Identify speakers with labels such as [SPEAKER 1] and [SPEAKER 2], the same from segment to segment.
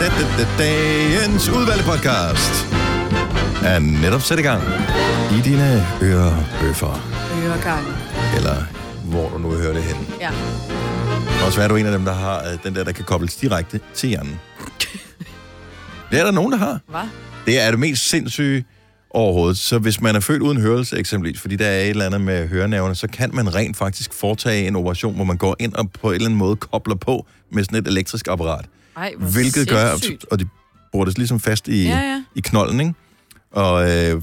[SPEAKER 1] Da, da, da, dagens udvalgte podcast er netop sat i gang i dine ørebøffer,
[SPEAKER 2] Øregang.
[SPEAKER 1] eller hvor du nu hører det henne.
[SPEAKER 2] Ja.
[SPEAKER 1] Og så er du en af dem, der har øh, den der, der kan kobles direkte til hjernen. Det er der nogen, der har.
[SPEAKER 2] Hvad?
[SPEAKER 1] Det er det mest sindssyge overhovedet. Så hvis man er født uden hørelse eksempelvis, fordi der er et eller andet med hørenerverne, så kan man rent faktisk foretage en operation, hvor man går ind og på en eller anden måde kobler på med sådan et elektrisk apparat.
[SPEAKER 2] Ej, hvor
[SPEAKER 1] Hvilket gør,
[SPEAKER 2] sindssygt.
[SPEAKER 1] og de bruger det ligesom fast i,
[SPEAKER 2] Ja, ja.
[SPEAKER 1] i knolden, ikke? Og, øh,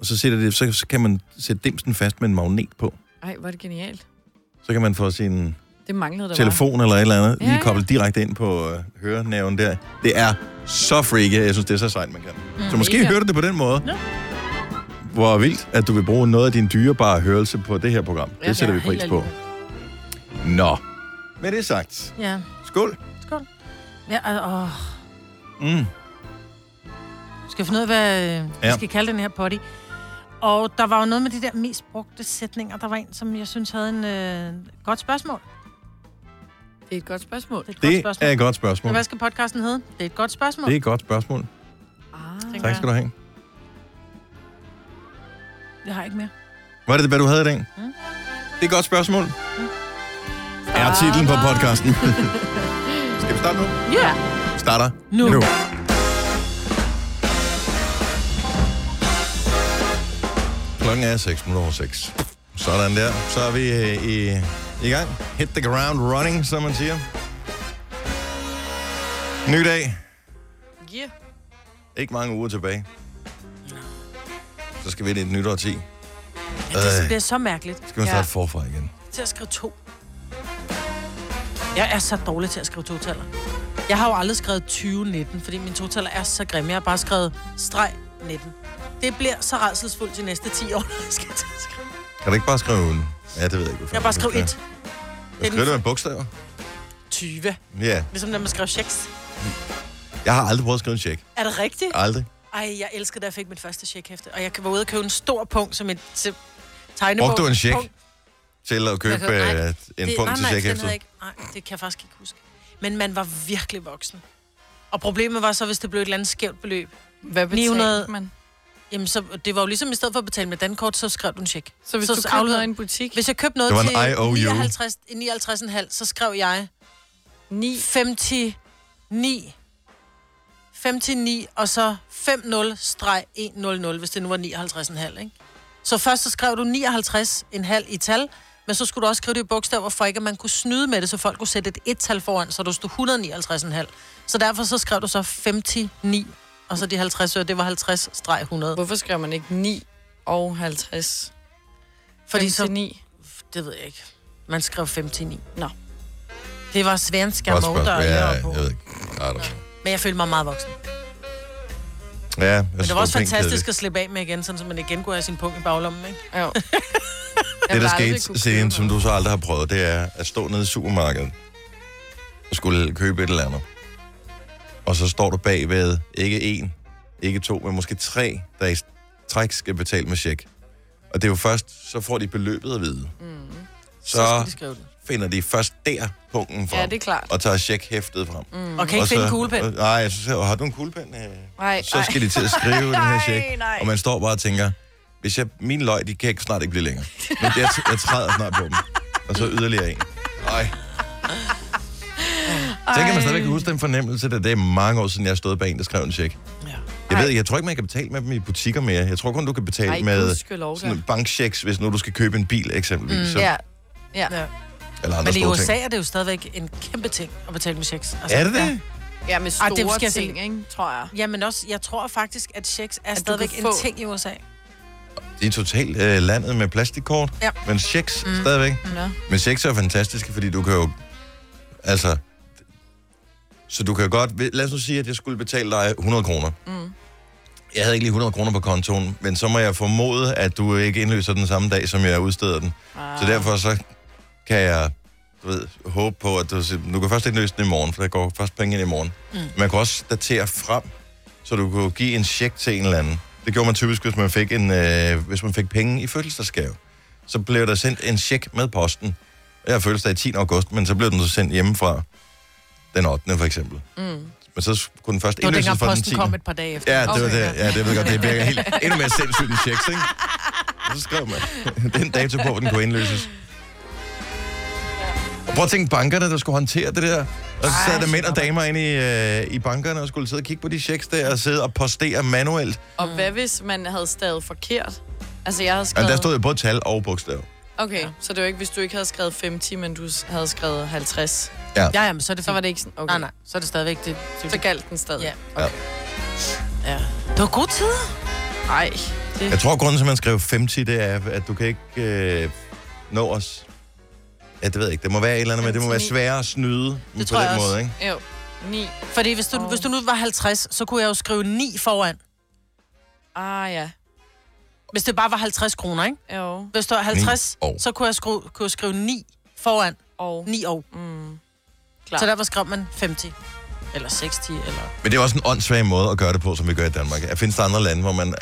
[SPEAKER 1] og så, sætter det, så, så kan man sætte dimsen fast med en magnet på.
[SPEAKER 2] Ej, hvor er det genialt.
[SPEAKER 1] Så kan man få sin
[SPEAKER 2] Det manglede der
[SPEAKER 1] telefon eller et eller andet,
[SPEAKER 2] Ja,
[SPEAKER 1] lige
[SPEAKER 2] ja.
[SPEAKER 1] koblet direkte ind på øh, hørenerven der. Det er så freaky, jeg synes, det er så sejt, man kan. Mm, så måske
[SPEAKER 2] mega.
[SPEAKER 1] hører du det på den måde. Ja. Hvor vildt, at du vil bruge noget af din dyrebare hørelse på det her program.
[SPEAKER 2] Ja,
[SPEAKER 1] det sætter
[SPEAKER 2] ja,
[SPEAKER 1] vi pris
[SPEAKER 2] helt
[SPEAKER 1] på. Nå, med det sagt.
[SPEAKER 2] Var. Ja.
[SPEAKER 1] Skål.
[SPEAKER 2] Skål. Ja, og, åh.
[SPEAKER 1] Mm.
[SPEAKER 3] Skal jeg finde ud af, hvad ja. vi
[SPEAKER 1] Ja.
[SPEAKER 3] skal kalde den her potty. Og der var jo noget med de der mest brugte sætninger. Der var en, som jeg synes havde en øh, godt spørgsmål. Det
[SPEAKER 2] Det er et godt spørgsmål.
[SPEAKER 3] er et godt
[SPEAKER 1] Det
[SPEAKER 3] spørgsmål.
[SPEAKER 1] er et godt
[SPEAKER 3] Men
[SPEAKER 1] spørgsmål.
[SPEAKER 3] Hvad skal podcasten hedde? Det er et godt spørgsmål.
[SPEAKER 1] Det er et godt spørgsmål.
[SPEAKER 2] Ah.
[SPEAKER 3] tænker
[SPEAKER 1] Tak skal du have.
[SPEAKER 3] jeg. Jeg har ikke mere.
[SPEAKER 1] Var det, hvad du havde i dag? Mm. Det er et godt spørgsmål.
[SPEAKER 3] Mm.
[SPEAKER 1] Er titlen på podcasten. skal vi starte nu?
[SPEAKER 3] Ja.
[SPEAKER 1] Starter
[SPEAKER 3] Nu.
[SPEAKER 1] nu. Klokken er 6 minutter over 6. Sådan der. Så er vi øh, i, i gang. Hit the ground running, som man siger. Ny dag.
[SPEAKER 2] Yeah.
[SPEAKER 1] Ikke mange uger tilbage. Så skal vi ind i et nyt årti. Øh,
[SPEAKER 3] Det bliver så mærkeligt.
[SPEAKER 1] skal man starte forfra igen.
[SPEAKER 3] Til at skrive to. Jeg er så dårlig til at skrive totaller. Jeg har jo aldrig skrevet 2019, fordi min totaller er så grim. Jeg har bare skrevet streg 19. Det bliver så redselsfuldt de næste 10 år, når jeg skal til at skrive.
[SPEAKER 1] Kan du ikke bare skrive en? Ja, det ved jeg ikke. hvorfor.
[SPEAKER 3] Jeg har bare skrevet
[SPEAKER 1] Hvad
[SPEAKER 3] 1.
[SPEAKER 1] Hvad skriver du med bogstaver?
[SPEAKER 3] 20.
[SPEAKER 1] Ja.
[SPEAKER 3] Ligesom når man skrev checks.
[SPEAKER 1] Jeg har aldrig prøvet at skrive en check.
[SPEAKER 3] Er det rigtigt?
[SPEAKER 1] Aldrig.
[SPEAKER 3] Ej, jeg elskede, da jeg fik mit første checkhæfte. Og jeg var ude og købe en stor punkt som et til tegnebog.
[SPEAKER 1] Brugte du en check
[SPEAKER 3] Punkt.
[SPEAKER 1] til at købe
[SPEAKER 3] Jeg kan-
[SPEAKER 1] øh, en
[SPEAKER 3] Det-
[SPEAKER 1] punkt
[SPEAKER 3] nej,
[SPEAKER 1] til
[SPEAKER 3] nej,
[SPEAKER 1] check
[SPEAKER 3] den havde jeg ikke. Nej, det kan jeg faktisk ikke huske. Men man var virkelig voksen. Og problemet var så, hvis det blev et eller andet skævt beløb.
[SPEAKER 2] Hvad betalte
[SPEAKER 3] 900
[SPEAKER 2] man?
[SPEAKER 3] Jamen, så, det var jo ligesom, i stedet for at betale med dankort, så skrev du en check.
[SPEAKER 2] Så hvis
[SPEAKER 3] så
[SPEAKER 2] så du købte
[SPEAKER 3] afleverede-
[SPEAKER 2] noget i en butik,
[SPEAKER 3] Hvis jeg købte noget
[SPEAKER 1] Det var en
[SPEAKER 3] til
[SPEAKER 1] IOU.
[SPEAKER 3] 59, 59,5, så skrev jeg
[SPEAKER 2] 9,
[SPEAKER 3] 59, 59 og så 50-100, hvis det nu var 59,5, ikke? Så først så skrev du 59,5 i tal, men så skulle du også skrive det i bogstaver, for ikke at man kunne snyde med det, så folk kunne sætte et et-tal foran, så du stod 159,5. Så derfor så skrev du så 59, og så de 50 øre, det var 50-100.
[SPEAKER 2] hvorfor skriver man ikke 9 og 50?
[SPEAKER 3] Fordi så,
[SPEAKER 2] 9.
[SPEAKER 3] det ved jeg ikke, man skrev 59.
[SPEAKER 2] Nå.
[SPEAKER 3] Det var svenske
[SPEAKER 1] Godt
[SPEAKER 3] mål, der
[SPEAKER 1] spørgsmål. Ja,
[SPEAKER 3] ja,
[SPEAKER 1] jeg ved ikke. I don't know.
[SPEAKER 3] Men jeg følte mig meget voksen.
[SPEAKER 1] Ja, jeg
[SPEAKER 3] Men
[SPEAKER 1] synes,
[SPEAKER 3] det var også
[SPEAKER 1] pænt
[SPEAKER 3] fantastisk
[SPEAKER 1] kedeligt.
[SPEAKER 3] at slippe af med igen, sådan, så man igen kunne have sin punkt i baglommen, ikke?
[SPEAKER 2] Jo.
[SPEAKER 1] Det, der skete siden, som du så aldrig har prøvet, det er at stå nede i supermarkedet og skulle købe et eller andet. Og så står du bagved ikke en, ikke to, men måske tre, der i træk skal betale med check. Og det er jo først, så får de beløbet at vide. Mm.
[SPEAKER 3] Så, så
[SPEAKER 1] Så
[SPEAKER 3] skal de skrive det.
[SPEAKER 1] finder de først der punkten frem.
[SPEAKER 2] Ja, det er klart.
[SPEAKER 1] Og tager checkhæftet frem. Mm.
[SPEAKER 3] Og kan ikke finde en kuglepen.
[SPEAKER 1] øh, Nej, jeg synes, har du en kuglepen? Øh,
[SPEAKER 2] Nej,
[SPEAKER 1] så skal de til at skrive den her check.
[SPEAKER 2] Nej, nej.
[SPEAKER 1] Og man står bare og tænker, hvis jeg, mine løg, de kan ikke snart ikke blive længere. Men jeg, jeg træder snart på dem. Og så yderligere en. Ej. Tænker man stadigvæk kan huske den fornemmelse, da det er mange år siden, jeg stod bag en, der skrev en check.
[SPEAKER 3] Ja.
[SPEAKER 1] Jeg ved, ikke, jeg tror ikke, man kan betale med dem i butikker mere. Jeg tror kun, du kan betale
[SPEAKER 2] Ej,
[SPEAKER 1] med
[SPEAKER 2] gudskelov da.
[SPEAKER 1] sådan bankchecks, hvis nu du skal købe en bil eksempelvis. Mm,
[SPEAKER 2] Ja. Ja.
[SPEAKER 3] ja.
[SPEAKER 1] Eller andre
[SPEAKER 3] Men i
[SPEAKER 1] store
[SPEAKER 3] USA
[SPEAKER 1] ting.
[SPEAKER 3] er det jo stadigvæk en kæmpe ting at betale med checks. Altså,
[SPEAKER 1] Er det det?
[SPEAKER 3] Ja.
[SPEAKER 2] ja, med
[SPEAKER 3] Ej,
[SPEAKER 2] store
[SPEAKER 3] det
[SPEAKER 2] Ej,
[SPEAKER 3] skal jeg
[SPEAKER 2] det
[SPEAKER 3] se.
[SPEAKER 2] ting, ikke, tror jeg.
[SPEAKER 3] Ja, men også, jeg tror faktisk, at checks er
[SPEAKER 2] du
[SPEAKER 3] stadigvæk
[SPEAKER 2] kan
[SPEAKER 3] en
[SPEAKER 2] få-
[SPEAKER 3] ting i USA.
[SPEAKER 1] Det er totalt øh, landet med plastikkort,
[SPEAKER 3] Ja.
[SPEAKER 1] men checks mm. stadigvæk.
[SPEAKER 2] Nå.
[SPEAKER 1] Men checks er fantastiske, fordi du kan jo... Altså... Så du kan godt... Lad os nu sige, at jeg skulle betale dig 100 kroner. Mm. Jeg havde ikke lige 100 kroner på kontoen, men så må jeg formode, at du ikke indløser den samme dag, som jeg udsteder den. Ah. Så derfor så kan jeg du ved, håbe på, at du, siger, du kan først ikke løse den i morgen, for der går først penge ind i morgen. Mm. Man kan også datere frem, så du kan give en check til en eller anden. Det gjorde man typisk, hvis man fik, en, øh, hvis man fik penge i fødselsdagsgave. Så blev der sendt en check med posten. Jeg har fødselsdag i 10. august, men så blev den så sendt hjemmefra den 8. for eksempel.
[SPEAKER 2] Mm.
[SPEAKER 1] Men så kunne den først
[SPEAKER 3] Det var
[SPEAKER 1] indløses
[SPEAKER 3] dengang
[SPEAKER 1] fra den
[SPEAKER 3] posten
[SPEAKER 1] 10.
[SPEAKER 3] kom et par dage efter.
[SPEAKER 1] Ja, det okay, var
[SPEAKER 2] Okay,
[SPEAKER 1] det.
[SPEAKER 2] ja.
[SPEAKER 1] Ja, det ved jeg godt. Det virker helt endnu mere sindssygt end checks, ikke? Og så skrev man den dato på, hvor den kunne indløses. Og prøv at tænke bankerne, der skulle håndtere det der. Og så sad der mænd og damer inde i, øh, i bankerne og skulle sidde og kigge på de checks der og sidde og postere manuelt.
[SPEAKER 2] Og hvad hvis man havde stavet forkert? Altså, jeg havde skrevet...
[SPEAKER 1] Altså, der stod jo både tal og bogstav.
[SPEAKER 2] Okay, så det var ikke, hvis du ikke havde skrevet 50, men du s- havde skrevet 50.
[SPEAKER 3] Ja, ja, men så er det
[SPEAKER 2] Så
[SPEAKER 3] fint.
[SPEAKER 2] var det ikke sådan, okay.
[SPEAKER 3] Nej, nej, så er det stadigvæk det. det,
[SPEAKER 2] Så
[SPEAKER 3] det.
[SPEAKER 2] galt den stadig.
[SPEAKER 3] Ja.
[SPEAKER 1] Ja.
[SPEAKER 3] ja. Det var gode tider.
[SPEAKER 2] Nej, det...
[SPEAKER 1] Jeg tror, grunden til, at man skrev 50, det er, at du kan ikke øh, nå os. Ja, det ved jeg ikke. Det må være et eller andet, men det må være sværere at snyde det på
[SPEAKER 3] tror
[SPEAKER 1] den
[SPEAKER 3] jeg også.
[SPEAKER 1] måde, ikke?
[SPEAKER 2] Jo, 9.
[SPEAKER 3] Fordi hvis du,
[SPEAKER 2] Åh.
[SPEAKER 3] oh. hvis du nu var 50, så kunne jeg jo skrive 9 foran.
[SPEAKER 2] Ah, ja.
[SPEAKER 3] Hvis det bare var 50 kroner, ikke?
[SPEAKER 2] Jo,
[SPEAKER 3] Hvis det var 50,
[SPEAKER 1] år.
[SPEAKER 3] så kunne jeg, skrive, kunne jeg skrive 9 foran.
[SPEAKER 2] og...
[SPEAKER 3] 9 år.
[SPEAKER 2] Mm.
[SPEAKER 3] Klar.
[SPEAKER 2] Klart.
[SPEAKER 3] Så derfor skrev man 50. Eller 60, eller...
[SPEAKER 1] Men det er også en åndssvag måde at gøre det på, som vi gør i Danmark. Jeg findes der andre lande, hvor man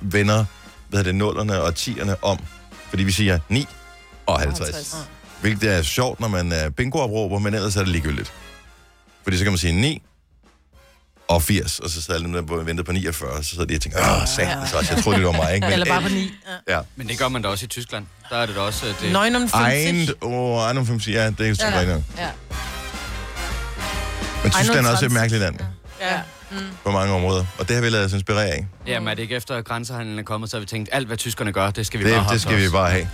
[SPEAKER 1] vender hvad hedder det, nullerne og tierne om? Fordi vi siger 9 og 50. 50.
[SPEAKER 2] 50.
[SPEAKER 1] Hvilket er sjovt, når man er bingo men ellers er det ligegyldigt. Fordi så kan man sige 9 og 80, og så sidder alle dem, der venter på 49, og så sidder de og tænker, åh, satans også, jeg troede, det var mig, ikke? Men
[SPEAKER 3] Eller bare på 9.
[SPEAKER 1] Ja.
[SPEAKER 4] Men det gør man da også i Tyskland. Der er det da også... øh, Det...
[SPEAKER 3] Nøgen om 50.
[SPEAKER 1] Ejend, åh, Ejendom 50, ja, det er jo
[SPEAKER 3] Ja.
[SPEAKER 1] super ja.
[SPEAKER 2] Ja.
[SPEAKER 1] Men Tyskland er også et
[SPEAKER 3] 51.
[SPEAKER 1] mærkeligt land
[SPEAKER 3] Ja.
[SPEAKER 1] på mange områder, og det har vi lavet os inspirere af.
[SPEAKER 4] Jamen er det ikke efter at grænsehandlen er kommet, så har vi tænkt, alt hvad tyskerne gør, det skal vi bare
[SPEAKER 1] Det,
[SPEAKER 4] have til
[SPEAKER 1] det skal vi
[SPEAKER 4] os.
[SPEAKER 1] bare have.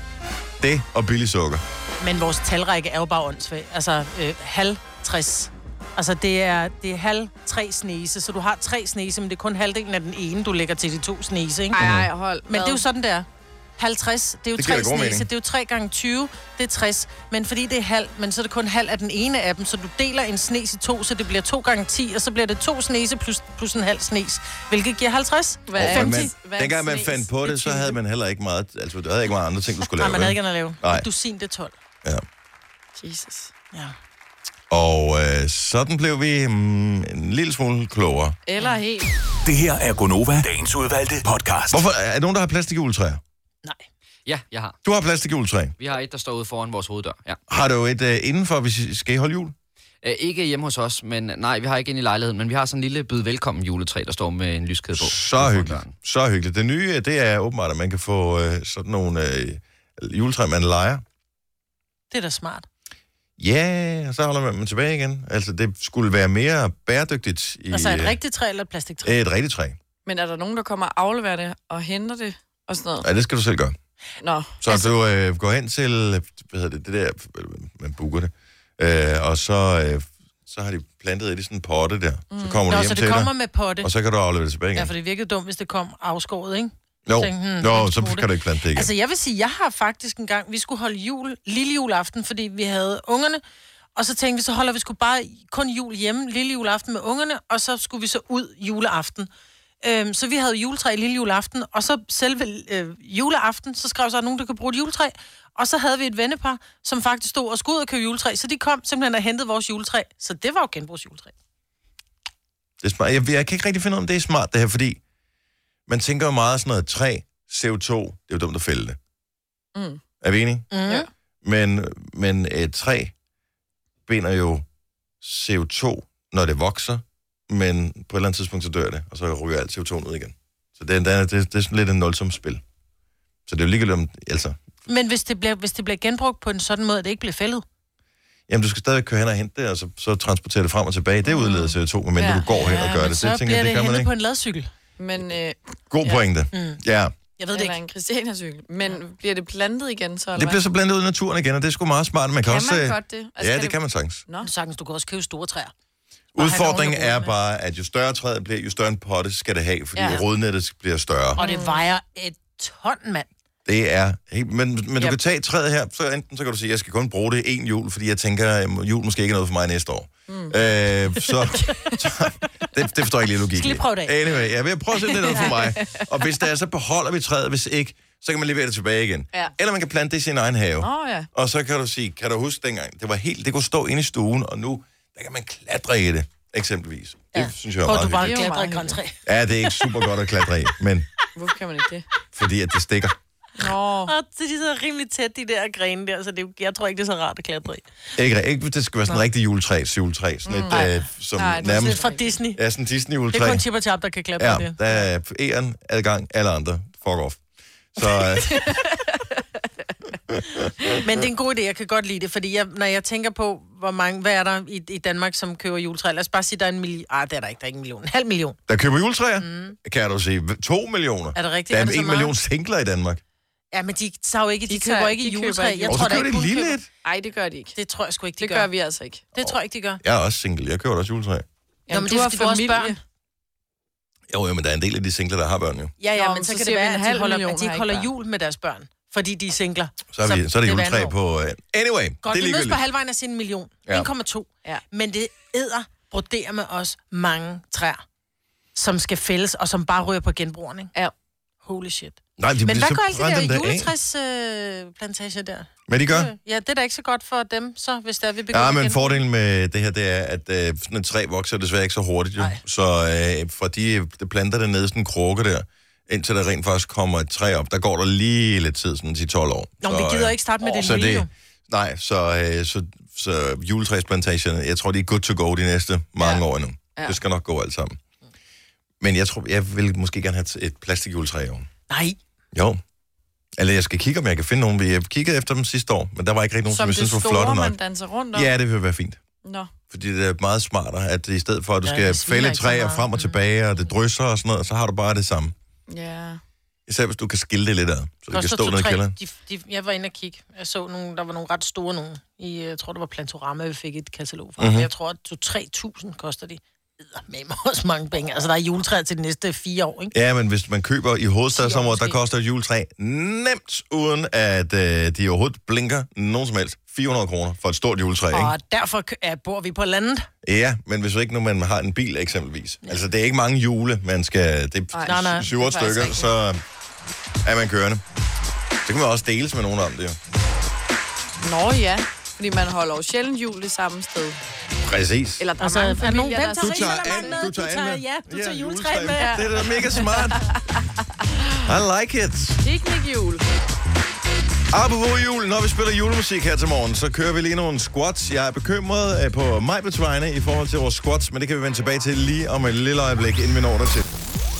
[SPEAKER 1] Det og billig sukker.
[SPEAKER 3] Men vores talrække er jo bare åndssvag. Altså, øh, halv 60. Altså, det er, det er halv tre snese, så du har tre snese, men det er kun halvdelen af den ene, du lægger til de to snese, ikke?
[SPEAKER 2] Ej, ej, hold.
[SPEAKER 3] Men det er jo sådan, der. 50, det er jo
[SPEAKER 1] Det giver
[SPEAKER 3] tre
[SPEAKER 1] da god
[SPEAKER 3] snese,
[SPEAKER 1] mening.
[SPEAKER 3] det er jo 3 gange 20, det er 60. Men fordi det er halv, men så er det kun halv af den ene af dem, så du deler en snes i to, så det bliver 2 gange 10, og så bliver det to snese plus, plus en halv snes, hvilket giver 50.
[SPEAKER 2] Hvad
[SPEAKER 1] Og
[SPEAKER 2] er
[SPEAKER 1] man-
[SPEAKER 2] 50? Hvad er
[SPEAKER 1] Dengang man
[SPEAKER 2] snes?
[SPEAKER 1] fandt på
[SPEAKER 2] Det er
[SPEAKER 1] det, så
[SPEAKER 2] 20.
[SPEAKER 1] havde man heller ikke meget, altså der havde ikke meget andre ting, du skulle
[SPEAKER 3] Nej,
[SPEAKER 1] lave.
[SPEAKER 3] man havde ikke
[SPEAKER 1] vel?
[SPEAKER 3] andet at lave.
[SPEAKER 1] Nej.
[SPEAKER 3] Du sin det er 12.
[SPEAKER 1] Ja.
[SPEAKER 2] Jesus.
[SPEAKER 3] Ja.
[SPEAKER 1] Og øh, sådan blev vi mm, en lille smule klogere.
[SPEAKER 2] Eller helt.
[SPEAKER 5] Det her er Gonova, dagens udvalgte podcast.
[SPEAKER 1] Hvorfor er der nogen, der har plastikjuletræer?
[SPEAKER 3] Nej.
[SPEAKER 4] Ja, jeg har.
[SPEAKER 1] Du har plastikjuletræ.
[SPEAKER 4] Vi har et, der står ude foran vores hoveddør. Ja.
[SPEAKER 1] Har du et øh, indenfor, hvis I skal I holde jul?
[SPEAKER 4] Æ, ikke hjemme hos os, men nej, vi har ikke ind i lejligheden, men vi har sådan en lille byd velkommen juletræ, der står med en lyskæde på. ude
[SPEAKER 1] Så
[SPEAKER 4] foran
[SPEAKER 1] hyggeligt.
[SPEAKER 4] døren.
[SPEAKER 1] Så hyggeligt. Det nye, øh, det er åbenbart, at man kan få øh, sådan nogle øh, juletræer, man leger.
[SPEAKER 3] Det er da smart.
[SPEAKER 1] Ja, og så holder man dem tilbage igen. Altså, det skulle være mere bæredygtigt i
[SPEAKER 3] Altså et
[SPEAKER 1] øh,
[SPEAKER 3] rigtigt træ eller et plastiktræ?
[SPEAKER 1] et rigtigt træ.
[SPEAKER 2] Men er der nogen, der kommer og afleverer det og henter det og sådan noget?
[SPEAKER 1] Ja, det skal du selv gøre.
[SPEAKER 2] Nå,
[SPEAKER 1] Så altså... du øh, går hen til, øh, hvad hedder det, det der, øh, man booker det, øh, og så, øh, så har de plantet et i sådan en potte der. Mm. Så kommer
[SPEAKER 3] Nå, så
[SPEAKER 1] du hjem til
[SPEAKER 3] det kommer
[SPEAKER 1] dig,
[SPEAKER 3] med potte.
[SPEAKER 1] og så kan du aflevere det tilbage
[SPEAKER 3] Ja,
[SPEAKER 1] igen.
[SPEAKER 3] for det virkede dumt, hvis det kom afskåret, ikke?
[SPEAKER 1] Jo,
[SPEAKER 3] tænkte, hmm,
[SPEAKER 1] jo
[SPEAKER 3] en
[SPEAKER 1] så
[SPEAKER 3] potte.
[SPEAKER 1] kan du ikke plante det igen.
[SPEAKER 3] Altså, jeg vil sige, jeg har faktisk en gang, vi skulle holde jul, lille juleaften, fordi vi havde ungerne, og så tænkte vi, så holder vi sgu bare kun jul hjemme, lille juleaften med ungerne, og så skulle vi så ud juleaften. Øhm, så vi havde juletræ lille juleaften, og så selve øh, juleaften, så skrev så, at nogen, der kan bruge et juletræ, og så havde vi et vennepar, som faktisk stod og skulle ud og købe juletræ, så de kom simpelthen og hentede vores juletræ, så det var jo genbrugsjuletræ.
[SPEAKER 1] Det er smart. Jeg, jeg kan ikke rigtig finde ud af, om det er smart, det her, fordi man tænker jo meget sådan noget, træ, CO2, det er jo dumt at fælde det.
[SPEAKER 2] Mm.
[SPEAKER 1] Er vi enige?
[SPEAKER 3] Mm. Ja.
[SPEAKER 2] Ja.
[SPEAKER 1] Men, men et træ binder jo CO2, når det vokser, men på et eller andet tidspunkt, så dør det, og så ryger alt CO2 ud igen. Så det, det, er, det, det er sådan lidt en nulsomt spil. Så det er jo ligegyldigt om, altså,
[SPEAKER 3] Men hvis det, bliver, hvis det bliver genbrugt på en sådan måde, at det ikke bliver fældet,
[SPEAKER 1] jamen du skal stadig køre hen og hente det, og så, så transportere det frem og tilbage. Det udleder CO2, men
[SPEAKER 2] Ja.
[SPEAKER 1] ja. du går hen og gør
[SPEAKER 3] men
[SPEAKER 1] det.
[SPEAKER 3] så
[SPEAKER 1] Det, tænker,
[SPEAKER 3] bliver
[SPEAKER 1] jeg,
[SPEAKER 3] det,
[SPEAKER 1] det gør man
[SPEAKER 3] hentet på
[SPEAKER 1] ikke.
[SPEAKER 3] en ladcykel.
[SPEAKER 2] men... Øh,
[SPEAKER 1] God
[SPEAKER 2] Ja.
[SPEAKER 1] pointe.
[SPEAKER 3] Mm.
[SPEAKER 1] Ja.
[SPEAKER 3] Jeg ved det
[SPEAKER 2] eller
[SPEAKER 3] ikke.
[SPEAKER 2] en Christiania-cykel. Men bliver det plantet igen, så? eller
[SPEAKER 1] Det
[SPEAKER 2] hvad?
[SPEAKER 1] bliver så blandet ud i naturen igen, og det er sgu meget smart. Man kan,
[SPEAKER 2] Kan
[SPEAKER 1] også,
[SPEAKER 2] man
[SPEAKER 1] øh,
[SPEAKER 2] godt det? Altså,
[SPEAKER 1] Ja,
[SPEAKER 2] kan
[SPEAKER 1] det
[SPEAKER 2] det-
[SPEAKER 1] kan man sagtens.
[SPEAKER 2] Nå,
[SPEAKER 3] Nå, sagtens, du kan også købe store træer. have et
[SPEAKER 1] Udfordringen
[SPEAKER 3] ordentligt
[SPEAKER 1] er
[SPEAKER 3] rodnet.
[SPEAKER 1] bare, at jo større træet bliver, jo større en potte skal det have, fordi ja.
[SPEAKER 2] Ja.
[SPEAKER 1] rodnettet bliver større.
[SPEAKER 3] Og
[SPEAKER 2] Mm.
[SPEAKER 3] det vejer et ton, mand.
[SPEAKER 1] Det er helt... Men, men du
[SPEAKER 2] Ja.
[SPEAKER 1] kan tage træet her, så enten så kan du sige, at jeg skal kun bruge det en jul, fordi jeg tænker, at jul måske ikke er noget for mig næste år. Mm. Øh, så, så det, det forstår jeg ikke lige logikken.
[SPEAKER 3] Skal lige prøve det af.
[SPEAKER 1] Anyway, ja, jeg prøver at se, om det er noget for mig. Og hvis det er, så beholder vi træet. Hvis ikke, så kan man levere det tilbage igen.
[SPEAKER 2] Ja.
[SPEAKER 1] Eller man kan plante det i sin egen have.
[SPEAKER 2] Nå, ja.
[SPEAKER 1] Og så kan du sige, kan du huske dengang, det var helt, det kunne stå inde i stuen, og nu, der kan man klatre i det, eksempelvis. Ja. Det synes jeg er
[SPEAKER 3] Prøv, du
[SPEAKER 1] meget
[SPEAKER 3] bare
[SPEAKER 1] hyggeligt.
[SPEAKER 2] hyggeligt.
[SPEAKER 3] klatre i
[SPEAKER 2] Det er jo
[SPEAKER 3] grøntræ.
[SPEAKER 1] Ja, det er ikke super godt at klatre i, men
[SPEAKER 2] Hvorfor kan man ikke det?
[SPEAKER 1] fordi at det stikker.
[SPEAKER 2] Nå.
[SPEAKER 3] Og de sidder rimelig tæt, de der grene der, så det, er jo- jeg tror ikke, det er så rart at klatre i.
[SPEAKER 1] Ikke, ikke hvis det skal være sådan en rigtig juletræ, juletræ, sådan et,
[SPEAKER 3] Mm, Nej.
[SPEAKER 1] øh, som
[SPEAKER 2] Nej, det er
[SPEAKER 1] nærmest
[SPEAKER 3] Lidt fra Disney.
[SPEAKER 1] er sådan en
[SPEAKER 3] Det er
[SPEAKER 1] Disney-juletræ.
[SPEAKER 3] kun Chip og Chap, der kan klatre ja.
[SPEAKER 1] Ja,
[SPEAKER 3] det.
[SPEAKER 1] der er æren, adgang, alle andre. Fuck off. Så øh,
[SPEAKER 3] Men det er en god idé, jeg kan godt lide det, fordi jeg, når jeg tænker på, hvor mange, hvad er der i, i Danmark, som køber juletræ? Lad os bare sige, der er en million. Ah, det er der ikke, der er ikke en million. En halv million.
[SPEAKER 1] der køber juletræer, mm. kan du sige, to millioner.
[SPEAKER 3] Er det rigtigt?
[SPEAKER 1] Der
[SPEAKER 3] Er
[SPEAKER 1] er,
[SPEAKER 3] det så
[SPEAKER 1] en
[SPEAKER 3] meget?
[SPEAKER 1] million singler i Danmark.
[SPEAKER 3] Ja, men de tager jo ikke, de, de køber
[SPEAKER 2] tager-
[SPEAKER 3] ikke
[SPEAKER 2] de
[SPEAKER 3] de
[SPEAKER 2] køber
[SPEAKER 3] juletræ.
[SPEAKER 2] ikke
[SPEAKER 3] Jeg
[SPEAKER 1] Og
[SPEAKER 3] tror
[SPEAKER 1] så
[SPEAKER 3] da
[SPEAKER 1] køber
[SPEAKER 3] ikke,
[SPEAKER 1] det
[SPEAKER 3] kun
[SPEAKER 1] lille
[SPEAKER 3] køber-
[SPEAKER 1] et.
[SPEAKER 2] Nej, det gør de ikke.
[SPEAKER 3] Det tror jeg sgu ikke, de
[SPEAKER 2] Det
[SPEAKER 3] gør.
[SPEAKER 2] gør vi altså ikke.
[SPEAKER 3] Det tror jeg ikke, de gør.
[SPEAKER 1] Jeg er også single, jeg køber da også juletræ.
[SPEAKER 3] Nå, men det er fordi, vores børn-
[SPEAKER 1] Jo, jo, men der er en del af de singler, der har børn jo.
[SPEAKER 3] Ja, ja,
[SPEAKER 2] Nå,
[SPEAKER 3] men,
[SPEAKER 2] men
[SPEAKER 3] så,
[SPEAKER 2] så
[SPEAKER 3] kan det
[SPEAKER 2] siger vi
[SPEAKER 3] være,
[SPEAKER 2] en
[SPEAKER 3] at de
[SPEAKER 2] halv
[SPEAKER 3] holder,
[SPEAKER 2] million
[SPEAKER 3] at de
[SPEAKER 2] har
[SPEAKER 3] ikke
[SPEAKER 2] ikke
[SPEAKER 3] holder
[SPEAKER 2] børn.
[SPEAKER 3] jul med deres børn, fordi de er singler.
[SPEAKER 1] Så er, vi, så er det
[SPEAKER 3] hvert
[SPEAKER 1] juletræ
[SPEAKER 3] år.
[SPEAKER 1] på... Øh,
[SPEAKER 3] Godt,
[SPEAKER 1] anyway, det er
[SPEAKER 3] vi mødes
[SPEAKER 1] ligegyldigt.
[SPEAKER 3] på halvvejen af sin million.
[SPEAKER 1] Ja.
[SPEAKER 3] 1,2.
[SPEAKER 2] Ja.
[SPEAKER 3] Men det æder, broderer med os mange træer, som skal fældes, og som bare ryger på genbrugerne. ikke?
[SPEAKER 2] Ja.
[SPEAKER 3] Holy shit.
[SPEAKER 1] Nej, de,
[SPEAKER 3] Men
[SPEAKER 1] de-
[SPEAKER 3] hvad
[SPEAKER 1] så
[SPEAKER 3] gør alle
[SPEAKER 1] brænder
[SPEAKER 3] de
[SPEAKER 1] dem
[SPEAKER 3] der
[SPEAKER 1] da af.
[SPEAKER 3] juletræsplantager øh, plantager der?
[SPEAKER 1] Hvad de gør?
[SPEAKER 3] Ja, det er da ikke så godt for dem, så hvis der vi begynder
[SPEAKER 1] Ja, men
[SPEAKER 3] igen.
[SPEAKER 1] fordelen med det her, det er, at øh, sådan et træ vokser desværre ikke så hurtigt. Jo.
[SPEAKER 3] Nej.
[SPEAKER 1] Så øh, fra de, øh, de planter det ned i sådan en krukke der, indtil der rent faktisk kommer et træ op, der går der lige lidt tid, sådan 10-12 år.
[SPEAKER 3] Nå, men vi gider ikke starte med det
[SPEAKER 1] så
[SPEAKER 3] nye, jo.
[SPEAKER 1] Nej, så, øh, så, så juletræsplantagerne, jeg tror, de er good to go de næste mange ja. år endnu. Ja. Det skal nok gå alt sammen. Men jeg tror, jeg vil måske gerne have et plastikjuletræ i år.
[SPEAKER 3] Nej,
[SPEAKER 1] Jo. Eller jeg skal kigge, om jeg kan finde nogen. Jeg kiggede efter dem sidste år, men der var ikke rigtig nogen, som,
[SPEAKER 2] Som
[SPEAKER 1] jeg
[SPEAKER 2] det
[SPEAKER 1] synes var
[SPEAKER 2] store,
[SPEAKER 1] flotte nok.
[SPEAKER 2] man danser rundt om.
[SPEAKER 1] Ja, det vil være fint.
[SPEAKER 2] Nå.
[SPEAKER 1] Fordi det er meget smartere, at i stedet for, at du
[SPEAKER 3] Ja,
[SPEAKER 1] ja, skal
[SPEAKER 3] det sviner
[SPEAKER 1] fælde
[SPEAKER 3] ikke så
[SPEAKER 1] træer
[SPEAKER 3] meget. Mm.
[SPEAKER 1] frem og tilbage, og det drysser og sådan noget, så har du bare det samme.
[SPEAKER 2] Ja.
[SPEAKER 1] Især hvis du kan skille det lidt ad, så det kan
[SPEAKER 3] koster
[SPEAKER 1] stå nede i
[SPEAKER 3] to-tre.
[SPEAKER 1] kælderen.
[SPEAKER 3] De, de, jeg var inde og kigge. Jeg så nogle, der var nogle ret store nogle. I, jeg tror, det var Plantorama, vi fik et katalog fra.
[SPEAKER 1] Mhm.
[SPEAKER 3] Mm-hmm. Jeg tror, at 2-3.000 koster de. med mig også mange penge. Altså, der er juletræer til de næste fire år, ikke?
[SPEAKER 1] Ja, men hvis man køber i hovedstadsområdet, der
[SPEAKER 3] måske.
[SPEAKER 1] koster et juletræ nemt, uden at øh, de overhovedet blinker nogen som helst. 400 kroner for et stort juletræ, ikke?
[SPEAKER 3] Og derfor kø- ja, bor vi på landet.
[SPEAKER 1] Ja, men hvis ikke, når man har en bil eksempelvis. Altså, det er ikke mange jule, man skal... Det er
[SPEAKER 3] Nej, nej,
[SPEAKER 1] s- syv otte
[SPEAKER 2] det er
[SPEAKER 1] stykker,
[SPEAKER 2] faktisk
[SPEAKER 1] så er man kørende. Så kan man også deles med nogen om det, jo.
[SPEAKER 2] Nå ja, fordi man holder jo sjældent jul det samme sted.
[SPEAKER 1] Præcis.
[SPEAKER 2] Eller der
[SPEAKER 3] Altså,
[SPEAKER 2] er mange
[SPEAKER 3] er der nogen-
[SPEAKER 2] familier, der
[SPEAKER 3] hvem tager
[SPEAKER 1] Du tager
[SPEAKER 3] Risalamande
[SPEAKER 1] an,
[SPEAKER 3] med,
[SPEAKER 1] du tager, an med.
[SPEAKER 3] ja, du tager juletræ
[SPEAKER 1] juletræ
[SPEAKER 3] med.
[SPEAKER 1] Det er da mega smart. I like it.
[SPEAKER 2] Picnic jul.
[SPEAKER 1] Apropos jul, når vi spiller julemusik her til morgen, så kører vi lige nogle squats. Jeg er bekymret øh, på mig vegne i forhold til vores squats, men det kan vi vende tilbage til lige om et lille øjeblik, inden vi når dertil.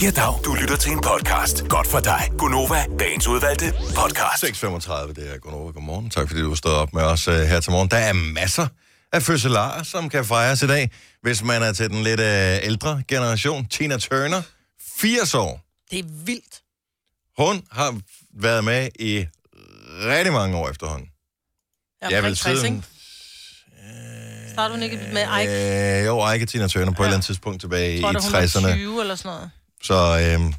[SPEAKER 5] Ja, dag. Du lytter til en podcast. Godt for dig. Gunova, dagens udvalgte podcast.
[SPEAKER 1] 6.35, det er Gunova. Godmorgen. Tak fordi du stod op med os øh, her til morgen. Der er masser af fødselarer, som kan fejres i dag. Hvis man er til den lidt øh, ældre generation, Tina Turner, 80 år.
[SPEAKER 3] Det er vildt.
[SPEAKER 1] Hun har været med i rigtig mange år efterhånden.
[SPEAKER 3] Jeg er omkring 60, ikke? Starter hun ikke med Ike?
[SPEAKER 1] Øh, jo, Ike og Tina Turner på ja. et eller andet tidspunkt tilbage
[SPEAKER 3] Jeg
[SPEAKER 1] i
[SPEAKER 3] tror, da, hun var
[SPEAKER 1] 60'erne.
[SPEAKER 3] 20 eller sådan noget.
[SPEAKER 1] Så øh,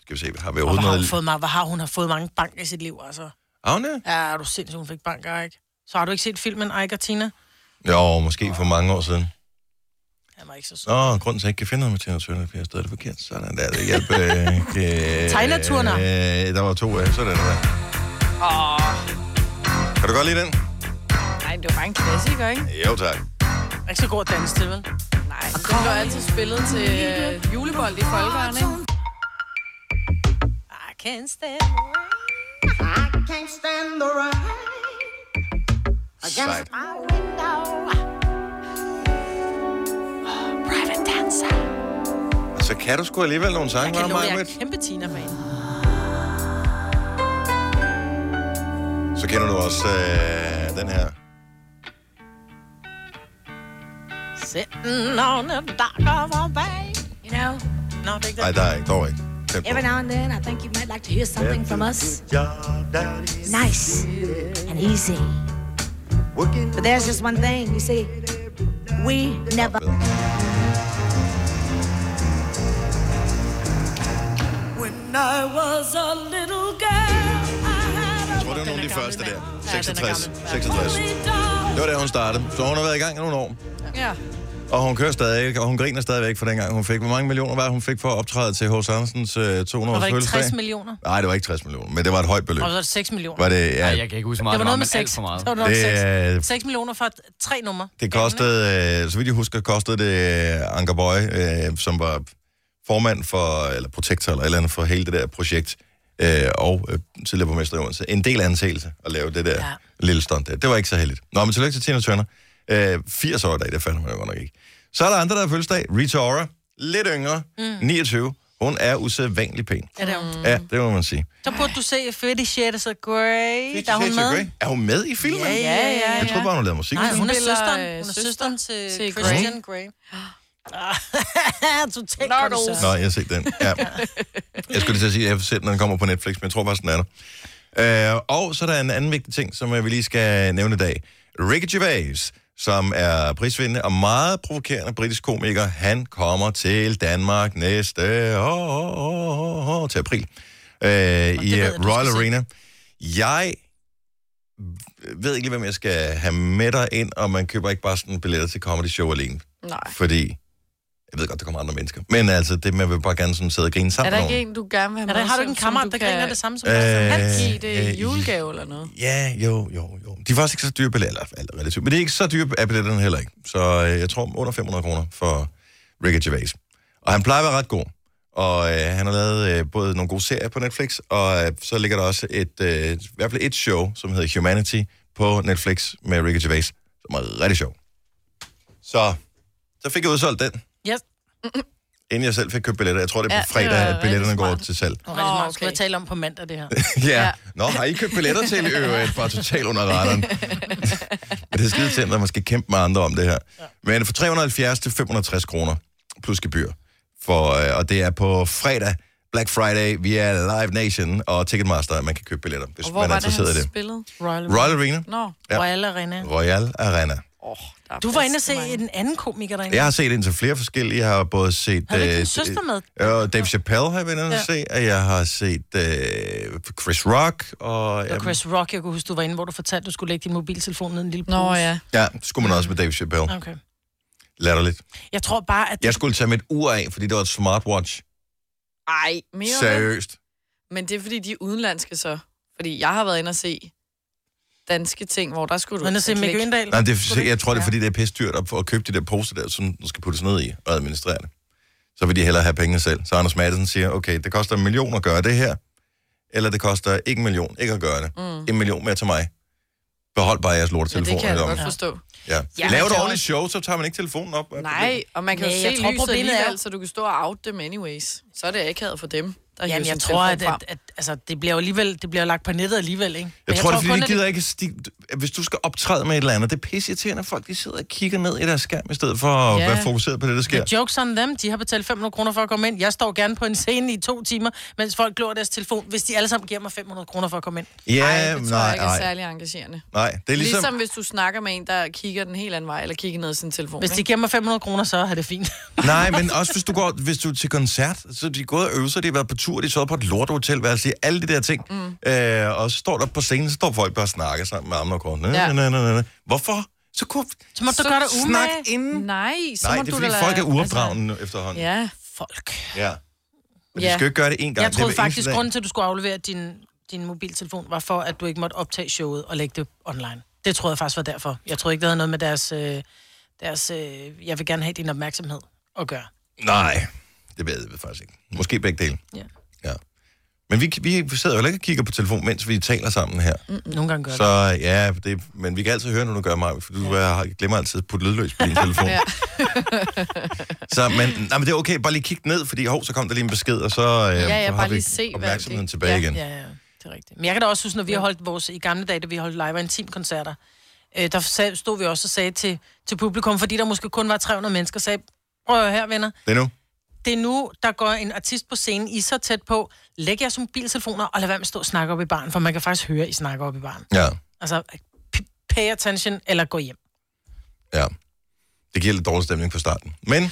[SPEAKER 1] skal vi se, har vi
[SPEAKER 3] Og hvor
[SPEAKER 1] overhovedet
[SPEAKER 3] har hun
[SPEAKER 1] noget...
[SPEAKER 3] fået, meget, hvor har hun har fået mange bank i sit liv, altså.
[SPEAKER 1] Agne?
[SPEAKER 3] Ja, er du sindssygt, hun fik bank af Ike. Så har du ikke set filmen Ike og Tina?
[SPEAKER 1] Jo, måske for mange år siden.
[SPEAKER 3] Han var ikke så sød.
[SPEAKER 1] Nå, grunden til, at jeg ikke kan finde noget med Tina Turner, fordi jeg stadig det forkert. Sådan der, det hjælper. Øh,
[SPEAKER 3] Tina Turner.
[SPEAKER 1] Øh, der var to af, sådan der. Kan du godt lide den?
[SPEAKER 2] Nej, det var bare en klassiker, ikke?
[SPEAKER 1] Jo, tak.
[SPEAKER 3] Ikke så god at danse til, vel?
[SPEAKER 2] Nej, den blev altid spillet til øh, julebold i folkeren, ikke?
[SPEAKER 3] I can't stand
[SPEAKER 6] I can't stand the rain
[SPEAKER 1] Sejt.
[SPEAKER 6] against my window. Private dancer.
[SPEAKER 1] Så kan du sgu alligevel nogle sange,
[SPEAKER 3] Jeg
[SPEAKER 1] var
[SPEAKER 3] kan love, jeg er
[SPEAKER 1] mig,
[SPEAKER 3] kæmpe Tina-fan.
[SPEAKER 1] Så kender du også øh, den her.
[SPEAKER 3] Sitting on the dock of a bay.
[SPEAKER 7] You know,
[SPEAKER 3] Nå, det er ikke
[SPEAKER 1] Nej,
[SPEAKER 3] det.
[SPEAKER 1] der er ikke. Dog ikke. Tæt på.
[SPEAKER 7] every now and then I think you might like to hear something from us. Nice and easy. But there's just one thing, you see, we never,
[SPEAKER 1] Jeg tror, det var nogle af de første der. 66.
[SPEAKER 3] gammel.
[SPEAKER 1] 66. Det var der, hun startede. Så hun har været i gang i nogle år.
[SPEAKER 2] Ja.
[SPEAKER 1] Og hun kører stadig, og hun griner stadigvæk for dengang, hun fik. Hvor mange millioner var det, hun fik for at optræde til H.C. Andersens øh, 200
[SPEAKER 3] Var
[SPEAKER 1] års
[SPEAKER 3] det ikke
[SPEAKER 1] fødselsdag?
[SPEAKER 3] 60 millioner?
[SPEAKER 1] Nej, det var ikke 60 millioner, men det var et højt beløb.
[SPEAKER 3] Og så er det 6 millioner.
[SPEAKER 1] Var det, ja,
[SPEAKER 4] Ej, jeg kan ikke huske så meget,
[SPEAKER 3] Det var noget med
[SPEAKER 4] men alt
[SPEAKER 3] 6.
[SPEAKER 4] for meget.
[SPEAKER 3] Det var noget
[SPEAKER 1] Det
[SPEAKER 3] med
[SPEAKER 1] er-
[SPEAKER 3] 6. 6 millioner for tre numre.
[SPEAKER 1] det kostede, øh, så vidt jeg husker, kostede det øh, Anker Bøje, øh, som var formand for, eller protektor eller et eller andet for hele det der projekt, øh, og øh, tidligere borgmester i Odense, en del anseelse at lave det der ja. lille stunt der. Det var ikke så heldigt. Nå, men tillykke til Tina Turner. Øh, 80 år i dag, det fandt hun jo godt nok ikke. Så er der andre, der har fødselsdag. Rita Ora, lidt yngre, mm. 29. Hun er usædvanlig pæn.
[SPEAKER 3] Er det hun?
[SPEAKER 1] Mm. Ja, det må man sige.
[SPEAKER 3] Så burde du se Fifty Shades of Grey. Der er hun med.
[SPEAKER 1] Er hun med i filmen?
[SPEAKER 3] Ja, ja, ja.
[SPEAKER 1] Jeg troede bare, hun lavede musik.
[SPEAKER 3] Nej, hun er
[SPEAKER 2] Spiller,
[SPEAKER 3] søsteren.
[SPEAKER 2] øh,
[SPEAKER 3] Hun er søsteren
[SPEAKER 2] søsteren
[SPEAKER 3] til,
[SPEAKER 2] til Grey.
[SPEAKER 3] Christian Grey. Ah, Totalt
[SPEAKER 2] Nardos.
[SPEAKER 1] Nå, jeg har set den. Ja. Jeg skulle lige til at sige, at jeg har set den, når den kommer på Netflix, men jeg tror faktisk, den er der. Øh, og så er der en anden vigtig ting, som jeg vil lige skal nævne i dag. Ricky Gervais, som er prisvindende og meget provokerende britisk komiker, han kommer til Danmark næste år, år, år til april øh, i
[SPEAKER 3] ved jeg,
[SPEAKER 1] øh,
[SPEAKER 3] du
[SPEAKER 1] Royal
[SPEAKER 3] skal se.
[SPEAKER 1] Arena. Jeg ved ikke, lige, hvem jeg skal have med dig ind, og man køber ikke bare sådan billetter til comedy show alene.
[SPEAKER 2] Nej.
[SPEAKER 1] Fordi, jeg ved godt, der kommer andre mennesker. Men altså, det man vil bare gerne sådan sidde og grine
[SPEAKER 2] Er
[SPEAKER 1] sammen
[SPEAKER 2] der
[SPEAKER 1] med
[SPEAKER 2] ikke
[SPEAKER 1] nogen.
[SPEAKER 2] en, du gerne vil have
[SPEAKER 3] Er der,
[SPEAKER 2] med,
[SPEAKER 3] har
[SPEAKER 2] som-
[SPEAKER 3] du ikke en
[SPEAKER 2] som
[SPEAKER 3] kammerat,
[SPEAKER 2] du
[SPEAKER 3] der griner
[SPEAKER 2] kan
[SPEAKER 3] det samme som
[SPEAKER 1] Øh,
[SPEAKER 3] dig?
[SPEAKER 2] Give
[SPEAKER 1] Øh,
[SPEAKER 2] det
[SPEAKER 1] i-
[SPEAKER 2] julegave eller noget.
[SPEAKER 1] Ja, jo, jo, jo. De er faktisk ikke så dyre billetter, eller relativt. Men det er ikke så dyre er billetterne heller ikke. Så øh, jeg tror under 500 kroner for Ricky Gervais. Og han plejer at være ret god. Og øh, han har lavet øh, både nogle gode serier på Netflix, og øh, så ligger der også et, øh, i hvert fald et show, som hedder Humanity, på Netflix med Ricky Gervais, som er rigtig sjov. Så, så fik jeg udsolgt den.
[SPEAKER 3] Yes.
[SPEAKER 1] inden jeg selv fik købt billetter. Jeg tror, det er på
[SPEAKER 2] Ja, det
[SPEAKER 1] fredag,
[SPEAKER 2] var
[SPEAKER 1] at billetterne
[SPEAKER 2] rigtig
[SPEAKER 1] går
[SPEAKER 2] smart.
[SPEAKER 1] til salg.
[SPEAKER 3] Nå, rigtig
[SPEAKER 2] Nå,
[SPEAKER 3] meget. Skulle
[SPEAKER 2] okay.
[SPEAKER 3] jeg tale om på mandag, det her?
[SPEAKER 1] ja.
[SPEAKER 2] Ja.
[SPEAKER 1] Nå, har I købt billetter til i øvrigt? Bare totalt under radaren. Men det er skide tændt, at man skal kæmpe med andre om det her. Men for 370 til 560 kroner plus gebyr. For, øh, og det er på fredag, Black Friday, via Live Nation og Ticketmaster, at man kan købe billetter, hvis
[SPEAKER 2] Og
[SPEAKER 1] man
[SPEAKER 2] hvor
[SPEAKER 1] er
[SPEAKER 2] var det,
[SPEAKER 1] interesseret i
[SPEAKER 2] han
[SPEAKER 1] det.
[SPEAKER 2] spillede?
[SPEAKER 3] Royal,
[SPEAKER 1] Royal Arena.
[SPEAKER 2] Nå.
[SPEAKER 1] Ja.
[SPEAKER 3] Royal Arena.
[SPEAKER 1] Royal Arena.
[SPEAKER 2] Oh, der er
[SPEAKER 3] Du var inde og
[SPEAKER 2] plads
[SPEAKER 3] se
[SPEAKER 2] til mange.
[SPEAKER 3] en anden komiker derinde.
[SPEAKER 1] Jeg har set indtil flere forskellige. Jeg har både set...
[SPEAKER 3] Har du ikke
[SPEAKER 1] øh,
[SPEAKER 3] din søster med?
[SPEAKER 1] Jo, Dave Chappelle har jeg været inde
[SPEAKER 3] Ja.
[SPEAKER 1] at se, og jeg har set øh, Chris Rock, og...
[SPEAKER 3] Det var Chris Rock, jeg kunne huske, du var inde, hvor du fortalte, du skulle lægge din mobiltelefon ned i en lille pose.
[SPEAKER 2] Nå ja.
[SPEAKER 1] Ja, det skulle man også med Dave Chappelle.
[SPEAKER 3] Okay.
[SPEAKER 1] Latterligt.
[SPEAKER 3] Jeg tror bare, at...
[SPEAKER 1] Jeg skulle tage mit ur af, fordi det var et smartwatch.
[SPEAKER 2] Ej, mere Seriø?
[SPEAKER 1] Seriøst.
[SPEAKER 2] Men det er fordi, de er udenlandske så. Fordi jeg har været inde og se danske ting, hvor der skulle du...
[SPEAKER 3] Men at se
[SPEAKER 2] klikke.
[SPEAKER 3] Mikke Øndal.
[SPEAKER 1] Nej, det, jeg tror, det er, fordi det er pisse dyrt at, at købe de der poster der, som du skal puttes ned i og administrere det. Så vil de hellere have pengene selv. Så Anders Madsen siger, okay, det koster en million at gøre det her, eller det koster ikke en million ikke at gøre det. Mm. En million mere til mig. Behold bare jeres
[SPEAKER 2] Ja,
[SPEAKER 1] lortetelefon.
[SPEAKER 2] det kan jeg
[SPEAKER 1] i
[SPEAKER 2] da
[SPEAKER 1] lommen.
[SPEAKER 2] godt forstå.
[SPEAKER 1] ja.
[SPEAKER 3] Ja,
[SPEAKER 1] ja. Lav
[SPEAKER 3] men
[SPEAKER 1] et
[SPEAKER 3] det er
[SPEAKER 1] ordentligt show, så tager man ikke telefonen op. Hvad er
[SPEAKER 2] Nej,
[SPEAKER 1] problemet?
[SPEAKER 2] og man kan jo
[SPEAKER 3] Nej,
[SPEAKER 2] se
[SPEAKER 3] jeg tror,
[SPEAKER 2] lyset
[SPEAKER 3] problemet er-
[SPEAKER 2] alligevel, så du kan stå og out dem anyways. Så er det akavet for dem, der hiver
[SPEAKER 3] Jamen,
[SPEAKER 2] sin
[SPEAKER 3] jeg tror, at,
[SPEAKER 2] telefon frem.
[SPEAKER 3] at, at altså, det bliver jo alligevel det bliver jo lagt på nettet alligevel, ikke? Men
[SPEAKER 1] Jeg, tror, det er,
[SPEAKER 3] kun,
[SPEAKER 1] fordi de
[SPEAKER 3] at
[SPEAKER 1] gider ikke... Sti- hvis du skal optræde med et eller andet, det er pisseirriterende, at folk de sidder og kigger ned i deres skærm, i stedet for at
[SPEAKER 2] Ja.
[SPEAKER 1] være fokuseret på det, der sker.
[SPEAKER 3] The jokes on them. De har betalt 500 kroner for at komme ind. Jeg står gerne på en scene i to timer, mens folk glor deres telefon, hvis de alle sammen giver mig 500 kroner for at komme ind.
[SPEAKER 1] Ja,
[SPEAKER 2] Ej, det tror jeg
[SPEAKER 1] nej,
[SPEAKER 2] ikke er
[SPEAKER 1] nej,
[SPEAKER 2] særlig engagerende.
[SPEAKER 1] nej. Det er
[SPEAKER 2] Ligesom...
[SPEAKER 1] ligesom...
[SPEAKER 2] ligesom hvis du snakker med en, der kigger den helt anden vej, eller kigger ned i sin telefon.
[SPEAKER 3] Hvis de
[SPEAKER 2] ikke?
[SPEAKER 3] giver mig 500 kroner, så er det fint.
[SPEAKER 1] Nej, men også hvis du, går, hvis du er til koncert, så er de er gået og øvet sig, de har været på tur, de har sovet på et lortehotelværelse, altså, de- alle de der ting. Mm. Øh, og så står der på scenen, så står folk bare og snakker sammen med armene og kortene.
[SPEAKER 2] Ja.
[SPEAKER 1] Ja. Hvorfor? Så kunne
[SPEAKER 3] Så må du gøre dig
[SPEAKER 1] snak
[SPEAKER 3] umage.
[SPEAKER 1] inden.
[SPEAKER 2] Nej, så
[SPEAKER 1] Nej,
[SPEAKER 2] må
[SPEAKER 1] det er
[SPEAKER 2] du
[SPEAKER 1] fordi
[SPEAKER 2] da
[SPEAKER 1] folk er
[SPEAKER 2] lade-
[SPEAKER 1] uopdragende altså... efterhånden. Ja.
[SPEAKER 2] Ja.
[SPEAKER 3] Folk.
[SPEAKER 1] ja. Men de
[SPEAKER 2] Ja.
[SPEAKER 1] skal jo ikke gøre det én gang.
[SPEAKER 3] Jeg troede
[SPEAKER 1] det er hver eneste
[SPEAKER 3] faktisk,
[SPEAKER 1] dag.
[SPEAKER 3] grunden til, at du skulle aflevere din, din mobiltelefon, var for, at du ikke måtte optage showet og lægge det online. Det troede jeg faktisk var derfor. Jeg troede ikke, det havde noget med deres, øh, deres øh, jeg vil gerne have din opmærksomhed at gøre.
[SPEAKER 1] Nej, det ved jeg faktisk ikke. Måske begge dele.
[SPEAKER 3] Ja.
[SPEAKER 1] ja. Men vi, vi sidder jo heller ikke og kigger på telefon, mens vi taler sammen her.
[SPEAKER 3] Nogle gange gør det.
[SPEAKER 1] Så ja, det, men vi kan altid høre, når du gør mig, for du ja. glemmer altid at putte lydløs på din telefon. ja. så, men, nej, men det er okay, bare lige kig ned, fordi hov, så kom der lige en besked, og så, øh,
[SPEAKER 2] ja,
[SPEAKER 1] så har
[SPEAKER 2] bare
[SPEAKER 1] vi
[SPEAKER 2] lige se, hvad
[SPEAKER 1] opmærksomheden
[SPEAKER 2] det-
[SPEAKER 1] tilbage
[SPEAKER 2] ja,
[SPEAKER 1] igen.
[SPEAKER 3] Ja, ja, det er rigtigt. Men jeg kan da også huske, når vi har holdt vores, i gamle dage, da vi holdt live og intimkoncerter, øh, der sag- stod vi også og sagde til, til publikum, fordi der måske kun var 300 mennesker, sagde, prøv at høre her, venner,
[SPEAKER 1] Det er nu.
[SPEAKER 3] det er nu, der går en artist på scenen, I er så tæt på, læg jeres mobiltelefoner, og lad være med at stå og snakke op i baren, for man kan faktisk høre, I snakker op i baren.
[SPEAKER 1] Ja,
[SPEAKER 3] Altså, p- pay attention, eller gå hjem.
[SPEAKER 1] ja. Det giver lidt dårlig stemning på starten. Men
[SPEAKER 3] Men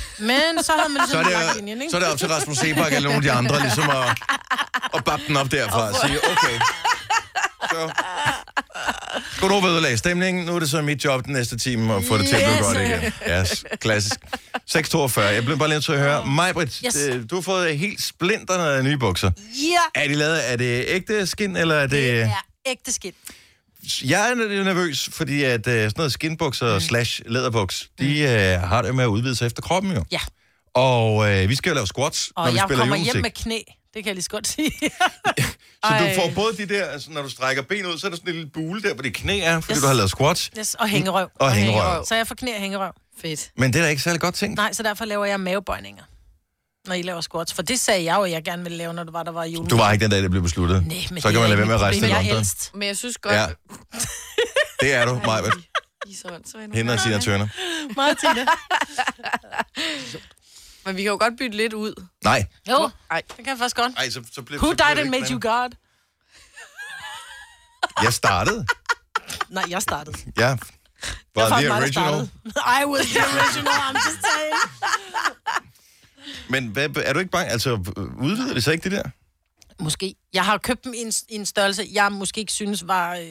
[SPEAKER 3] så havde man ligesom
[SPEAKER 1] så er
[SPEAKER 3] sådan en lang linje,
[SPEAKER 1] det,
[SPEAKER 3] ikke?
[SPEAKER 1] så er det op til Rasmus Sebak eller nogle af de andre, ligesom at, at bappe den op derfra og sige, okay. Så. Godt over ødelag stemningen. Nu er det så mit job den næste time at få det til at blive
[SPEAKER 3] Yes.
[SPEAKER 1] godt igen. Yes, klassisk. 6.42. Jeg blev bare lige nødt til at høre. Majbrit,
[SPEAKER 3] Yes.
[SPEAKER 1] yes. du har fået helt splinterne nye bukser.
[SPEAKER 3] Ja,
[SPEAKER 1] Er de lavet? Er det ægte skin, eller er det...
[SPEAKER 3] det er ægte skidt.
[SPEAKER 1] Jeg er lidt nervøs, fordi at øh, sådan noget skinbukser mm. slash læderbuks, de øh, har det med at udvide sig efter kroppen jo.
[SPEAKER 3] Mm. Ja.
[SPEAKER 1] Og øh, vi skal jo lave squats,
[SPEAKER 3] Og
[SPEAKER 1] når vi
[SPEAKER 3] jeg
[SPEAKER 1] spiller
[SPEAKER 3] kommer
[SPEAKER 1] julemusik.
[SPEAKER 3] hjem med knæ. Det kan jeg lige så godt sige. øh,
[SPEAKER 1] Så Ej.
[SPEAKER 2] Ej.
[SPEAKER 1] du får både de der, altså når du strækker ben ud, så er der sådan en lille bule der, hvor dit knæ er, fordi yes. du har lavet squats
[SPEAKER 3] yes, og hængerøv.
[SPEAKER 1] og hængerøv.
[SPEAKER 2] hængerøv.
[SPEAKER 3] Så jeg får knæ og hængerøv.
[SPEAKER 2] Fedt.
[SPEAKER 1] Men det er da ikke særlig godt ting.
[SPEAKER 3] Nej, så derfor laver jeg mavebøjninger, når I laver squats. For det sagde jeg jo, at jeg gerne ville lave, når det var, der var jule.
[SPEAKER 1] Du var ikke den dag, det blev besluttet.
[SPEAKER 3] Nej, men
[SPEAKER 1] så
[SPEAKER 3] det er
[SPEAKER 1] kan man lade
[SPEAKER 3] ikke
[SPEAKER 1] være med at
[SPEAKER 3] mit
[SPEAKER 1] rejse til
[SPEAKER 3] problem. Jeg er
[SPEAKER 1] London.
[SPEAKER 3] ældst.
[SPEAKER 2] Men jeg synes godt...
[SPEAKER 1] Ja.
[SPEAKER 2] Ja.
[SPEAKER 1] Det er du, Majbert.
[SPEAKER 2] I er så åndssvage.
[SPEAKER 1] Hende og Tina Turner.
[SPEAKER 2] Martina. Men vi kan jo godt bytte lidt ud.
[SPEAKER 1] Nej.
[SPEAKER 3] Jo,
[SPEAKER 2] Ej.
[SPEAKER 3] det kan jeg faktisk godt.
[SPEAKER 1] Ej, så, så blev,
[SPEAKER 3] Who
[SPEAKER 1] så blev
[SPEAKER 3] died
[SPEAKER 1] det
[SPEAKER 3] and
[SPEAKER 1] ikke
[SPEAKER 3] made you
[SPEAKER 1] sådan.
[SPEAKER 3] God?
[SPEAKER 1] Jeg startede.
[SPEAKER 3] Nej, jeg startede. Det
[SPEAKER 1] Ja.
[SPEAKER 3] var
[SPEAKER 1] Var the
[SPEAKER 3] mig, der
[SPEAKER 1] original.
[SPEAKER 3] startede. I was the original, I'm just saying.
[SPEAKER 1] Men hvad, er du ikke bange? Altså, udvider det så ikke det der?
[SPEAKER 3] Måske. Jeg har købt dem i en, i en størrelse, jeg måske ikke synes var øh,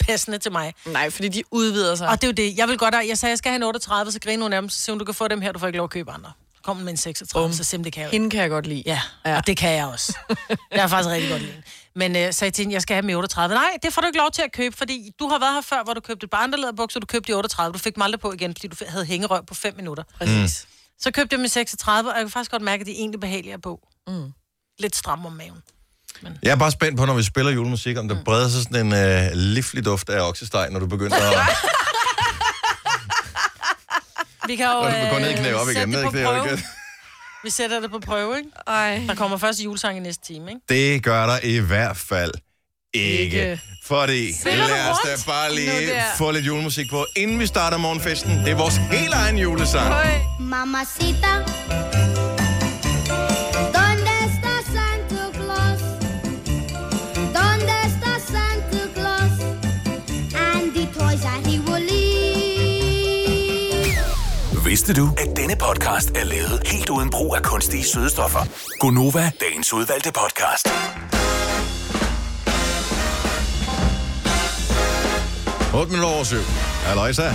[SPEAKER 3] passende til mig.
[SPEAKER 2] Nej, fordi de udvider sig.
[SPEAKER 3] Og det er jo det. Jeg vil godt have, jeg sagde, jeg skal have en 38, så griner hun af dem, så siger hun, du kan få dem her, du får ikke lov at købe andre. Så Kom hun med en 36, så simpelthen det kan jeg jo ikke.
[SPEAKER 2] Hende kan jeg godt lide.
[SPEAKER 3] Ja, ja, og det kan jeg også. Jeg er faktisk rigtig godt lide. hende. Men øh, sagde jeg til hende, jeg skal have dem i 38. Nej, det får du ikke lov til at købe, fordi du har været her før, hvor du købte et par andre læderbukser, du købte i 38, du fik dem aldrig på igen, fordi du f- havde hængerøv på 5 minutter.
[SPEAKER 2] Præcis. Mm.
[SPEAKER 3] Så købte jeg dem i 36, og jeg kan faktisk godt mærke, at de er egentlig behagelige på. Mm. Lidt stram om maven.
[SPEAKER 1] Jeg er bare spændt på, når vi spiller julemusik, om der breder sig sådan en øh, livlig duft af oksesteg, når du begynder at...
[SPEAKER 3] Vi kan jo
[SPEAKER 1] Når du går ned i
[SPEAKER 3] øh,
[SPEAKER 1] knæ op
[SPEAKER 3] sætte
[SPEAKER 1] igen.
[SPEAKER 3] det
[SPEAKER 1] Ned i
[SPEAKER 3] på
[SPEAKER 1] knæ op
[SPEAKER 3] prøve.
[SPEAKER 1] igen.
[SPEAKER 3] Vi sætter det på prøve, ikke?
[SPEAKER 2] Ej.
[SPEAKER 3] Der kommer først julesang i næste time, ikke?
[SPEAKER 1] Det gør der i hvert fald ikke.
[SPEAKER 2] Ikke.
[SPEAKER 1] Fordi lad os da bare lige
[SPEAKER 2] Nu der.
[SPEAKER 1] få lidt julemusik på, inden vi starter morgenfesten. Det er vores helt egen julesang.
[SPEAKER 2] Høj.
[SPEAKER 6] Mamacita, ¿dónde está Santa Claus? ¿Dónde está Santa Claus? And the toys that he will leave.
[SPEAKER 5] Vidste du, at denne podcast er lavet helt uden brug af kunstige sødestoffer? Gonova, dagens udvalgte podcast.
[SPEAKER 1] Otte minutter over syv. Halløjsa.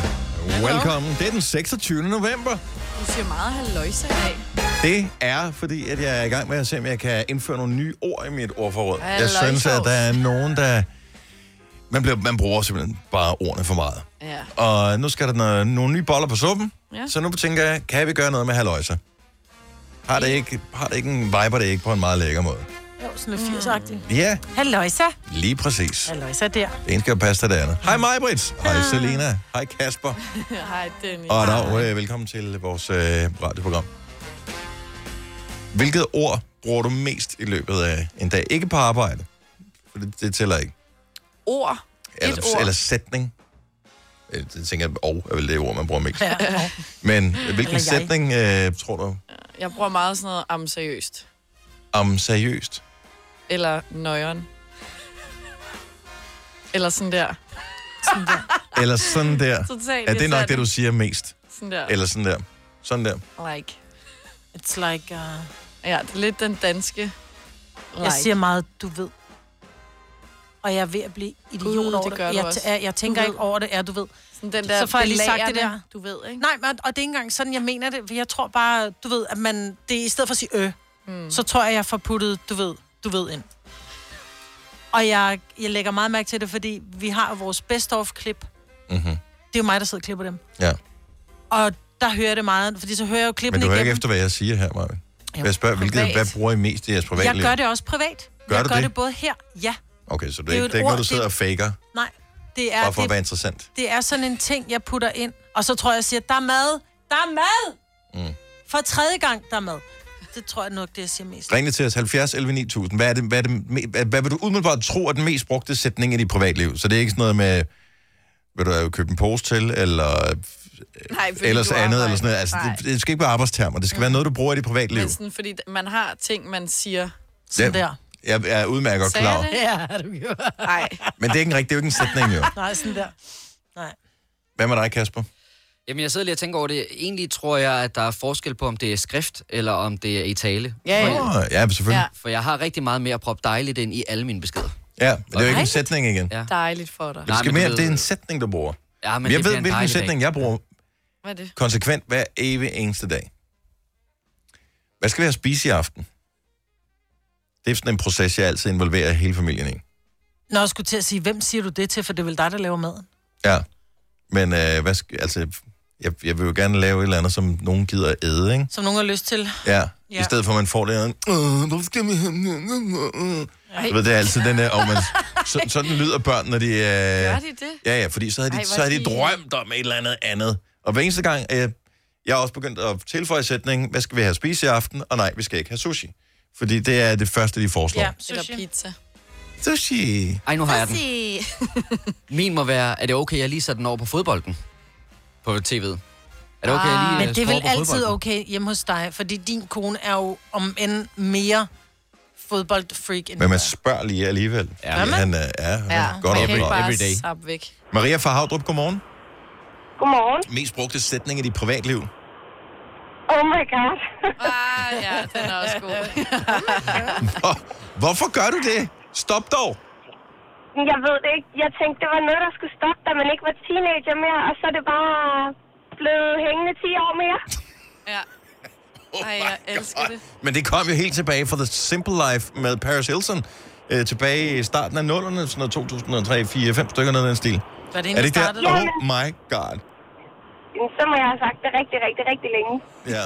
[SPEAKER 1] Velkommen. Det er den 26. november.
[SPEAKER 2] Du siger meget halvøjse i dag.
[SPEAKER 1] Det er, fordi at jeg er i gang med at se, om jeg kan indføre nogle nye ord i mit ordforråd. Jeg
[SPEAKER 2] Halløjsa.
[SPEAKER 1] synes, at der er nogen, der... Man, bliver, man bruger simpelthen bare ordene for meget.
[SPEAKER 2] Ja.
[SPEAKER 1] Og nu skal der noget, nogle nye boller på suppen. Ja.
[SPEAKER 2] Ja.
[SPEAKER 1] Så nu tænker jeg, kan vi gøre noget med haløjser? Har det ikke, har det ikke en viber det ikke på en meget lækker måde?
[SPEAKER 3] Jo, sådan lidt 80-agtigt.
[SPEAKER 1] Ja,
[SPEAKER 3] Mm. Halløjsa.
[SPEAKER 1] lige præcis.
[SPEAKER 3] Halløjsa der.
[SPEAKER 1] Det ene skal jo passe til det andet. Hej Majbrits. Hej Selena. Hej Kasper.
[SPEAKER 2] Hej, Dennis.
[SPEAKER 1] Og dag, øh, velkommen til vores øh, radioprogram. Hvilket ord bruger du mest i løbet af en dag? Ikke på arbejde, for det, det tæller ikke.
[SPEAKER 2] Ord.
[SPEAKER 1] Eller,
[SPEAKER 2] Et ord.
[SPEAKER 1] eller sætning. Øh, Det tænker jeg, og er vel det ord, man bruger mest.
[SPEAKER 3] Ja.
[SPEAKER 1] Men øh, hvilken
[SPEAKER 3] jeg.
[SPEAKER 1] sætning øh, tror du
[SPEAKER 2] Jeg bruger meget sådan noget om seriøst.
[SPEAKER 1] om seriøst?
[SPEAKER 2] Eller nøjeren. Eller sådan der.
[SPEAKER 1] Eller sådan der.
[SPEAKER 2] Totalt.
[SPEAKER 1] Er det nok det, du siger mest?
[SPEAKER 2] Sådan der.
[SPEAKER 1] Eller sådan der. Sådan der.
[SPEAKER 2] Like.
[SPEAKER 3] It's like... Uh,
[SPEAKER 2] Ja, det er lidt den danske. Like.
[SPEAKER 3] jeg siger meget, du ved. Og jeg er ved at blive idiot
[SPEAKER 2] Gud,
[SPEAKER 3] over
[SPEAKER 2] det
[SPEAKER 3] det.
[SPEAKER 2] gør du
[SPEAKER 3] jeg,
[SPEAKER 2] også.
[SPEAKER 3] jeg, jeg tænker
[SPEAKER 2] Du ved.
[SPEAKER 3] ikke over det, ja, du ved.
[SPEAKER 2] sådan den der
[SPEAKER 3] så får jeg lige sagt det
[SPEAKER 2] belærende,
[SPEAKER 3] der.
[SPEAKER 2] Du ved, ikke?
[SPEAKER 3] Nej, men, og det er ikke engang sådan, jeg mener det. for Jeg tror bare, du ved, at man... Det er i stedet for at sige ø,
[SPEAKER 2] Hmm.
[SPEAKER 3] mm. så tror jeg, jeg får puttet, du ved, du ved ind. Og jeg, jeg lægger meget mærke til det, fordi vi har jo vores best of klip. Mm-hmm. Det er jo mig, der sidder og klipper dem.
[SPEAKER 1] Mhm. Ja.
[SPEAKER 3] Og der hører jeg det meget, fordi så hører jeg jo klippene
[SPEAKER 1] Men du hører ikke
[SPEAKER 3] igennem.
[SPEAKER 1] efter, hvad jeg siger her, Marvin. Jeg spørger, hvilket,
[SPEAKER 2] privat.
[SPEAKER 1] hvad bruger I mest i jeres
[SPEAKER 3] Jeg
[SPEAKER 1] privatliv?
[SPEAKER 3] gør det også privat.
[SPEAKER 1] Gør
[SPEAKER 3] jeg
[SPEAKER 1] du
[SPEAKER 3] gør
[SPEAKER 1] det?
[SPEAKER 3] det? både her, ja.
[SPEAKER 1] Okay, så det,
[SPEAKER 3] Det
[SPEAKER 1] er
[SPEAKER 3] er jo
[SPEAKER 1] ikke- det
[SPEAKER 3] et
[SPEAKER 1] er ikke noget, du
[SPEAKER 3] ord,
[SPEAKER 1] sidder
[SPEAKER 3] det-
[SPEAKER 1] og faker,
[SPEAKER 3] Nej, det er,
[SPEAKER 1] bare for at
[SPEAKER 3] det,
[SPEAKER 1] være interessant.
[SPEAKER 3] det er sådan en ting, jeg putter ind. Og så tror jeg, jeg siger, der er mad, der er mad! Mm. For tredje gang, der er mad. Det tror jeg nok, det jeg siger mest.
[SPEAKER 1] Ring lige til os 70 11 9000. Hvad, er det, hvad, er det, me- hvad, hvad vil du umiddelbart tro er den mest brugte sætning i dit privatliv? Så det er ikke sådan noget med, vil du øh, købe en pose til, eller
[SPEAKER 2] Nej, fordi
[SPEAKER 1] ellers
[SPEAKER 2] du
[SPEAKER 1] andet,
[SPEAKER 2] arbejder.
[SPEAKER 1] eller sådan noget. Altså,
[SPEAKER 2] Nej.
[SPEAKER 1] det, det skal ikke være arbejdstermer. Det skal være noget, du bruger i dit privatliv.
[SPEAKER 2] Men sådan, fordi man har ting, man siger.
[SPEAKER 3] Sådan
[SPEAKER 1] Ja.
[SPEAKER 3] der.
[SPEAKER 1] Jeg, jeg er udmærket godt
[SPEAKER 2] Sagde
[SPEAKER 1] klar.
[SPEAKER 2] jeg
[SPEAKER 1] over.
[SPEAKER 2] det?
[SPEAKER 3] Ja, du gjorde.
[SPEAKER 2] Nej.
[SPEAKER 1] Men det er ikke en rigtig, det er jo ikke en sætning, jo.
[SPEAKER 3] Nej, sådan der. Nej.
[SPEAKER 1] Hvad med dig, Kasper?
[SPEAKER 4] Jamen, jeg sidder lige og tænker over det. Egentlig tror jeg, at der er forskel på, om det er skrift, eller om det er i tale.
[SPEAKER 2] Ja, ja.
[SPEAKER 1] Oh, ja, selvfølgelig.
[SPEAKER 4] For jeg har rigtig meget mere at proppe dejligt ind i alle mine beskeder.
[SPEAKER 1] Ja, men det er jo ikke en
[SPEAKER 3] Dejligt.
[SPEAKER 1] sætning igen.
[SPEAKER 4] Ja.
[SPEAKER 2] Dejligt for dig.
[SPEAKER 1] Det, skal
[SPEAKER 4] men du
[SPEAKER 1] mere,
[SPEAKER 4] ved-
[SPEAKER 1] det er en sætning, du bruger.
[SPEAKER 4] Ja, men
[SPEAKER 1] jeg
[SPEAKER 4] det
[SPEAKER 1] ved,
[SPEAKER 4] bliver en
[SPEAKER 1] hvilken
[SPEAKER 4] dejlig dag.
[SPEAKER 1] sætning jeg bruger
[SPEAKER 2] Hvad er det?
[SPEAKER 1] konsekvent hver evig eneste dag. Hvad skal vi have at spise i aften? Det er sådan en proces, jeg altid involverer hele familien i.
[SPEAKER 3] Nå, jeg skulle til at sige, hvem siger du det til, for det er vel dig, der laver maden.
[SPEAKER 1] Ja. Men øh, hvad skal, altså, jeg, jeg vil jo gerne lave et eller andet, som nogen gider at æde, ikke?
[SPEAKER 3] Som nogen har lyst til.
[SPEAKER 1] Ja.
[SPEAKER 3] Ja.
[SPEAKER 1] I stedet for, at man får det her, "Øh, hvorfor skal vi have den her?" Du ved, det er altid den der, og man, så, sådan lyder børn, når de... Øh,
[SPEAKER 2] Gør de det?
[SPEAKER 1] Ja, ja, fordi så havde de,
[SPEAKER 2] Ej, hvor
[SPEAKER 1] så havde de
[SPEAKER 2] fint.
[SPEAKER 1] drømt om et eller andet andet. Og hver eneste gang, øh, jeg har også begyndt at tilføje sætningen, hvad skal vi have at spise i aften? Og nej, vi skal ikke have sushi. Fordi det er det første, de foreslår.
[SPEAKER 3] Ja,
[SPEAKER 1] Ja.
[SPEAKER 2] Eller
[SPEAKER 3] sushi.
[SPEAKER 2] pizza.
[SPEAKER 1] Sushi!
[SPEAKER 4] Ej, nu har jeg den. Min må være, er det okay, jeg lige sætter den over på fodbolden? På tv'et. Er det okay, jeg
[SPEAKER 2] Ah.
[SPEAKER 4] lige
[SPEAKER 3] Ah, Men
[SPEAKER 4] øh,
[SPEAKER 3] det er
[SPEAKER 4] skruer
[SPEAKER 3] vel
[SPEAKER 4] på
[SPEAKER 3] altid
[SPEAKER 4] fodbolden?
[SPEAKER 3] okay hjemme hos dig, fordi din kone er jo om end mere fodboldfreak end
[SPEAKER 1] Men
[SPEAKER 3] du
[SPEAKER 1] man
[SPEAKER 3] er.
[SPEAKER 1] spørger lige alligevel.
[SPEAKER 4] Ja.
[SPEAKER 1] Fordi han øh, er, han er ja. godt
[SPEAKER 2] man
[SPEAKER 1] op.
[SPEAKER 2] kan ikke
[SPEAKER 1] Okay.
[SPEAKER 2] bare
[SPEAKER 4] Every day.
[SPEAKER 2] sappe væk.
[SPEAKER 1] Maria fra Havdrup, godmorgen.
[SPEAKER 8] Godmorgen.
[SPEAKER 1] Mest brugte sætning i dit privatliv.
[SPEAKER 8] Oh my god.
[SPEAKER 2] Ah, ja, den er også god.
[SPEAKER 1] Hvor, hvorfor gør du det? Stop dog!
[SPEAKER 8] Jeg ved det ikke. Jeg tænkte, det var noget, der skulle stoppe, da man ikke var teenager mere, og så er det bare blevet hængende 10 år mere.
[SPEAKER 2] Ja. Ej, jeg elsker det.
[SPEAKER 1] Men det kom jo helt tilbage fra The Simple Life med Paris Hilton. Øh, tilbage i starten af 0'erne, sådan noget 2003, 4, 5 stykker noget af den stil.
[SPEAKER 3] Var det en,
[SPEAKER 1] Er det
[SPEAKER 3] der
[SPEAKER 1] ikke
[SPEAKER 3] startede?
[SPEAKER 1] der?
[SPEAKER 8] Ja,
[SPEAKER 1] Oh
[SPEAKER 8] ja.
[SPEAKER 1] my god.
[SPEAKER 8] Jamen, Så må jeg have sagt det rigtig, rigtig, rigtig længe.
[SPEAKER 1] Ja.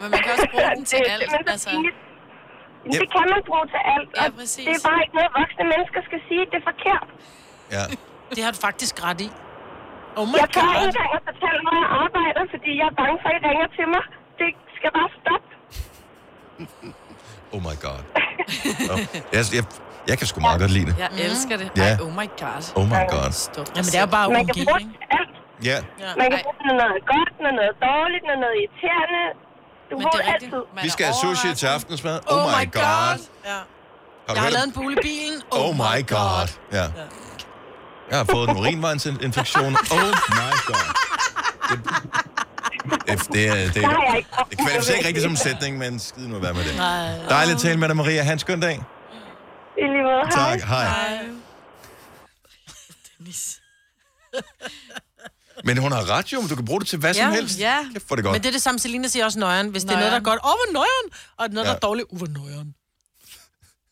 [SPEAKER 2] Men man kan også bruge den til
[SPEAKER 8] det,
[SPEAKER 2] alt.
[SPEAKER 8] men så
[SPEAKER 2] Altså,
[SPEAKER 8] pinligt. Jamen,
[SPEAKER 1] Yep.
[SPEAKER 8] Det kan man bruge til alt.
[SPEAKER 2] Ja,
[SPEAKER 8] og
[SPEAKER 2] præcis.
[SPEAKER 8] Det er bare ikke noget, voksne mennesker skal sige. Det er forkert.
[SPEAKER 1] ja.
[SPEAKER 3] Det har du faktisk ret i. Oh my
[SPEAKER 8] Jeg tør ikke
[SPEAKER 3] god.
[SPEAKER 8] engang at fortælle, hvor jeg arbejder, fordi jeg er bange for, at I ringer til mig. Det skal bare stoppe.
[SPEAKER 1] Oh my god. Oh. Jeg, jeg, jeg kan sgu meget godt lide det.
[SPEAKER 2] jeg elsker det.
[SPEAKER 1] Ja.
[SPEAKER 2] Ej, oh my god.
[SPEAKER 1] Oh my god.
[SPEAKER 2] Stop. dig
[SPEAKER 3] Mm. Jamen, det er jo bare
[SPEAKER 8] Man
[SPEAKER 3] OMG,
[SPEAKER 8] kan bruge det
[SPEAKER 3] ikke?
[SPEAKER 8] til alt.
[SPEAKER 1] Ja.
[SPEAKER 3] Ja.
[SPEAKER 8] Man kan
[SPEAKER 2] Ej.
[SPEAKER 8] bruge det til noget godt, noget, noget dårligt, noget, noget irriterende. Du
[SPEAKER 2] Men
[SPEAKER 8] bruger
[SPEAKER 2] det
[SPEAKER 8] det
[SPEAKER 2] er rigtigt.
[SPEAKER 8] altid.
[SPEAKER 2] Man
[SPEAKER 1] Vi
[SPEAKER 2] er
[SPEAKER 1] skal have sushi til
[SPEAKER 2] overrasket.
[SPEAKER 1] aftensmad. Oh my god.
[SPEAKER 3] Ja.
[SPEAKER 1] Har du
[SPEAKER 3] Jeg har
[SPEAKER 1] hørt
[SPEAKER 3] lavet
[SPEAKER 1] om-
[SPEAKER 3] en bule i bilen.
[SPEAKER 1] Oh my god. Ja. Jeg har fået en urinvejsinfektion. Oh my god. Det, det, det, er- det,
[SPEAKER 8] Der har
[SPEAKER 1] er-
[SPEAKER 8] jeg ikke.
[SPEAKER 1] det kvalificerer ikke rigtig som en sætning, men skid nu være med det. Dejligt at tale med dig, Maria. Ha' en skøn dag.
[SPEAKER 8] I lige måde. Hej.
[SPEAKER 1] Tak. Hej. Men hun har ret jo, men du kan bruge det til hvad som
[SPEAKER 3] Ja,
[SPEAKER 1] helst.
[SPEAKER 2] ja.
[SPEAKER 1] Kæft, hvor er det godt.
[SPEAKER 3] Men det er det samme, Selina siger også nøjeren. Hvis det er
[SPEAKER 2] Nøjeren.
[SPEAKER 3] noget, der er godt, åh, hvor nøjeren, og noget, der er
[SPEAKER 1] Ja.
[SPEAKER 3] dårligt, uh, hvor nøjeren.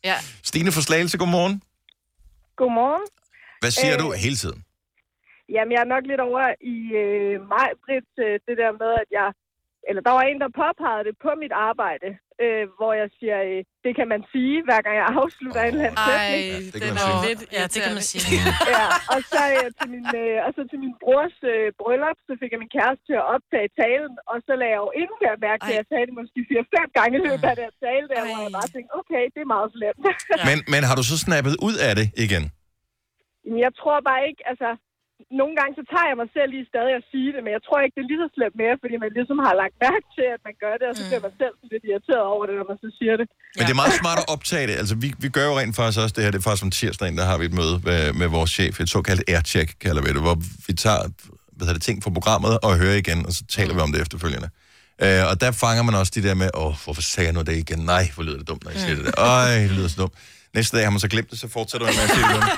[SPEAKER 2] Ja,
[SPEAKER 1] Stine fra Slagelse, godmorgen.
[SPEAKER 8] Godmorgen.
[SPEAKER 1] Hvad siger
[SPEAKER 8] Øh.
[SPEAKER 1] du hele tiden?
[SPEAKER 8] Jamen, jeg er nok lidt over i øh, mig, Britt, øh, det der med, at jeg... Eller der var en, der påpegede det på mit arbejde, øh, hvor jeg siger, øh, det kan man sige, hver gang jeg afslutter en eller anden
[SPEAKER 2] ej,
[SPEAKER 8] sætning.
[SPEAKER 1] det kan
[SPEAKER 2] den
[SPEAKER 1] man
[SPEAKER 2] er
[SPEAKER 1] sige.
[SPEAKER 2] lidt
[SPEAKER 3] ja, det kan man
[SPEAKER 2] irriterende.
[SPEAKER 3] sige.
[SPEAKER 8] Ja, og så, øh, til min, øh, og så til min brors øh, bryllup, så fik jeg min kæreste til at optage talen, og så lagde jeg jo endnu mere mærke til,
[SPEAKER 3] Ej.
[SPEAKER 8] at jeg sagde det måske 4-5 gange i løbet af den tale, der
[SPEAKER 3] Ej.
[SPEAKER 8] hvor jeg bare tænkte, okay, det er meget slemt.
[SPEAKER 1] Men, men har du så snappet ud af det igen?
[SPEAKER 8] Jamen, jeg tror bare ikke, altså... Nogle gange så tager jeg mig selv lige stadig at sige det, men jeg tror ikke, det er lige så slemt mere, fordi man ligesom har lagt mærke til, at man gør det, og så bliver man selv sådan lidt irriteret over det, når man så siger det.
[SPEAKER 1] Men det er meget smart at optage det. Altså, vi, vi gør jo rent faktisk også det her. Det er faktisk om tirsdagen, der har vi et møde med, med vores chef. Et såkaldt aircheck, kalder vi det, hvor vi tager hvad hedder det, ting fra programmet og hører igen, og så taler mm. vi om det efterfølgende. Øh, og der fanger man også de der med, åh, hvorfor sagde jeg nu det igen? Nej, hvor lyder det dumt, når jeg siger det der. Øj, det lyder så dumt. Næste dag har man så glemt det, så fortsætter man med at sige det dumt.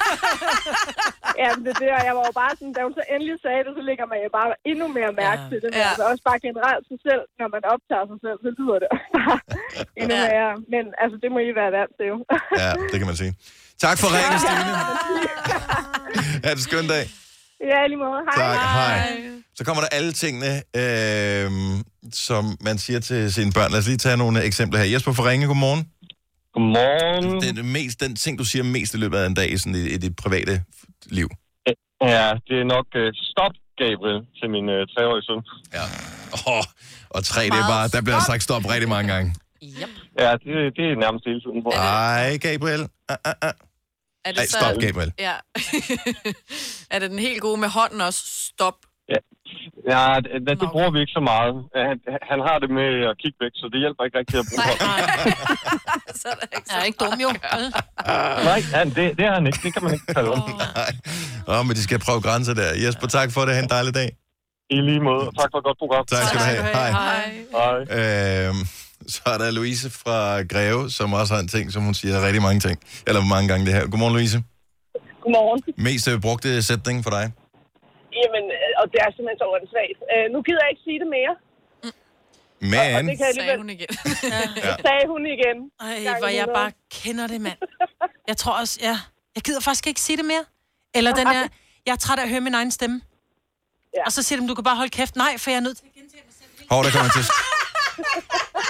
[SPEAKER 8] Ja, men det er det, og jeg var jo bare sådan, da hun så endelig sagde det, så lægger man jo bare endnu mere mærke
[SPEAKER 3] Ja.
[SPEAKER 8] ja. til det. Men
[SPEAKER 2] Ja.
[SPEAKER 8] ja. altså også bare generelt sig selv, når man optager sig selv, så lyder det også bare endnu
[SPEAKER 2] Ja.
[SPEAKER 8] mere. Men altså, det må I være vant til jo.
[SPEAKER 1] Ja, det kan man sige. Tak for ringen, Stine. Ha' en skøn dag.
[SPEAKER 8] ja, i lige måde. Hej.
[SPEAKER 1] Tak, hej. Så kommer der alle tingene, øh, som man siger til sine børn. Lad os lige tage nogle eksempler her. Jesper fra Ringe, godmorgen.
[SPEAKER 9] Godmorgen.
[SPEAKER 1] Det er det mest, den ting, du siger mest i løbet af en dag i, sådan, i, i dit private liv.
[SPEAKER 9] Ja, det er nok øh, stop, Gabriel, til min øh, treårige søn.
[SPEAKER 1] Ja. Oh, og tre, det er bare, der bliver sagt stop rigtig mange gange.
[SPEAKER 2] Yep.
[SPEAKER 9] Ja, det, det er nærmest hele tiden på.
[SPEAKER 1] Ej, Gabriel. Ah, ah, ah.
[SPEAKER 2] Er det
[SPEAKER 1] Ej,
[SPEAKER 2] så...
[SPEAKER 1] stop, Gabriel.
[SPEAKER 2] Ja. er det den helt gode med hånden også? Stop.
[SPEAKER 9] Ja, det, det, det bruger vi ikke så meget. Ja, Han, han har det med at kigge væk, så det hjælper ikke rigtig at bruge hånden.
[SPEAKER 2] Så er der ikke
[SPEAKER 3] Jeg er
[SPEAKER 2] så...
[SPEAKER 3] ikke dum, jo.
[SPEAKER 9] Nej, ja, det, det er han ikke. Det kan man ikke kalde om.
[SPEAKER 1] Nej. Åh, men de skal prøve grænser der. Jesper, tak for det. Ha' en dejlig dag.
[SPEAKER 9] I lige måde. Og Tak for et godt program.
[SPEAKER 1] Tak skal du have. Hej.
[SPEAKER 2] Hej.
[SPEAKER 9] Hej.
[SPEAKER 1] Øhm, så er der Louise fra Greve, som også har en ting, som hun siger rigtig mange ting. Eller mange gange det her. Godmorgen, Louise.
[SPEAKER 8] Godmorgen.
[SPEAKER 1] Mest øh, brugte sætning for dig?
[SPEAKER 8] Jamen, øh, og det er simpelthen så åndssvagt. Øh, nu gider jeg ikke sige det mere,
[SPEAKER 1] Men,
[SPEAKER 8] kan
[SPEAKER 2] Sagde hun igen.
[SPEAKER 8] sagde hun igen.
[SPEAKER 3] Ej, hvor jeg bare kender det, mand. Jeg tror også, ja. Jeg gider faktisk ikke sige det mere. Eller den her, jeg er træt af at høre min egen stemme. Ja. Og så siger de, du kan bare holde kæft. Nej, for jeg er nødt til at gentage mig selv.
[SPEAKER 1] Hov, der kommer til.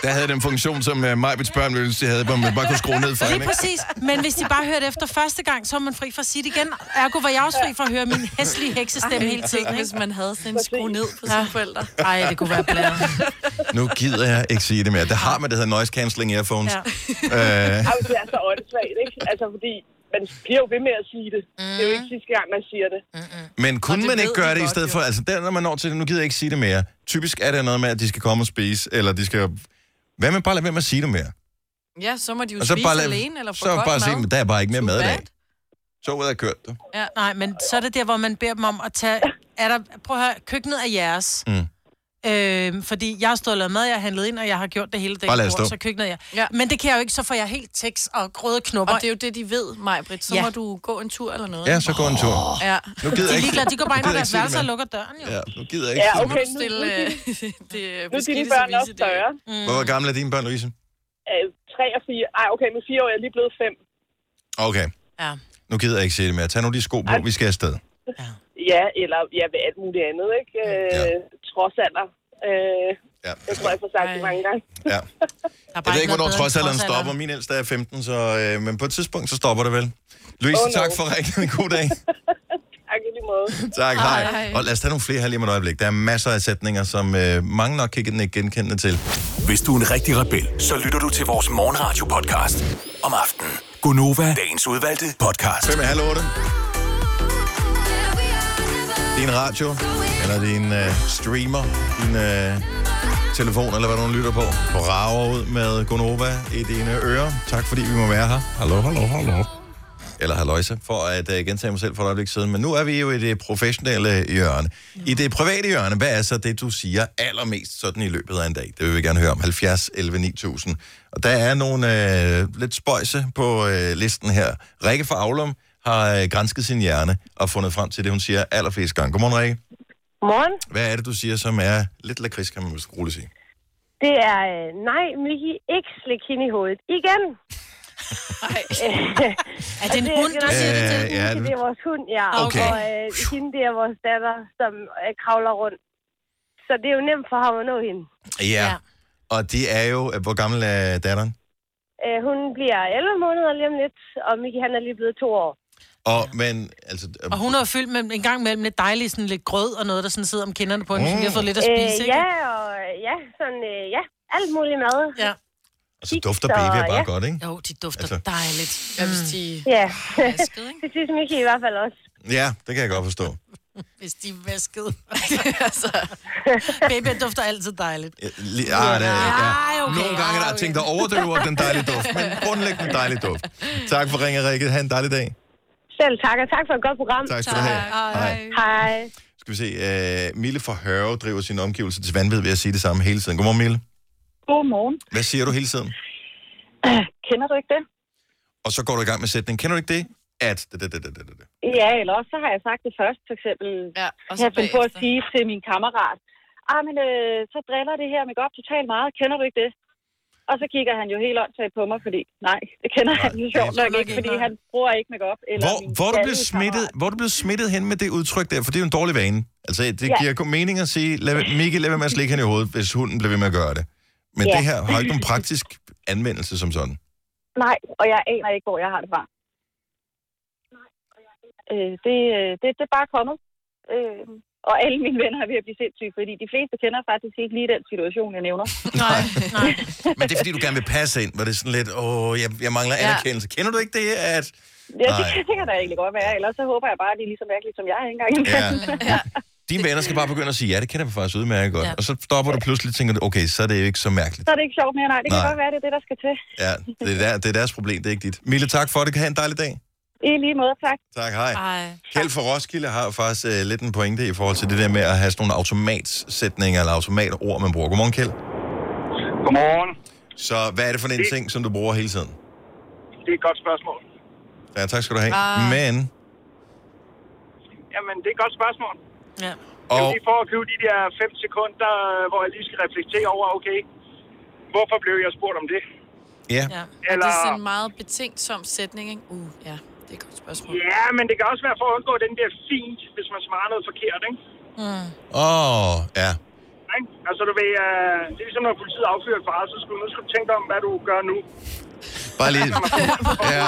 [SPEAKER 1] Der havde den funktion, som uh, Majbets børn ville ønske, de havde, hvor man bare kunne skrue ned for hende.
[SPEAKER 3] Lige præcis. Men hvis de bare hørte efter første gang, så er man fri for at sige det igen. Ergo var jeg også fri for at høre min hæslige heksestemme hele tiden.
[SPEAKER 2] Hvis man havde sådan en skrue ned på sine forældre.
[SPEAKER 3] Nej, det kunne være blæret.
[SPEAKER 1] ikke? Nu gider jeg ikke sige det mere. Der har man det, der hedder noise cancelling earphones. Ja. Øh,
[SPEAKER 8] Ej, men det er så åndssvagt, ikke? Altså, fordi man bliver jo ved med at sige det. Mm. Det er jo ikke sidste gang, man siger det. Mm-mm.
[SPEAKER 1] men kunne
[SPEAKER 8] det
[SPEAKER 1] man
[SPEAKER 8] ved
[SPEAKER 1] ikke gøre
[SPEAKER 8] de
[SPEAKER 1] det i
[SPEAKER 8] godt,
[SPEAKER 1] stedet
[SPEAKER 8] jo.
[SPEAKER 1] for, altså der, når man når til det, nu gider jeg ikke sige det mere. Typisk er det noget med, at de skal komme og spise, eller de skal... Hvad med bare lade være med at sige det mere?
[SPEAKER 2] Ja, så må de jo
[SPEAKER 1] Og så
[SPEAKER 2] spise
[SPEAKER 1] bare lad-
[SPEAKER 2] alene, eller få
[SPEAKER 1] så
[SPEAKER 2] godt
[SPEAKER 1] bare
[SPEAKER 2] mad.
[SPEAKER 1] sige, "Men der er bare ikke mere
[SPEAKER 2] Too
[SPEAKER 1] mad i
[SPEAKER 2] bad."
[SPEAKER 1] dag." Toget er kørt, du.
[SPEAKER 3] Ja. Nej, men så er det der, hvor man beder dem om at tage... Er der, prøv at høre, køkkenet er jeres.
[SPEAKER 1] Mm.
[SPEAKER 3] Øhm, fordi jeg har stået og lavet mad, jeg har handlet ind, og jeg har gjort det hele dagen.
[SPEAKER 1] Bare lad det
[SPEAKER 3] hvor
[SPEAKER 1] stå.
[SPEAKER 3] Så køkkenet er jeg. Ja. Men det kan jeg jo ikke, så får jeg helt tekst og grøde knopper.
[SPEAKER 2] Og det er jo det, de ved, Majbrit. Så må du gå en tur eller noget.
[SPEAKER 1] Ja, så gå en tur.
[SPEAKER 2] Ja.
[SPEAKER 1] Nu gider jeg
[SPEAKER 3] de er
[SPEAKER 1] ikke-
[SPEAKER 3] ligeglade, de går bare
[SPEAKER 1] nu
[SPEAKER 3] ind på
[SPEAKER 1] gider jeg
[SPEAKER 3] deres
[SPEAKER 1] ikke sige det
[SPEAKER 3] værelse og
[SPEAKER 1] mere.
[SPEAKER 3] lukker døren. Jo.
[SPEAKER 1] Ja, nu gider jeg ikke
[SPEAKER 2] Ja,
[SPEAKER 1] sige det
[SPEAKER 2] okay,
[SPEAKER 1] mere.
[SPEAKER 2] nu, stille,
[SPEAKER 8] nu- nu-
[SPEAKER 2] øh, det
[SPEAKER 8] Nu er dine
[SPEAKER 2] beskidte
[SPEAKER 8] børn
[SPEAKER 2] service
[SPEAKER 8] også
[SPEAKER 2] i dag. Mm.
[SPEAKER 8] større.
[SPEAKER 1] Hvor gamle er dine børn, Louise?
[SPEAKER 8] Øh, tre og fire. Ej, okay, med fire år er jeg lige blevet fem.
[SPEAKER 1] Okay,
[SPEAKER 3] Ja.
[SPEAKER 1] nu gider jeg ikke sige det mere. Tag nu de sko på, vi skal afsted.
[SPEAKER 8] Ja, eller ja, ved alt muligt andet, ikke? Øh, ja. Trods alder. Øh,
[SPEAKER 1] ja.
[SPEAKER 8] Det tror jeg, jeg får sagt det mange gange.
[SPEAKER 1] Ja. Jeg
[SPEAKER 8] bare ikke
[SPEAKER 1] ved
[SPEAKER 8] noget
[SPEAKER 1] ikke, hvornår
[SPEAKER 8] bedre end trodsalderen.
[SPEAKER 1] trodsalderen stopper. Min ældste er 15, så, øh, men på et tidspunkt, så stopper det vel. Louise,
[SPEAKER 8] Oh,
[SPEAKER 1] oh,
[SPEAKER 8] no.
[SPEAKER 1] no. tak for rigtig god dag.
[SPEAKER 8] Tak i lige måde.
[SPEAKER 1] tak, hej. hej. Og lad os tage nogle flere her lige om et øjeblik. Der er masser af sætninger, som øh, mange nok kan ikke genkende til.
[SPEAKER 5] Hvis du er en rigtig rebel, så lytter du til vores morgenradio-podcast om aftenen. Gunova, dagens udvalgte podcast.
[SPEAKER 1] 5 halv 8. Din radio, eller din øh, streamer, din øh, telefon, eller hvad du nu lytter på. Du rager ud med Gonova i dine ører. Tak fordi vi må være her. Hallo, hallo, hallo. Eller halløjse, for at øh, gentage mig selv for et øjeblik siden. Men nu er vi jo i det professionelle hjørne. I det private hjørne, hvad er så det, du siger allermest sådan i løbet af en dag? Det vil vi gerne høre om. 70, 11, 9000. Og der er nogle øh, lidt spøjse på øh, listen her. Rikke fra Aulum har øh, grænsket sin hjerne og fundet frem til det, hun siger allerflest gange. Godmorgen, Rikke.
[SPEAKER 10] Morgen.
[SPEAKER 1] Hvad er det, du siger, som er lidt lakrids, kan man måske roligt sige?
[SPEAKER 10] Det er, øh, nej, Miki, ikke slik hende i hovedet. Igen.
[SPEAKER 3] er det en hund,
[SPEAKER 10] du
[SPEAKER 1] siger det til?
[SPEAKER 10] Ja,
[SPEAKER 1] Ja, det-
[SPEAKER 10] det er vores hund, ja.
[SPEAKER 1] Okay.
[SPEAKER 10] Og øh, hende, det er vores datter, som øh, kravler rundt. Så det er jo nemt for ham at nå hende.
[SPEAKER 1] Ja. ja. Og det er jo... Hvor gammel er datteren?
[SPEAKER 10] Øh, hun bliver 11 måneder lige om lidt, og Miki, han er lige blevet to år.
[SPEAKER 1] Og, men, altså, øh,
[SPEAKER 3] Og hun har jo fyldt med, en gang mellem lidt dejligt sådan lidt grød og noget, der sådan sidder om kinderne på
[SPEAKER 11] Mm.
[SPEAKER 3] hende, så hun lige har fået lidt at spise,
[SPEAKER 10] øh,
[SPEAKER 3] ikke?
[SPEAKER 10] Ja, og øh, ja, sådan, øh, ja, alt muligt mad.
[SPEAKER 3] Ja.
[SPEAKER 1] Og så dufter babyer bare godt, ikke?
[SPEAKER 3] Jo, de dufter
[SPEAKER 1] Altså.
[SPEAKER 3] altså. dejligt.
[SPEAKER 2] Ja, hvis de...
[SPEAKER 10] Ja, det synes Miki i hvert fald også.
[SPEAKER 1] Ja, det kan jeg godt forstå.
[SPEAKER 3] Hvis de er vasket. altså, babyer dufter altid dejligt.
[SPEAKER 1] Ja, li- ah, det, ja.
[SPEAKER 3] Ej, okay,
[SPEAKER 1] Nogle gange er der ting, der overdøver den dejlige duft, men grundlæggende dejlig duft. Tak for ringet, Rikke. Ha' en dejlig dag.
[SPEAKER 10] Selv tak, og tak for et godt program.
[SPEAKER 1] Tak skal du have. Tak. Hej.
[SPEAKER 10] Hej.
[SPEAKER 1] Skal vi se. Uh, Mille fra Hørve driver sin omgivelse til vanvid ved at sige det samme hele tiden. Godmorgen, Mille.
[SPEAKER 12] Godmorgen.
[SPEAKER 1] Hvad siger du hele tiden?
[SPEAKER 12] Kender du ikke det?
[SPEAKER 1] Og så går du i gang med sætningen. Kender du ikke det? At... Da, da, da, da, da, da.
[SPEAKER 12] Ja, eller også så har jeg sagt det først, for eksempel. Ja,
[SPEAKER 2] og
[SPEAKER 12] så jeg fandt på at sige til min kammerat, ah, men øh, så driller det her med godt totalt meget. Kender du ikke det? Og så kigger han jo helt åndssvagt på mig, fordi nej, det kender nej, han jo sjovt nok ikke, fordi han bruger ikke makeup eller
[SPEAKER 1] Hvor,
[SPEAKER 12] min
[SPEAKER 1] hvor, er du blev
[SPEAKER 12] skaldet-
[SPEAKER 1] smittet, hvor er du blev smittet hen med det udtryk der? For det er jo en dårlig vane. Altså, det
[SPEAKER 12] Ja.
[SPEAKER 1] giver kun mening at sige, lad, Mikke, lad være med at slikke hende i hovedet, hvis hunden bliver ved med at gøre det. Men
[SPEAKER 12] Ja.
[SPEAKER 1] det her har ikke nogen praktisk anvendelse som sådan.
[SPEAKER 12] Nej, og jeg aner ikke, hvor jeg har det fra. Øh, det, øh, det, det er bare kommet. Øh, og alle mine venner er ved at blive sindssyge, fordi de fleste kender faktisk ikke lige den situation, jeg nævner.
[SPEAKER 1] Men det er, fordi du gerne vil passe ind, hvor det er sådan lidt, åh, jeg, jeg mangler
[SPEAKER 12] Ja.
[SPEAKER 1] anerkendelse. Kender du ikke det,
[SPEAKER 12] Ja, det,
[SPEAKER 1] at... Nej.
[SPEAKER 12] kan- det kan da egentlig godt være. Ellers så håber jeg bare, at de er lige så mærkelige, som jeg er engang.
[SPEAKER 1] Ja. Dine venner skal bare begynde at sige, ja, det kender vi faktisk udmærket godt.
[SPEAKER 12] Ja.
[SPEAKER 1] Ja. Og så stopper du pludselig og tænker, du, okay, så er det jo ikke så mærkeligt.
[SPEAKER 12] Så er det ikke sjovt mere. Nej, det kan
[SPEAKER 1] Nej.
[SPEAKER 12] godt være, det er det, der skal til.
[SPEAKER 1] Ja, det er, der, det er deres problem, det er ikke dit. Mille, tak for det. Ha' en dejlig dag.
[SPEAKER 12] I lige måde, tak.
[SPEAKER 1] Tak, hej. Kjeld fra Roskilde har faktisk øh, lidt en pointe i forhold til det der med at have sådan nogle automatsætninger eller automatord, man bruger. Godmorgen, Kjeld.
[SPEAKER 11] Godmorgen.
[SPEAKER 1] Så hvad er det for en ting, som du bruger hele tiden?
[SPEAKER 11] Det er et godt spørgsmål.
[SPEAKER 1] Ja, tak skal du have.
[SPEAKER 11] Ah.
[SPEAKER 1] Men,
[SPEAKER 11] Jamen, det er et godt spørgsmål.
[SPEAKER 3] Ja.
[SPEAKER 11] Og...
[SPEAKER 1] Og-
[SPEAKER 11] Lige for at købe de der 5 sekunder, øh, hvor jeg lige skal reflektere over, okay, hvorfor blev jeg spurgt om det?
[SPEAKER 1] ja.
[SPEAKER 2] ja. Og
[SPEAKER 11] Eller-
[SPEAKER 2] det er sådan en meget betænksom sætning, ikke? Uh, ja, det er et godt spørgsmål.
[SPEAKER 11] Ja, men det kan også være for at undgå den der fint, hvis man svarer noget forkert, ikke?
[SPEAKER 3] Mm.
[SPEAKER 1] Åh, oh, ja.
[SPEAKER 11] Ikke? Altså, du ved, øh, det er ligesom, når politiet affyrer et far, så skulle du nu skal du tænke dig om, hvad du gør nu.
[SPEAKER 1] Bare lige... Ja.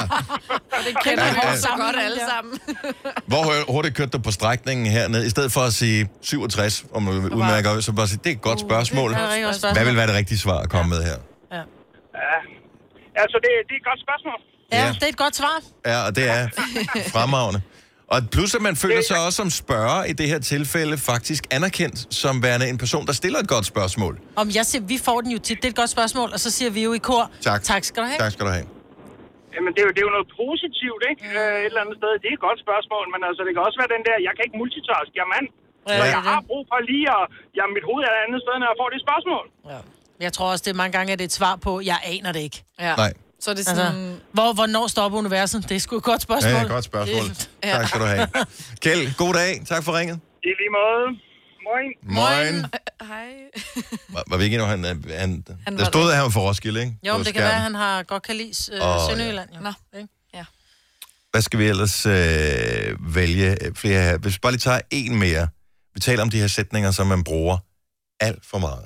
[SPEAKER 2] Og det kender
[SPEAKER 1] Ja,
[SPEAKER 2] vi
[SPEAKER 1] ja.
[SPEAKER 2] ja, så godt alle sammen.
[SPEAKER 1] Hvor hu- hurtigt kørte du på strækningen hernede? I stedet for at sige 67, om du udmærker, så bare sige, det er et
[SPEAKER 3] Uh,
[SPEAKER 1] godt spørgsmål.
[SPEAKER 11] det er et rigtig godt spørgsmål.
[SPEAKER 1] Hvad vil være det rigtige svar at komme med her?
[SPEAKER 11] Ja. Altså, det, det er et godt spørgsmål.
[SPEAKER 3] Ja, det er et godt svar.
[SPEAKER 1] Ja, og det er fremragende. Og plus, at man føler sig også som spørger i det her tilfælde faktisk anerkendt som værende en person, der stiller et godt spørgsmål.
[SPEAKER 3] Om jeg siger, vi får den jo tit, det er et godt spørgsmål, og så siger vi jo i kor,
[SPEAKER 1] Tak.
[SPEAKER 3] tak skal du have.
[SPEAKER 1] Tak skal du have.
[SPEAKER 11] Jamen, det er, jo, det er jo noget positivt, ikke? Øh, Et eller andet sted. Det er et godt spørgsmål, men altså, det kan også være den der, jeg kan ikke multitask, jeg er mand.
[SPEAKER 3] Ja,
[SPEAKER 11] så
[SPEAKER 3] det er
[SPEAKER 11] jeg
[SPEAKER 3] det.
[SPEAKER 11] har brug for lige at... Jamen, mit hoved er et andet sted, når jeg får det spørgsmål.
[SPEAKER 3] Jeg tror også, det er mange gange, at det er et svar på, jeg aner det ikke.
[SPEAKER 2] Ja.
[SPEAKER 1] Nej.
[SPEAKER 2] Så er det
[SPEAKER 3] Altså, hvor, hvornår stopper universet? Det er sgu et godt spørgsmål.
[SPEAKER 1] Ja, godt spørgsmål.
[SPEAKER 3] Ja.
[SPEAKER 1] Tak skal du have. Kjeld, god dag. Tak for ringet.
[SPEAKER 11] I lige måde. Moin.
[SPEAKER 1] Moin.
[SPEAKER 2] Hej.
[SPEAKER 1] Var, var vi ikke endnu, han, øh, han, han
[SPEAKER 3] Han
[SPEAKER 1] der
[SPEAKER 3] var
[SPEAKER 1] stod,
[SPEAKER 3] der.
[SPEAKER 1] at han var for Roskilde, ikke?
[SPEAKER 3] Jo,
[SPEAKER 1] På
[SPEAKER 3] men det kan
[SPEAKER 1] skærmen.
[SPEAKER 3] være, at han har godt kan lide øh,
[SPEAKER 1] Åh,
[SPEAKER 3] oh,
[SPEAKER 1] ja.
[SPEAKER 3] Sønderjylland. Jo. Nå. Ikke? Ja.
[SPEAKER 1] Hvad skal vi ellers øh, vælge øh, flere her? Hvis vi bare lige tager en mere. Vi taler om de her sætninger, som man bruger alt for meget.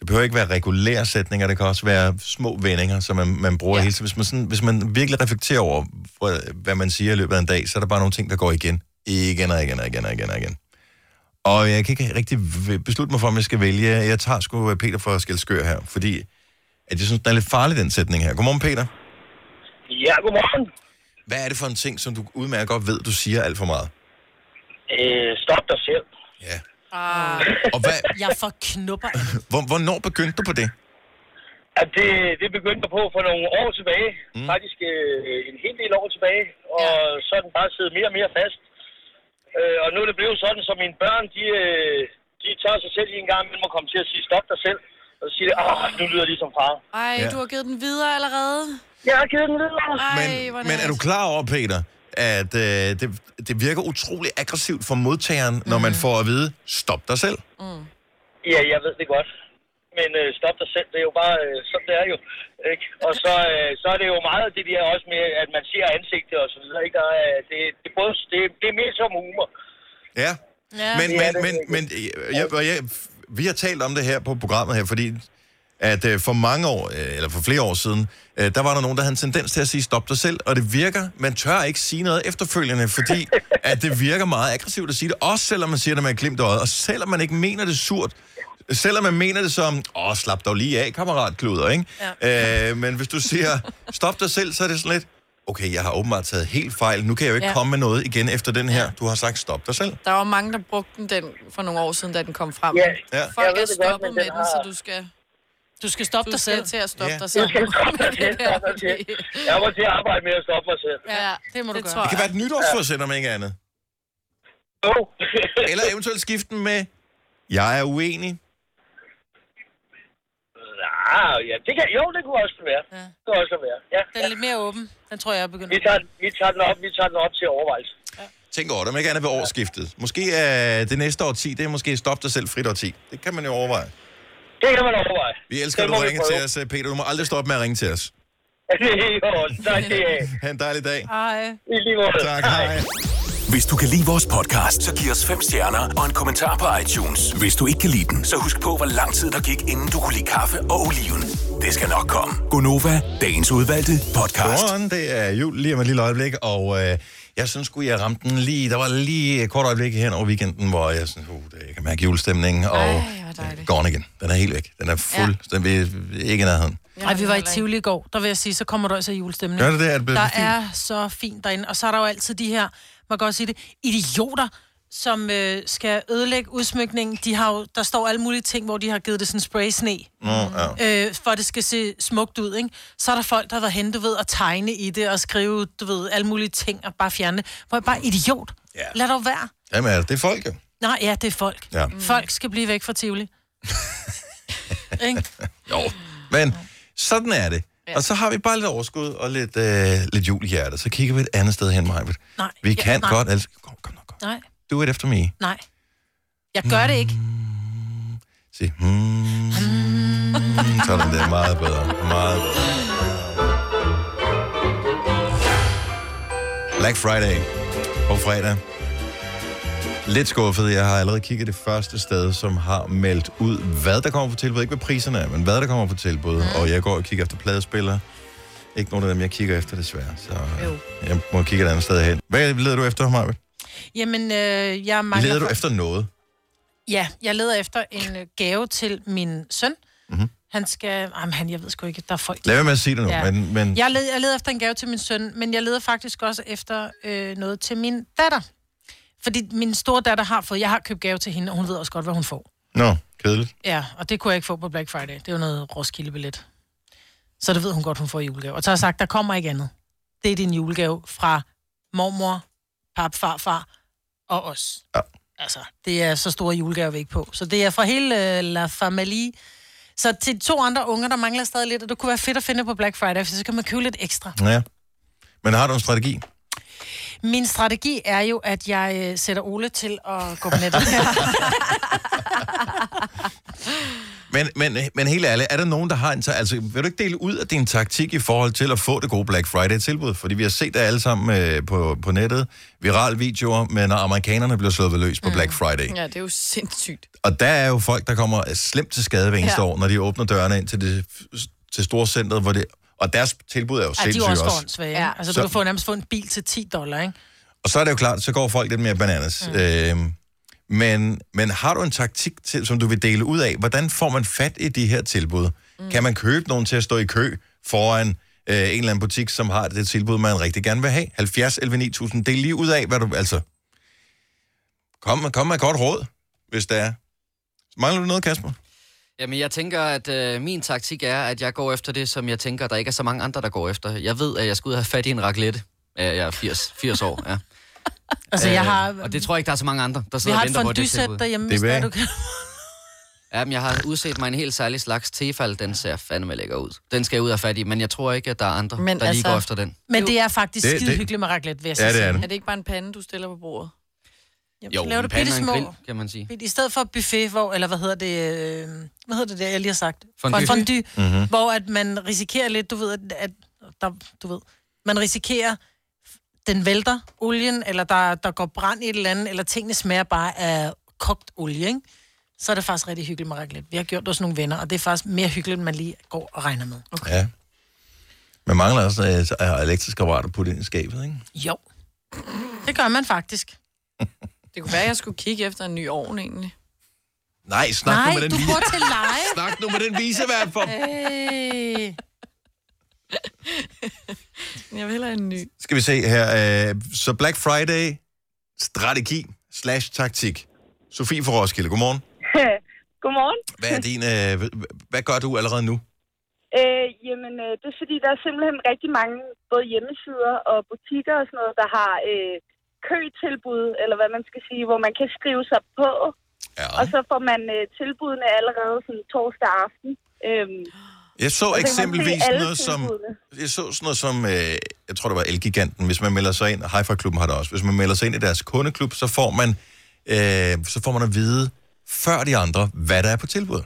[SPEAKER 1] Det behøver ikke være regulære sætninger, det kan også være små vendinger, som man, man bruger ja. hele tiden. Hvis man, sådan, hvis man virkelig reflekterer over, hvor- hvad man siger i løbet af en dag, så er der bare nogle ting, der går igen. Igen og igen og igen og igen og igen. Og jeg kan ikke rigtig v- beslutte mig for, om jeg skal vælge. Jeg tager sgu øh, Peter for Skælskør her, fordi at jeg synes, den er lidt farlig, den sætning her. Godmorgen, Peter.
[SPEAKER 13] Ja, godmorgen.
[SPEAKER 1] Hvad er det for en ting, som du udmærket godt ved, du siger alt for meget?
[SPEAKER 13] Øh, stop dig selv.
[SPEAKER 3] Ah.
[SPEAKER 1] Og hvad-
[SPEAKER 3] Jeg får knupper.
[SPEAKER 1] Hvor, hvornår begyndte du på det?
[SPEAKER 13] At det, det begyndte jeg på for nogle år tilbage. Mm. Faktisk øh, en hel del år tilbage. Og ja. så er den bare siddet mere og mere fast. Øh, og nu er det blevet sådan, så mine børn, de, øh, de tager sig selv i en gang, men må komme til at sige stop dig selv. Og så siger de, ah, nu lyder de som far.
[SPEAKER 2] Ej,
[SPEAKER 1] Ja.
[SPEAKER 2] ja. du har givet den videre allerede.
[SPEAKER 13] Jeg har givet den videre.
[SPEAKER 2] Ej, hvor
[SPEAKER 1] Men er du klar over, Peter, at øh, det, det virker utrolig aggressivt for modtageren, mm.
[SPEAKER 2] Mhm.
[SPEAKER 1] når man får at vide, stop dig selv?
[SPEAKER 3] Mm.
[SPEAKER 13] Ja, jeg ved det godt. Men øh, stop dig selv, det er jo bare, øh, sådan det er jo. Ikke? Og så, øh, så er det jo meget det der også med, at man ser ansigtet og så videre. Ikke? Der, er, det, det, er både, det, det er mere som humor.
[SPEAKER 1] Ja.
[SPEAKER 13] Ja.
[SPEAKER 1] Men,
[SPEAKER 13] Ja,
[SPEAKER 1] men,
[SPEAKER 13] det-
[SPEAKER 1] men, men øh, jeg, og jeg, vi har talt om det her på programmet her, fordi at øh, for mange år, øh, eller for flere år siden, øh, der var der nogen, der havde en tendens til at sige stop dig selv, og det virker, man tør ikke sige noget efterfølgende, fordi at det virker meget aggressivt at sige det, også selvom man siger det med et glimt i øjet, og selvom man ikke mener det surt, selvom man mener det som, åh, slap dog lige af, kammerat kluder, ikke? Ja. Øh, men hvis du siger stop dig selv, så er det sådan lidt, okay, jeg har åbenbart taget helt fejl, nu kan jeg jo ikke ja.
[SPEAKER 2] Ja.
[SPEAKER 1] komme med noget igen efter den her, du har sagt stop dig selv.
[SPEAKER 2] Der var mange, der brugte den, den for nogle år siden, da den kom frem.
[SPEAKER 1] Ja, ja. Jeg
[SPEAKER 2] Folk er
[SPEAKER 1] ved det godt,
[SPEAKER 2] stoppet
[SPEAKER 1] men
[SPEAKER 2] med
[SPEAKER 1] den
[SPEAKER 2] den, så
[SPEAKER 1] har-
[SPEAKER 2] du skal...
[SPEAKER 3] Du skal stoppe
[SPEAKER 2] dig selv. Du skal til at stoppe
[SPEAKER 1] Ja.
[SPEAKER 2] dig selv.
[SPEAKER 1] Du skal
[SPEAKER 13] stoppe dig selv, stoppe dig selv. Jeg må til at arbejde med at stoppe mig selv.
[SPEAKER 2] Ja, det må du gøre.
[SPEAKER 1] Det kan være et nytårsforsæt, om ikke andet.
[SPEAKER 13] Jo.
[SPEAKER 1] Eller eventuelt skifte den med, jeg er uenig.
[SPEAKER 13] Ah, ja, det kan, jo, det kunne også være. Ja. Det kunne også være, ja.
[SPEAKER 3] Den er lidt mere åben. Den tror jeg, jeg begynder.
[SPEAKER 13] Vi tager, vi tager den op, vi tager den op til overvejelse.
[SPEAKER 1] Tænk over det, om ikke andet ved årsskiftet. Måske er det næste årti, det er måske stop dig selv frit årti. Det kan man jo overveje.
[SPEAKER 13] Det kan man overveje.
[SPEAKER 1] Vi elsker, at
[SPEAKER 13] Det
[SPEAKER 1] du
[SPEAKER 13] må vi
[SPEAKER 1] ringer
[SPEAKER 13] prøve.
[SPEAKER 1] til os, eh, Peter. Du må aldrig stoppe med at ringe til os.
[SPEAKER 13] jo, tak det er.
[SPEAKER 1] Ha' en dejlig dag.
[SPEAKER 3] Hej.
[SPEAKER 13] I lige måde.
[SPEAKER 1] Tak, hej.
[SPEAKER 5] Hvis du kan lide vores podcast, så giv os fem stjerner og en kommentar på iTunes. Hvis du ikke kan lide den, så husk på, hvor lang tid der gik, inden du kunne lide kaffe og oliven. Det skal nok komme.
[SPEAKER 1] Gonova,
[SPEAKER 5] Dagens udvalgte podcast.
[SPEAKER 1] Godmorgen, det er jul lige om et lille øjeblik, og øh, jeg synes sgu, jeg ramte den lige. Der var lige et kort øjeblik hen over weekenden, hvor jeg sådan, uh, det, jeg kan mærke julestemningen, og øh, går den igen. Den er helt væk. Den er fuld. Ja. Den er ikke i nærheden.
[SPEAKER 3] Ej, vi var i Tivoli i går. Der vil jeg sige, så kommer der også julestemning.
[SPEAKER 1] Gør det det? Er det blevet
[SPEAKER 3] der
[SPEAKER 1] fint?
[SPEAKER 3] er så fint derinde. Og så er der jo altid de her, man kan godt sige det, idioter, som øh, skal ødelægge udsmykningen. De har jo, der står alle mulige ting, hvor de har givet det sådan spray sne.
[SPEAKER 1] Nå, ja.
[SPEAKER 3] øh, for at det skal se smukt ud, ikke? Så er der folk, der har været hen, du ved, at tegne i det og skrive, du ved, alle mulige ting og bare fjerne det. Hvor jeg bare, idiot,
[SPEAKER 1] Ja.
[SPEAKER 3] lad dog være.
[SPEAKER 1] Jamen, altså, det er folk jo.
[SPEAKER 3] Nej, ja, det er folk.
[SPEAKER 1] Ja.
[SPEAKER 3] Mm. Folk skal blive væk fra Tivoli. ikke?
[SPEAKER 1] Jo, men sådan er det. Og så har vi bare lidt overskud og lidt, øh, lidt jul i hjertet. Så kigger vi et andet sted hen, Majbet.
[SPEAKER 3] Nej.
[SPEAKER 1] Vi
[SPEAKER 3] Ja,
[SPEAKER 1] kan
[SPEAKER 3] nej.
[SPEAKER 1] godt, altså,
[SPEAKER 3] Nej,
[SPEAKER 1] do it after me.
[SPEAKER 3] nej. Jeg gør det
[SPEAKER 1] Mm.
[SPEAKER 3] ikke.
[SPEAKER 1] Sig, hmm, hmm. Sådan der, meget bedre, meget bedre. Black Friday på fredag. lidt skuffet. Jeg har allerede kigget det første sted, som har meldt ud, hvad der kommer på tilbud. Ikke hvad priserne er, men hvad der kommer på tilbud. Mm. Og jeg går og kigger efter pladespillere. Ikke nogen af dem, jeg kigger efter, desværre. Så øh,
[SPEAKER 3] Jo.
[SPEAKER 1] jeg må kigge et andet sted hen. Hvad leder du efter, Maja?
[SPEAKER 3] Jamen, øh, jeg mangler...
[SPEAKER 1] Leder du efter noget?
[SPEAKER 3] Ja, jeg leder efter en øh, gave til min søn.
[SPEAKER 1] Mhm.
[SPEAKER 3] Mm-hmm. Han skal... Jamen, han, jeg ved sgu ikke, der er folk...
[SPEAKER 1] Lad være med at sige det nu, men- men-
[SPEAKER 3] Jeg, leder, jeg leder efter en gave til min søn, men jeg leder faktisk også efter øh, noget til min datter. Fordi min store datter har fået... Jeg har købt gave til hende, og hun ved også godt, hvad hun får.
[SPEAKER 1] Nå, kedeligt.
[SPEAKER 3] Ja, og det kunne jeg ikke få på Black Friday. Det er jo noget Roskilde-billet. Så det ved hun godt, hun får i julegave. Og så har jeg sagt, der kommer ikke andet. Det er din julegave fra mormor, pap, farfar og os. Ja. Altså, det er så store julegaver, vi ikke på. Så det er fra hele øh, La Familie. Så til to andre unger, der mangler stadig lidt, og det kunne være fedt at finde på Black Friday, for så kan man købe lidt ekstra.
[SPEAKER 1] Ja. Men har du en strategi?
[SPEAKER 3] Min strategi er jo, at jeg øh, sætter Ole til at gå på nettet.
[SPEAKER 1] Men, men, men helt ærligt, er der nogen, der har en... ta- Altså, vil du ikke dele ud af din taktik i forhold til at få det gode Black Friday-tilbud? Fordi vi har set det alle sammen øh, på, på nettet. Viral videoer, men når amerikanerne bliver slået ved løs på mm. Black Friday.
[SPEAKER 2] Ja, det er jo sindssygt.
[SPEAKER 1] Og der er jo folk, der kommer slemt til skade hver eneste
[SPEAKER 2] Ja.
[SPEAKER 1] ja. år, når de åbner dørene ind til, det, til storcentret, hvor det... Og deres tilbud er jo
[SPEAKER 3] Ja, de er jo
[SPEAKER 1] sindssygt
[SPEAKER 3] også
[SPEAKER 1] også.
[SPEAKER 3] åndssvage. Ja. Altså, du
[SPEAKER 1] Så-
[SPEAKER 3] kan få, nærmest få en bil til 10 dollar, ikke?
[SPEAKER 1] Og så er det jo klart, så går folk lidt mere bananas. Mm. Øhm, men, men har du en taktik, til, som du vil dele ud af? Hvordan får man fat i de her tilbud? Mm. Kan man købe nogen til at stå i kø foran øh, en eller anden butik, som har det tilbud, man rigtig gerne vil have? 70 11 9000, del lige ud af, hvad du... Altså, kom, kom med et godt råd, hvis der er. Mangler du noget, Kasper?
[SPEAKER 4] Jamen, jeg tænker, at øh, min taktik er, at jeg går efter det, som jeg tænker, der ikke er så mange andre, der går efter. Jeg ved, at jeg skal ud og have fat i en raclette. Ja, jeg er 80, 80 år, ja. Øh,
[SPEAKER 3] Altså, jeg har-
[SPEAKER 4] Og det tror jeg ikke, der er så mange andre, der
[SPEAKER 3] Vi
[SPEAKER 4] sidder
[SPEAKER 3] har
[SPEAKER 4] og
[SPEAKER 3] et
[SPEAKER 4] venter på det
[SPEAKER 3] fondysæt
[SPEAKER 4] tilbud.
[SPEAKER 3] derhjemme, hvis det er, du kan...
[SPEAKER 4] Jamen, jeg har udset mig en helt særlig slags tefal. Den ser fandme lækker ud. Den skal jeg ud og have fat i, men jeg tror ikke, at der er andre, men der altså... lige går efter den.
[SPEAKER 3] Men det er faktisk
[SPEAKER 4] Det-
[SPEAKER 3] det,
[SPEAKER 4] det-
[SPEAKER 3] skide hyggeligt med raclette, vil jeg så
[SPEAKER 4] Ja, det er
[SPEAKER 3] sige.
[SPEAKER 4] det.
[SPEAKER 2] Er det ikke bare en pande, du stiller på bordet?
[SPEAKER 3] Jamen,
[SPEAKER 4] Jo,
[SPEAKER 3] så laver
[SPEAKER 4] en
[SPEAKER 3] du
[SPEAKER 4] pande
[SPEAKER 3] bitte
[SPEAKER 4] og en
[SPEAKER 3] små.
[SPEAKER 4] grill, kan man sige.
[SPEAKER 3] I stedet for buffet, hvor, eller hvad hedder det, øh, hvad hedder det der, jeg lige har sagt?
[SPEAKER 4] Fondue.
[SPEAKER 3] Fondue,
[SPEAKER 4] Mhm.
[SPEAKER 3] mm-hmm. hvor at man risikerer lidt, du ved, at, at der, du ved, man risikerer, den vælter olien, eller der, der går brand i et eller andet, eller tingene smager bare af kogt olie, ikke? så er det faktisk rigtig hyggeligt med raclette. Vi har gjort det hos nogle venner, og det er faktisk mere hyggeligt, end man lige går og regner med.
[SPEAKER 1] Okay. Ja. Man mangler også øh, så- øh, elektriske apparater på det i skabet, ikke?
[SPEAKER 3] Jo. Det gør man faktisk.
[SPEAKER 2] Det kunne være, at jeg skulle kigge efter en ny ovn, egentlig.
[SPEAKER 1] Nej, snak nu med den vise.
[SPEAKER 3] til leje.
[SPEAKER 1] Snak nu med den vise, hvert for...
[SPEAKER 3] Hey.
[SPEAKER 2] Jeg vil hellere en ny.
[SPEAKER 1] Skal vi se her. Øh, så Black Friday, strategi slash taktik. Sofie fra Roskilde, godmorgen.
[SPEAKER 12] Godmorgen.
[SPEAKER 1] Hvad er din, øh, h- hvad gør du allerede nu?
[SPEAKER 12] Øh, jamen, øh, det er fordi, der er simpelthen rigtig mange både hjemmesider og butikker og sådan noget, der har øh, køtilbud, eller hvad man skal sige, hvor man kan skrive sig på.
[SPEAKER 1] Ja.
[SPEAKER 12] Og så får man øh, tilbudene allerede sådan torsdag aften. Øhm,
[SPEAKER 1] Jeg så
[SPEAKER 12] Og så kan man se
[SPEAKER 1] eksempelvis
[SPEAKER 12] alle
[SPEAKER 1] noget som,
[SPEAKER 12] tilbudene.
[SPEAKER 1] jeg så sådan noget som, øh, jeg tror det var Elgiganten, hvis man melder sig ind, og Hi-Fi Klubben har det også, hvis man melder sig ind i deres kundeklub, så får man, øh, så får man at vide, før de andre, hvad der er på tilbud.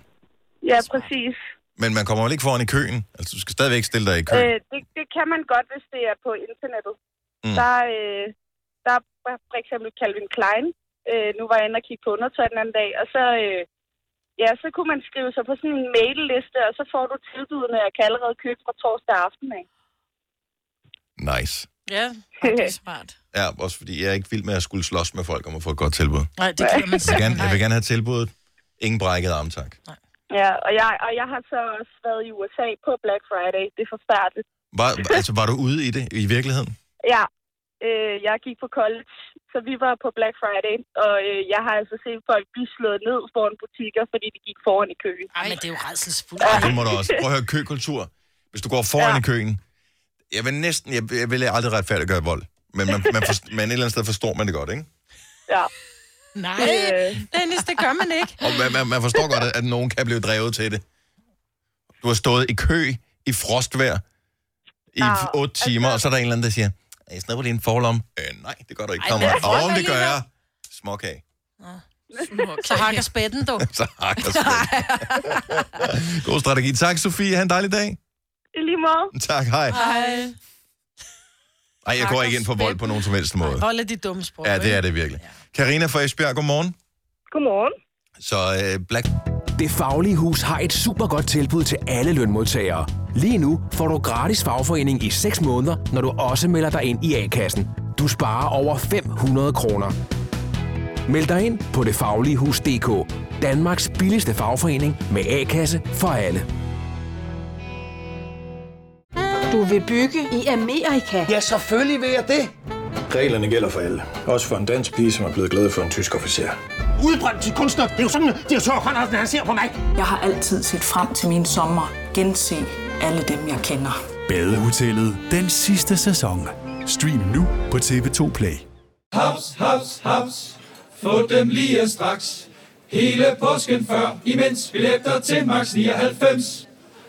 [SPEAKER 12] ja, præcis.
[SPEAKER 1] Men man kommer vel ikke foran i køen, altså du skal stadigvæk stille dig i kø.
[SPEAKER 12] Øh, det, det kan man godt, hvis det er på internettet.
[SPEAKER 1] Mm.
[SPEAKER 12] Mm. Der, øh, der er for- for eksempel Calvin Klein. Øh, nu var jeg inde og kigge på undertøj den anden dag, og så, øh, ja, så kunne man skrive sig på sådan en mailliste, og så får du tilbudene, og kan allerede købe fra torsdag aften. Ikke?
[SPEAKER 1] Nice.
[SPEAKER 3] Ja,
[SPEAKER 12] det
[SPEAKER 2] er smart.
[SPEAKER 1] Ja, også fordi jeg er ikke vild med at skulle slås med folk om at få et godt tilbud.
[SPEAKER 3] Nej, det gider man
[SPEAKER 1] Jeg vil
[SPEAKER 3] simpelthen
[SPEAKER 1] gerne, jeg vil gerne have tilbuddet. Ingen brækket arm, tak.
[SPEAKER 12] Ja, og jeg, og jeg har så også været i USA på Black Friday. Det er forfærdeligt.
[SPEAKER 1] Var, altså, var du ude i det i virkeligheden?
[SPEAKER 12] Ja, øh, jeg gik på college, så vi var på Black Friday, og øh, jeg har altså set folk blive slået ned foran butikker, fordi de gik foran i køen.
[SPEAKER 3] Ej, men det er jo redselsfuldt.
[SPEAKER 1] Ja. Det må du også. Prøv at høre køkultur. Hvis du går foran ja. i køen, jeg vil næsten, jeg, jeg vil aldrig retfærdiggøre vold. Men, man, man forst, men et eller andet sted forstår man det godt, ikke?
[SPEAKER 12] Ja.
[SPEAKER 3] Nej, Dennis, det gør man ikke.
[SPEAKER 1] Og man, man, man forstår godt, at, at nogen kan blive drevet til det. Du har stået i kø i frostvejr i
[SPEAKER 5] Nå,
[SPEAKER 1] 8 timer, altså... og så er der en eller anden, der siger, jeg snapper lige en forlom. Øh, nej, det gør du ikke,
[SPEAKER 3] Ej,
[SPEAKER 1] kammerat.
[SPEAKER 3] men-
[SPEAKER 1] Åh, det gør jeg. Småkage.
[SPEAKER 3] Så hakker spætten, du.
[SPEAKER 1] Så hakker God strategi. Tak, Sofie. Ha' en dejlig dag.
[SPEAKER 12] I lige måde.
[SPEAKER 1] Tak, hej.
[SPEAKER 3] Hej.
[SPEAKER 1] Ej, jeg går ikke ind for vold på nogen som helst måde.
[SPEAKER 3] Hold af de dumme sprog.
[SPEAKER 1] Ja, det er det virkelig. Karina fra Esbjerg, godmorgen.
[SPEAKER 14] Godmorgen.
[SPEAKER 1] Så øh, Black...
[SPEAKER 5] Det Faglige Hus har et super godt tilbud til alle lønmodtagere. Lige nu får du gratis fagforening i 6 måneder, når du også melder dig ind i A-kassen. Du sparer over 500 kroner. Meld dig ind på detfagligehus.dk. Danmarks billigste fagforening med A-kasse for alle.
[SPEAKER 15] Du vil bygge i Amerika? Ja, selvfølgelig vil jeg det.
[SPEAKER 16] Reglerne gælder for alle. Også for en dansk pige, som er blevet glad for en tysk officer.
[SPEAKER 17] Udbrændt til kunstner. Det er jo sådan, at de har Conradsen, han ser på mig. Jeg har altid set frem til min sommer. Gense alle dem, jeg kender.
[SPEAKER 18] Badehotellet den sidste sæson. Stream nu på TV2 Play.
[SPEAKER 19] Haps, haps, haps. Få dem lige straks. Hele påsken før, imens billetter til max 99.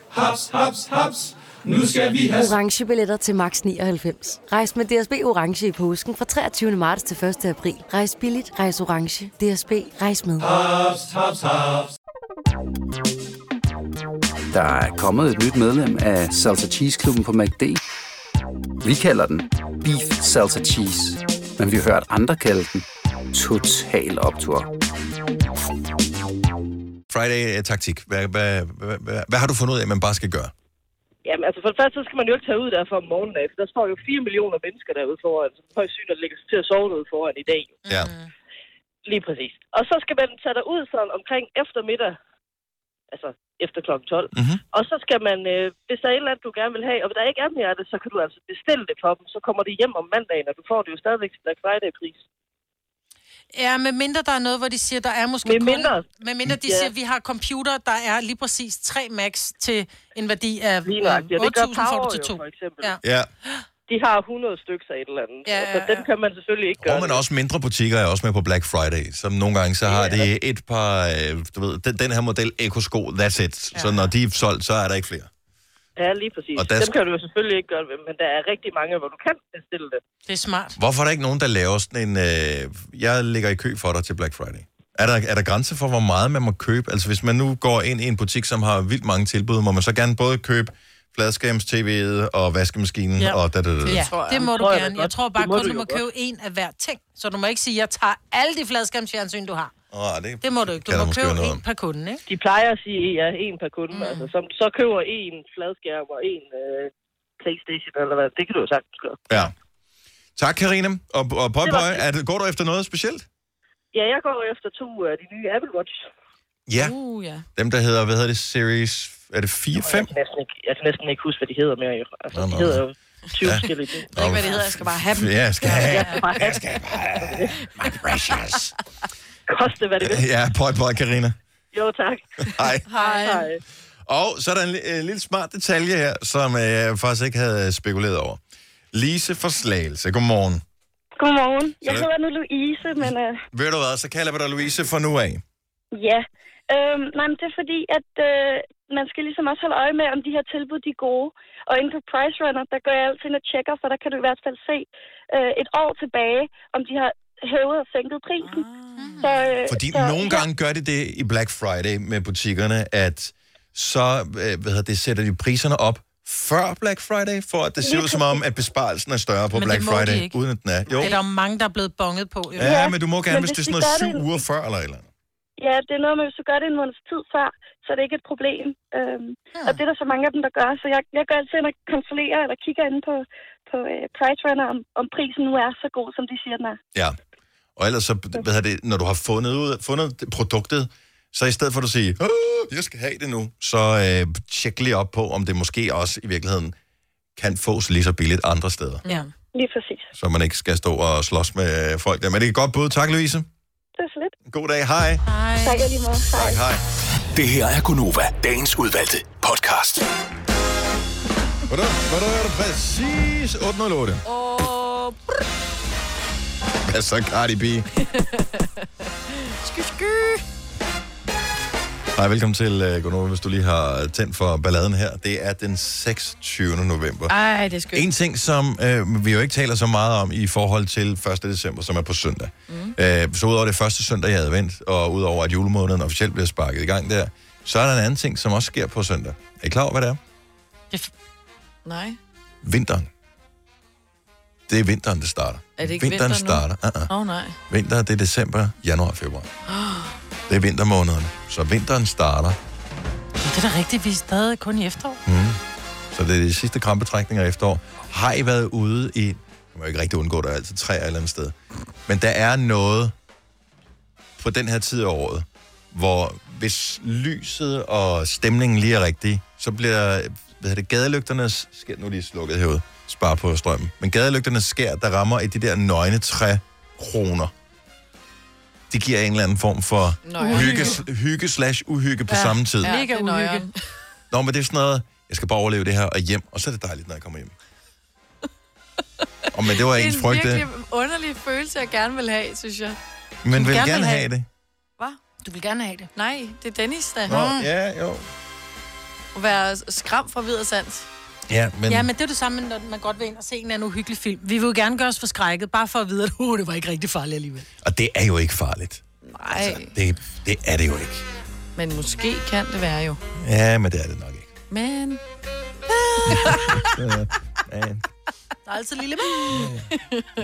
[SPEAKER 19] Haps, haps, haps. Nu skal vi have...
[SPEAKER 20] orange billetter til max 99. Rejs med DSB orange i påsken fra 23. marts til 1. april. Rejs billigt, rejs orange. DSB rejs med.
[SPEAKER 19] Haps, haps, haps.
[SPEAKER 21] Der er kommet et nyt medlem af Salsa Cheese Klubben på MACD. Vi kalder den Beef Salsa Cheese, men vi har hørt andre kalde den Total Optor.
[SPEAKER 1] Friday-taktik. Hvad, hvad, hvad, hvad, hvad har du fundet ud af, man bare skal gøre?
[SPEAKER 22] Jamen, altså for det første, så skal man jo ikke tage ud derfra om morgenen af, for der står jo 4 millioner mennesker derude foran, som højst synligt ligger til at sove derude foran i dag.
[SPEAKER 1] Ja.
[SPEAKER 3] Mm.
[SPEAKER 22] Lige præcis. Og så skal man tage derud sådan omkring eftermiddag, altså efter kl. 12. Mm-hmm. Og så skal man, øh, hvis der er et eller andet, du gerne vil have, og der ikke er mere af det, så kan du altså bestille det for dem, så kommer det hjem om mandagen, og du får det jo stadigvæk til Black Friday-pris.
[SPEAKER 3] Ja, med mindre der er noget, hvor de siger, der er måske
[SPEAKER 22] Med
[SPEAKER 3] kun-
[SPEAKER 22] mindre.
[SPEAKER 3] Med mindre de
[SPEAKER 22] Ja.
[SPEAKER 3] siger, vi har computer, der er lige præcis 3 max til en værdi af øh, 8.000
[SPEAKER 22] Ja, det gør
[SPEAKER 3] får
[SPEAKER 22] Power
[SPEAKER 3] du til
[SPEAKER 22] jo,
[SPEAKER 3] 2.
[SPEAKER 22] for eksempel.
[SPEAKER 3] Ja.
[SPEAKER 1] Ja.
[SPEAKER 22] De har 100 stykker af et eller andet,
[SPEAKER 3] Ja,
[SPEAKER 22] ja,
[SPEAKER 3] ja,
[SPEAKER 22] ja, så den kan man selvfølgelig ikke gøre.
[SPEAKER 1] Og man også mindre butikker er også med på Black Friday, som nogle gange, så har de et par, øh, du ved, den, den her model Eko-sko, that's it. Så når de er solgt, så er der ikke flere.
[SPEAKER 22] Ja, lige præcis.
[SPEAKER 1] Og
[SPEAKER 22] Og
[SPEAKER 1] der
[SPEAKER 22] Dem
[SPEAKER 1] skal-
[SPEAKER 22] kan du jo selvfølgelig ikke gøre ved, men der er rigtig mange, hvor du kan bestille det.
[SPEAKER 3] Det er smart.
[SPEAKER 1] Hvorfor er der ikke nogen, der laver sådan en... Øh, jeg ligger i kø for dig til Black Friday. Er der, er der grænser for, hvor meget man må købe? Altså hvis man nu går ind i en butik, som har vildt mange tilbud, må man så gerne både købe fladskærms tv'et og vaskemaskinen ja. og da, da, da.
[SPEAKER 3] Ja,
[SPEAKER 1] Ja.
[SPEAKER 3] det må
[SPEAKER 22] Det
[SPEAKER 3] du
[SPEAKER 22] tror jeg da
[SPEAKER 3] gerne. Jeg
[SPEAKER 22] godt.
[SPEAKER 3] tror bare
[SPEAKER 22] Det må
[SPEAKER 3] kun,
[SPEAKER 22] du
[SPEAKER 3] du
[SPEAKER 22] jo
[SPEAKER 3] må
[SPEAKER 22] godt.
[SPEAKER 3] købe en af hver ting. Så du må ikke sige, jeg tager alle de fladskærmsfjernsyn, du har.
[SPEAKER 1] Oh, det,
[SPEAKER 3] Det må du ikke. Du
[SPEAKER 1] kan der
[SPEAKER 3] må
[SPEAKER 1] måske
[SPEAKER 3] købe
[SPEAKER 1] være noget
[SPEAKER 3] en per kunde, ikke?
[SPEAKER 22] De plejer at sige, ja, en per kunde. Mm. Altså, som, så køber en fladskærm og en øh, Playstation eller hvad. Det kan du jo sagtens gøre.
[SPEAKER 1] ja. Tak, Karina. Og, og pøj,
[SPEAKER 22] Det var
[SPEAKER 1] pøj,
[SPEAKER 22] fint.
[SPEAKER 1] er det, går du efter noget specielt?
[SPEAKER 22] Ja, jeg går efter to af de nye Apple Watch.
[SPEAKER 1] Ja,
[SPEAKER 22] Uh, ja.
[SPEAKER 1] dem der hedder, hvad hedder det, Series, er det 4-5?
[SPEAKER 22] Jeg kan næsten ikke, jeg kan næsten ikke huske, hvad de hedder mere. Jo. Altså,
[SPEAKER 1] Nå,
[SPEAKER 22] de
[SPEAKER 1] nå.
[SPEAKER 22] hedder jo 20
[SPEAKER 1] Ja.
[SPEAKER 22] forskellige ting.
[SPEAKER 1] Jeg ved ikke, hvad de
[SPEAKER 2] hedder. Jeg skal bare have dem.
[SPEAKER 1] Ja, jeg skal have.
[SPEAKER 22] Jeg skal bare have dem.
[SPEAKER 1] My precious.
[SPEAKER 22] Koste, hvad det vil.
[SPEAKER 1] Ja, pøj, pøj, Karina.
[SPEAKER 22] Jo, tak.
[SPEAKER 1] Hej.
[SPEAKER 22] Hej. Hej.
[SPEAKER 1] Og så er der en, li- en lille smart detalje her, som øh, jeg faktisk ikke havde spekuleret over. Lise fra Slagelse, godmorgen.
[SPEAKER 23] Godmorgen. Jeg
[SPEAKER 1] Sådan.
[SPEAKER 23] hedder nu Louise, men øh,
[SPEAKER 1] Ved du hvad, så kalder vi dig Louise fra nu af.
[SPEAKER 23] ja. Øhm, nej, men det er fordi, at øh, man skal ligesom også holde øje med, om de her tilbud de er gode. Og inde på Price Runner, der går jeg altid ind og tjekker, for der kan du i hvert fald se øh, et år tilbage, om de har hævet og sænket prisen. Så, øh,
[SPEAKER 1] Fordi
[SPEAKER 23] så,
[SPEAKER 1] nogle gange gør de det i Black Friday med butikkerne, at så øh, hvad hedder det, sætter de priserne op før Black Friday, for at det ser
[SPEAKER 3] Lige
[SPEAKER 1] ud som om, at besparelsen er større på
[SPEAKER 3] Men
[SPEAKER 1] Black
[SPEAKER 3] det må de
[SPEAKER 1] Friday,
[SPEAKER 3] ikke.
[SPEAKER 1] uden at den er.
[SPEAKER 3] Jo.
[SPEAKER 1] Jo.
[SPEAKER 3] Det er der jo mange, der er blevet bonget på. Jo.
[SPEAKER 1] Ja, men du må gerne,
[SPEAKER 23] men
[SPEAKER 1] hvis det er
[SPEAKER 23] hvis de gør
[SPEAKER 1] sådan noget syv
[SPEAKER 23] det-
[SPEAKER 1] uger før eller et eller andet.
[SPEAKER 23] Ja, det er noget med, hvis du gør det en måneds tid før, så er det ikke et problem. Øhm, Og det er der så mange af dem, der gør. Så jeg, jeg går altid ind og kontrollerer eller kigger inde på, på uh, Price Runner, om, om prisen nu er så god, som de siger, den er.
[SPEAKER 1] Ja. Og ellers så, hvad hedder det, når du har fundet, ud, fundet det- produktet, så i stedet for at du siger, "Åh, jeg skal have det nu, så øh, tjek lige op på, om det måske også i virkeligheden kan fås lige så billigt andre steder,
[SPEAKER 23] Ja. Lige præcis.
[SPEAKER 1] så man ikke skal stå og slås med øh, folk der. Men det er et godt bud. Tak, Louise.
[SPEAKER 23] Det er så lidt.
[SPEAKER 1] God dag. Hej.
[SPEAKER 23] Hej. Tak jeg lige måde. Hej.
[SPEAKER 1] Hej.
[SPEAKER 5] Det her er Gunova, dagens udvalgte podcast.
[SPEAKER 1] Hvordan er det præcis 808?
[SPEAKER 2] Og...
[SPEAKER 1] Hvad så, Cardi B?
[SPEAKER 2] Sky, sky.
[SPEAKER 1] Hej, velkommen til uh, Gunova, hvis du lige har tændt for balladen her. Det er den 26. november.
[SPEAKER 2] Ej, det er skønt.
[SPEAKER 1] En ting, som øh, vi jo ikke taler så meget om i forhold til 1. december, som er på søndag. Mm. Øh, så udover det første søndag i advent, og udover at julemåneden officielt bliver sparket i gang der, så er der en anden ting, som også sker på søndag. Er I klar over, hvad det er?
[SPEAKER 2] Nej.
[SPEAKER 1] Vinteren. Det er vinteren, det starter.
[SPEAKER 2] Er det ikke
[SPEAKER 1] vinteren
[SPEAKER 2] vinter nu?
[SPEAKER 1] starter. Uh-uh.
[SPEAKER 2] Åh, oh, nej.
[SPEAKER 1] Vinter, det er december, januar og februar. Det er vintermånederne. Så vinteren starter.
[SPEAKER 3] Det er da rigtigt, vi er stadig kun i efterår.
[SPEAKER 1] Mm. Så det er de sidste krampetrækninger i efterår. Har I været ude i... Jeg må ikke rigtig undgå, at der er altid træer et eller andet sted. Men der er noget på den her tid af året, hvor hvis lyset og stemningen lige er rigtig, så bliver hvad hedder det, gadelygternes... Skal nu er de slukket herude. Spar på strømmen. Men gadelygternes skær, der rammer i de der nøgne træ kroner. Det giver en eller anden form for
[SPEAKER 2] Nøje.
[SPEAKER 1] hygge, hygge slash uhygge på ja. samme tid.
[SPEAKER 2] Ja, Mega uhyggeligt.
[SPEAKER 1] Nå, men det er sådan noget, jeg skal bare overleve det her og hjem, og så er det dejligt, når jeg kommer hjem. og men det var
[SPEAKER 2] Det er
[SPEAKER 1] ens
[SPEAKER 2] en
[SPEAKER 1] frygt, det.
[SPEAKER 2] virkelig underlig følelse, jeg gerne vil have, synes jeg.
[SPEAKER 1] Men
[SPEAKER 2] Du
[SPEAKER 1] vil gerne have det.
[SPEAKER 2] Hvad?
[SPEAKER 3] Du vil gerne have det.
[SPEAKER 2] Nej, det er Dennis, der.
[SPEAKER 1] Nå, ja, jo.
[SPEAKER 2] At være skram fra videre sands.
[SPEAKER 1] Ja,
[SPEAKER 3] Men...
[SPEAKER 1] men...
[SPEAKER 3] Ja, men det er det samme, når man godt vil ind og se en eller anden uhyggelig film. Vi vil jo gerne gøre os forskrækket, bare for at vide, at uh, det var ikke rigtig farligt alligevel.
[SPEAKER 1] Og det er jo ikke farligt.
[SPEAKER 2] Nej, altså.
[SPEAKER 1] Det, det er det jo ikke.
[SPEAKER 2] men måske kan det være jo.
[SPEAKER 1] Ja, men det er det nok ikke.
[SPEAKER 2] Men...
[SPEAKER 1] Så, ja,
[SPEAKER 3] Der er altid lille men.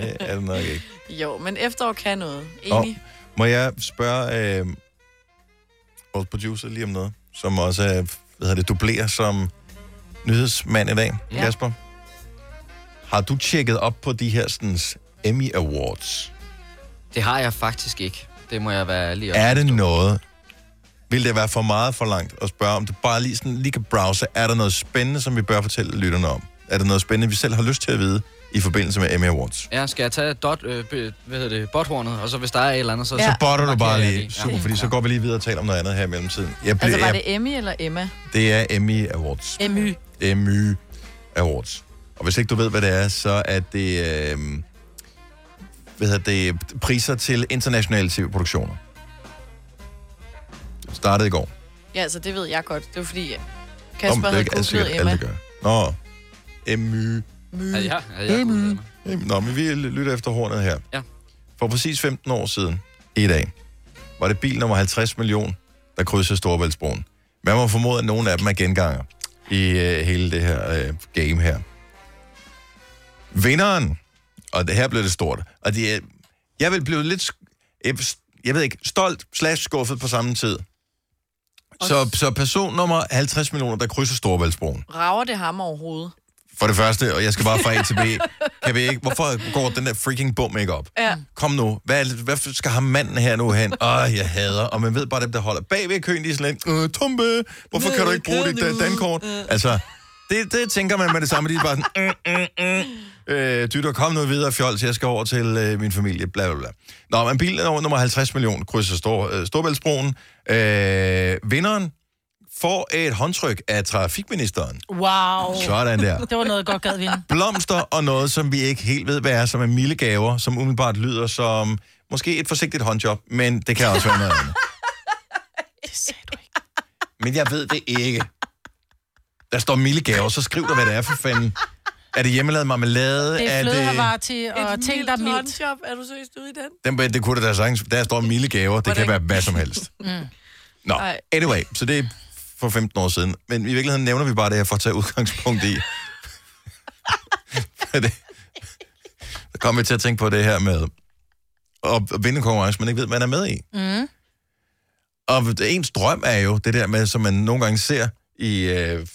[SPEAKER 1] det er det nok ikke.
[SPEAKER 2] jo, men efterår kan noget.
[SPEAKER 1] Og
[SPEAKER 2] Enig.
[SPEAKER 1] må jeg spørge øh, vores producer lige om noget, som også øh, hvad hedder det, dublerer som nyhedsmand i dag,
[SPEAKER 2] Ja.
[SPEAKER 1] ja. Kasper? Har du tjekket op på de her sådan, Emmy Awards?
[SPEAKER 4] Det har jeg faktisk ikke. Det må jeg være lige
[SPEAKER 1] Er det noget, vil det være for meget for langt at spørge om det? Bare lige, sådan, lige kan browse, er der noget spændende, som vi bør fortælle lytterne om? Er der noget spændende, vi selv har lyst til at vide i forbindelse med Emmy Awards?
[SPEAKER 4] Ja, skal jeg tage dot, øh, be- hvad hedder det, bothornet, og så hvis der er et eller andet, så...
[SPEAKER 1] Ja. Så botter du
[SPEAKER 4] markerer
[SPEAKER 1] bare
[SPEAKER 4] jeg
[SPEAKER 1] lige.
[SPEAKER 4] det.
[SPEAKER 1] Super, fordi så går vi lige videre og taler om noget andet her i mellemtiden. Jeg blev,
[SPEAKER 2] Altså, var
[SPEAKER 1] jeg,
[SPEAKER 2] det Emmy eller Emma?
[SPEAKER 1] det er Emmy Awards.
[SPEAKER 2] Emmy.
[SPEAKER 1] Emmy Awards. Og hvis ikke du ved, hvad det er, så er det, øh, hvad hedder det priser til internationale tv-produktioner. Startede i går.
[SPEAKER 2] Ja, altså, det ved jeg godt. Det var fordi, øh,
[SPEAKER 1] Nå, men
[SPEAKER 2] Kasper
[SPEAKER 1] det er
[SPEAKER 2] havde
[SPEAKER 1] ikke alt sikkert,
[SPEAKER 2] googlet
[SPEAKER 1] alle
[SPEAKER 2] Emma.
[SPEAKER 1] gør. Nå, Emmy.
[SPEAKER 2] My.
[SPEAKER 4] Ja, ja, ja, ja.
[SPEAKER 1] Emmy. Emmy. Nå, men vi lytter efter hornet her.
[SPEAKER 4] Ja.
[SPEAKER 1] For præcis 15 år siden, i dag, var det bil nummer 50 million, der krydsede Storebæltsbroen. Man må formode, at nogle af dem er genganger i øh, hele det her øh, game her. Vinderen, og det her blev det stort, og det, er- jeg vil blive lidt, sk- jeg, jeg ved ikke, stolt slash skuffet på samme tid. Så, så person nummer 50 millioner, der krydser Storebæltsbroen.
[SPEAKER 2] Rager det ham overhovedet?
[SPEAKER 1] For det første, og jeg skal bare fra A til B. Kan vi ikke, hvorfor går den der freaking bum ikke op?
[SPEAKER 2] Ja.
[SPEAKER 1] Kom nu, hvad, hvad skal ham manden her nu hen? Åh, oh, jeg hader. Og man ved bare, dem der holder bag ved køen, de er sådan lidt, øh, tumpe, hvorfor kan du ikke bruge dit dan- dankort? Altså, det, det tænker man med det samme. De er bare sådan, mm, mm, mm. Øh, dytter, kom nu videre, fjols, jeg skal over til øh, min familie, bla bla bla. Nå, men bilen over nummer 50 millioner krydser Stor, øh, Storbæltsbroen. Øh, vinderen får et håndtryk af trafikministeren.
[SPEAKER 3] Wow.
[SPEAKER 1] Sådan der.
[SPEAKER 3] Det var noget, jeg godt gad vinde.
[SPEAKER 1] blomster og noget, som vi ikke helt ved, hvad er, som er milde gaver, som umiddelbart lyder som måske et forsigtigt håndjob, men det kan også være noget andet.
[SPEAKER 3] Det sagde du ikke.
[SPEAKER 1] Men jeg ved det ikke. Der står milde gaver, så skriv dig, hvad det er for fanden. Er det hjemmelavet marmelade?
[SPEAKER 3] Det er
[SPEAKER 1] det...
[SPEAKER 3] flødehavarti og ting, der er mildt.
[SPEAKER 2] Job, er du seriøst ude i den?
[SPEAKER 1] Dem, det kunne da sagtens. Der står milde gaver, det kan være hvad som helst.
[SPEAKER 2] Mm.
[SPEAKER 1] Nå,
[SPEAKER 2] Ej.
[SPEAKER 1] anyway, så det er for 15 år siden. Men i virkeligheden nævner vi bare det her for at tage udgangspunkt i. Hvad det- Så kommer vi til at tænke på det her med at vinde en konkurrence, man ikke ved, man er med i.
[SPEAKER 3] Mm.
[SPEAKER 1] Og ens drøm er jo det der med, som man nogle gange ser i øh,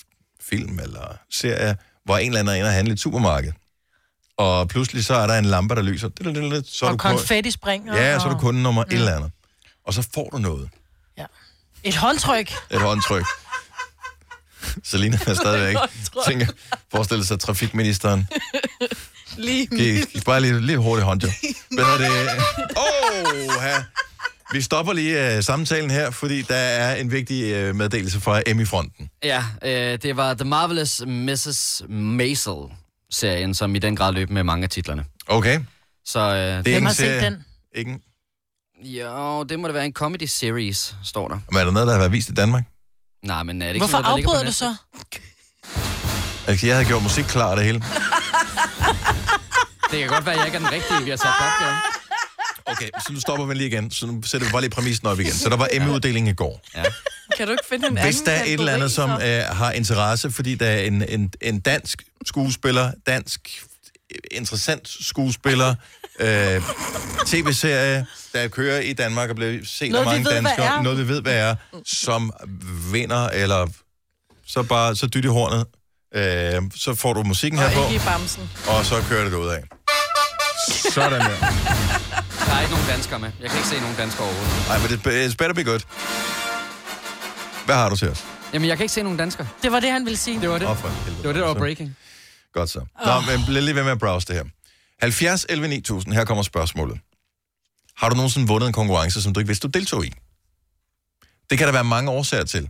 [SPEAKER 1] film eller serier, hvor en eller anden er inde og handle i et supermarked. Og pludselig så er der en lampe, der lyser. Så er du
[SPEAKER 3] Og
[SPEAKER 1] kun-
[SPEAKER 3] konfetti springer.
[SPEAKER 1] Ja, så er du
[SPEAKER 3] og
[SPEAKER 1] kunde nummer et eller andet. Og så får du noget.
[SPEAKER 3] Et håndtryk.
[SPEAKER 1] Et håndtryk. Selina er stadigvæk
[SPEAKER 3] Et håndtryk.
[SPEAKER 1] tænker, forestille sig trafikministeren.
[SPEAKER 2] Lige
[SPEAKER 1] Giv, giv bare lige, lige hurtigt håndjob. Hvad er det? Åh, oh, Vi stopper lige uh, samtalen her, fordi der er en vigtig uh, meddelelse fra Emmy-fronten.
[SPEAKER 4] Ja, øh, det var The Marvelous Mrs. Maisel-serien, som i den grad løb med mange af titlerne.
[SPEAKER 1] Okay.
[SPEAKER 4] Så, øh, det
[SPEAKER 1] Hvem en har set serie- den? Ingen.
[SPEAKER 4] Jo, det må da være en comedy series, står der.
[SPEAKER 1] Men er der noget, der har været vist i Danmark?
[SPEAKER 4] Nej, men er det ikke
[SPEAKER 3] Hvorfor
[SPEAKER 4] sådan noget, der ligger på
[SPEAKER 3] afbryder du
[SPEAKER 4] Netflix?
[SPEAKER 3] så?
[SPEAKER 1] Altså, jeg havde gjort musik klar og det hele.
[SPEAKER 4] Det kan godt være, at jeg ikke er den rigtige, vi har taget opgaven.
[SPEAKER 1] Okay, så nu stopper vi lige igen. Så nu sætter vi bare lige præmissen op igen. Så der var Emmy-uddelingen i går.
[SPEAKER 4] Ja.
[SPEAKER 2] Kan du ikke finde en anden
[SPEAKER 1] Hvis der er et eller andet, som øh, har interesse, fordi der er en, en, en dansk skuespiller, dansk interessant skuespiller, øh, tv-serie, der kører i Danmark og bliver set
[SPEAKER 3] Noget,
[SPEAKER 1] af
[SPEAKER 3] vi
[SPEAKER 1] mange
[SPEAKER 3] ved, hvad
[SPEAKER 1] danskere.
[SPEAKER 3] er.
[SPEAKER 1] Noget vi ved, hvad er. Som vinder, eller så bare så dyt i hornet. Øh, så får du musikken her
[SPEAKER 2] Og
[SPEAKER 1] på,
[SPEAKER 2] ikke i bamsen.
[SPEAKER 1] og så kører det ud af. Sådan der.
[SPEAKER 4] Der er ikke nogen danskere med. Jeg kan ikke se nogen danskere overhovedet.
[SPEAKER 1] Ej, men det it's better be good. Hvad har du til os?
[SPEAKER 4] Jamen, jeg kan ikke se nogen danskere.
[SPEAKER 3] Det var det, han ville sige.
[SPEAKER 4] Det var det.
[SPEAKER 1] Åh, for helvede.
[SPEAKER 4] Det var det, der var breaking.
[SPEAKER 1] Godt så. Nå, men bliv lige ved med at browse det her. 70 11 9000, her kommer spørgsmålet. Har du nogensinde vundet en konkurrence, som du ikke vidste, du deltog i? Det kan der være mange årsager til.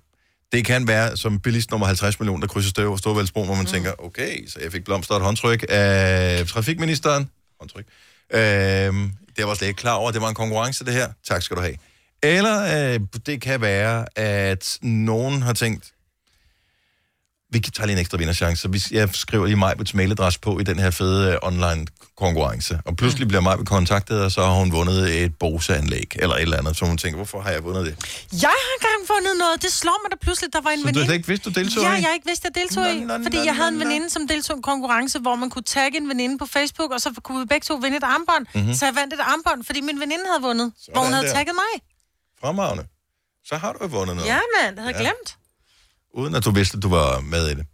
[SPEAKER 1] Det kan være som bilist nummer 50 millioner, der krydser støv og Storvældsbroen, hvor man mm. tænker, okay, så jeg fik blomster og et håndtryk af trafikministeren. Håndtryk. Øhm, det var jeg slet ikke klar over, det var en konkurrence, det her. Tak skal du have. Eller øh, det kan være, at nogen har tænkt, vi kan tage lige en ekstra vinderchance. Så hvis jeg skriver lige Majbets mailadresse på i den her fede øh, online konkurrence, og
[SPEAKER 3] Mm.
[SPEAKER 1] pludselig bliver Majbet kontaktet, og så har hun vundet et Bose-anlæg, eller et eller andet, så hun tænker, hvorfor har jeg vundet det?
[SPEAKER 3] Jeg har engang fundet noget. Det slår mig da pludselig, der var en
[SPEAKER 1] Så du
[SPEAKER 3] veninde.
[SPEAKER 1] slet ikke vidste, du deltog
[SPEAKER 3] Ja,
[SPEAKER 1] i?
[SPEAKER 3] jeg ikke vidste, jeg deltog i.
[SPEAKER 1] Nå, nå,
[SPEAKER 3] Fordi
[SPEAKER 1] nå,
[SPEAKER 3] jeg havde en
[SPEAKER 1] nå, nå.
[SPEAKER 3] veninde, som deltog i en konkurrence, hvor man kunne tagge en veninde på Facebook, og så kunne vi begge to vinde et armbånd.
[SPEAKER 1] Mhm.
[SPEAKER 3] Mm-hmm. Så jeg vandt et armbånd, fordi min veninde havde vundet, Sådan hvor hun havde
[SPEAKER 1] der.
[SPEAKER 3] tagget mig.
[SPEAKER 1] Fremragende. Så har du jo vundet noget,
[SPEAKER 3] Ja, mand, jeg havde
[SPEAKER 1] Ja.
[SPEAKER 3] ja. glemt.
[SPEAKER 1] uden at du vidste, du var med i det.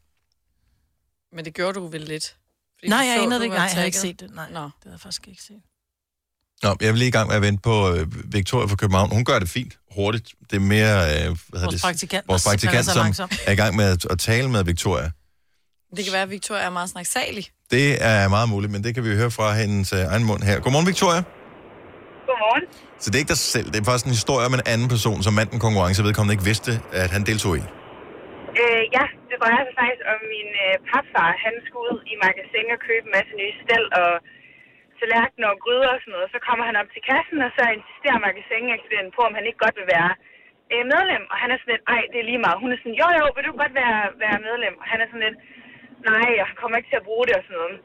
[SPEAKER 2] Men det gjorde du vel lidt.
[SPEAKER 3] Nej,
[SPEAKER 2] du
[SPEAKER 3] jeg
[SPEAKER 2] så,
[SPEAKER 3] anede
[SPEAKER 2] du
[SPEAKER 3] det ikke.
[SPEAKER 2] var
[SPEAKER 3] Nej, jeg havde ikke
[SPEAKER 2] tagget.
[SPEAKER 3] set det. Nej, Nå. det havde jeg faktisk ikke set.
[SPEAKER 1] Nå, jeg er lige i gang med at vente på øh, Victoria fra København. Hun gør det fint, hurtigt. Det er mere... Øh, hvad hedder
[SPEAKER 3] Vores
[SPEAKER 1] det?
[SPEAKER 3] praktikant,
[SPEAKER 1] Vores
[SPEAKER 3] der simpelthen
[SPEAKER 1] praktikant,
[SPEAKER 3] er så
[SPEAKER 1] som
[SPEAKER 3] langsom.
[SPEAKER 1] er i gang med at, at tale med Victoria.
[SPEAKER 2] Det kan være, at Victoria er meget snaksalig.
[SPEAKER 1] Det er meget muligt, men det kan vi jo høre fra hendes øh, egen mund her. Godmorgen, Victoria.
[SPEAKER 12] Godmorgen.
[SPEAKER 1] Så det er ikke dig selv, det er faktisk en historie om en anden person, som vandt en konkurrence, vedkommende ikke vidste, at han deltog i.
[SPEAKER 12] Øh, ja, det drejer sig faktisk om min øh, papfar. Han skulle ud i magasin og købe en masse nye stel og tallerkener og gryder og sådan noget. Så kommer han op til kassen, og så insisterer magasinekspedienten på, om han ikke godt vil være øh, medlem. Og han er sådan lidt, ej, det er lige meget. Hun er sådan, jo jo, vil du godt være, være medlem? Og han er sådan lidt, nej, jeg kommer ikke til at bruge det og sådan noget.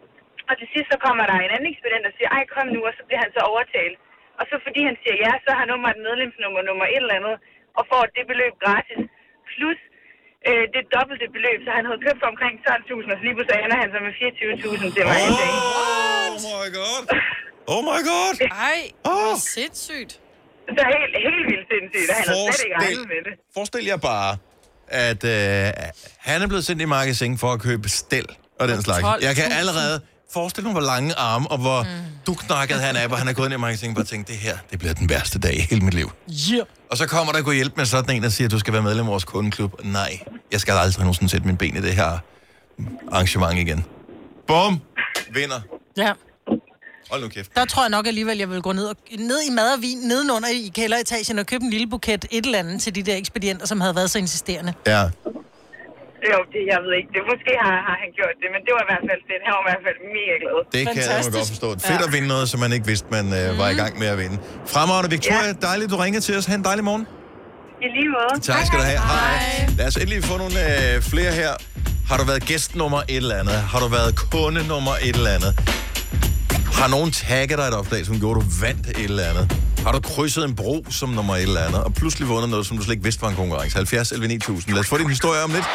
[SPEAKER 12] Og til sidst så kommer der en anden ekspedient og siger, ej, kom nu, og så bliver han så overtalt. Og så fordi han siger ja, så har nummeret medlemsnummer nummer et eller andet, og får det beløb gratis. Plus øh, det dobbelte beløb, så han havde købt for omkring 12.000, og så lige pludselig ender han så med 24.000 til mig. Oh,
[SPEAKER 1] oh my god! Oh my god!
[SPEAKER 2] Ej,
[SPEAKER 1] oh.
[SPEAKER 2] sindssygt.
[SPEAKER 12] Så helt, helt vildt sindssygt, og han har slet ikke regnet med det.
[SPEAKER 1] forestil jer bare, at øh, han er blevet sendt i magasin for at købe stel og den slags. Jeg kan
[SPEAKER 6] 12.000.
[SPEAKER 1] allerede forestille mig, hvor lange arme og hvor du knakket han er, hvor han er gået ind i magasin og bare tænkt, det her, det bliver den værste dag i hele mit liv.
[SPEAKER 3] Yep.
[SPEAKER 1] Og så kommer der gå hjælp med sådan en, der siger, at du skal være medlem af vores kundeklub. Nej, jeg skal aldrig nogensinde sætte min ben i det her arrangement igen. Bum! Vinder.
[SPEAKER 3] Ja.
[SPEAKER 1] Hold nu kæft.
[SPEAKER 3] Der tror jeg nok alligevel, jeg vil gå ned, og, ned i mad og vin nedenunder i kælderetagen og købe en lille buket et eller andet til de der ekspedienter, som havde været så insisterende.
[SPEAKER 1] Ja.
[SPEAKER 12] Jo, det, jeg ved ikke. Det, måske har, har han gjort det, men det var i hvert fald fedt. Han var i hvert fald mega glad.
[SPEAKER 1] Det kan jeg da godt forstå. Fedt at vinde noget, som man ikke vidste, man øh, var i gang med at vinde. Fremragende Victoria, dejligt, du ringer til os. Ha' en dejlig morgen.
[SPEAKER 12] I lige måde.
[SPEAKER 1] Tak skal du have. Hej. Lad os endelig få nogle øh, flere her. Har du været gæst nummer et eller andet? Har du været kunde nummer et eller andet? Har nogen tagget dig et opslag, som gjorde, du vandt et eller andet? Har du krydset en bro som nummer et eller andet, og pludselig vundet noget, som du slet ikke vidste var en konkurrence? 70 11 9000. Lad os få din historie om lidt.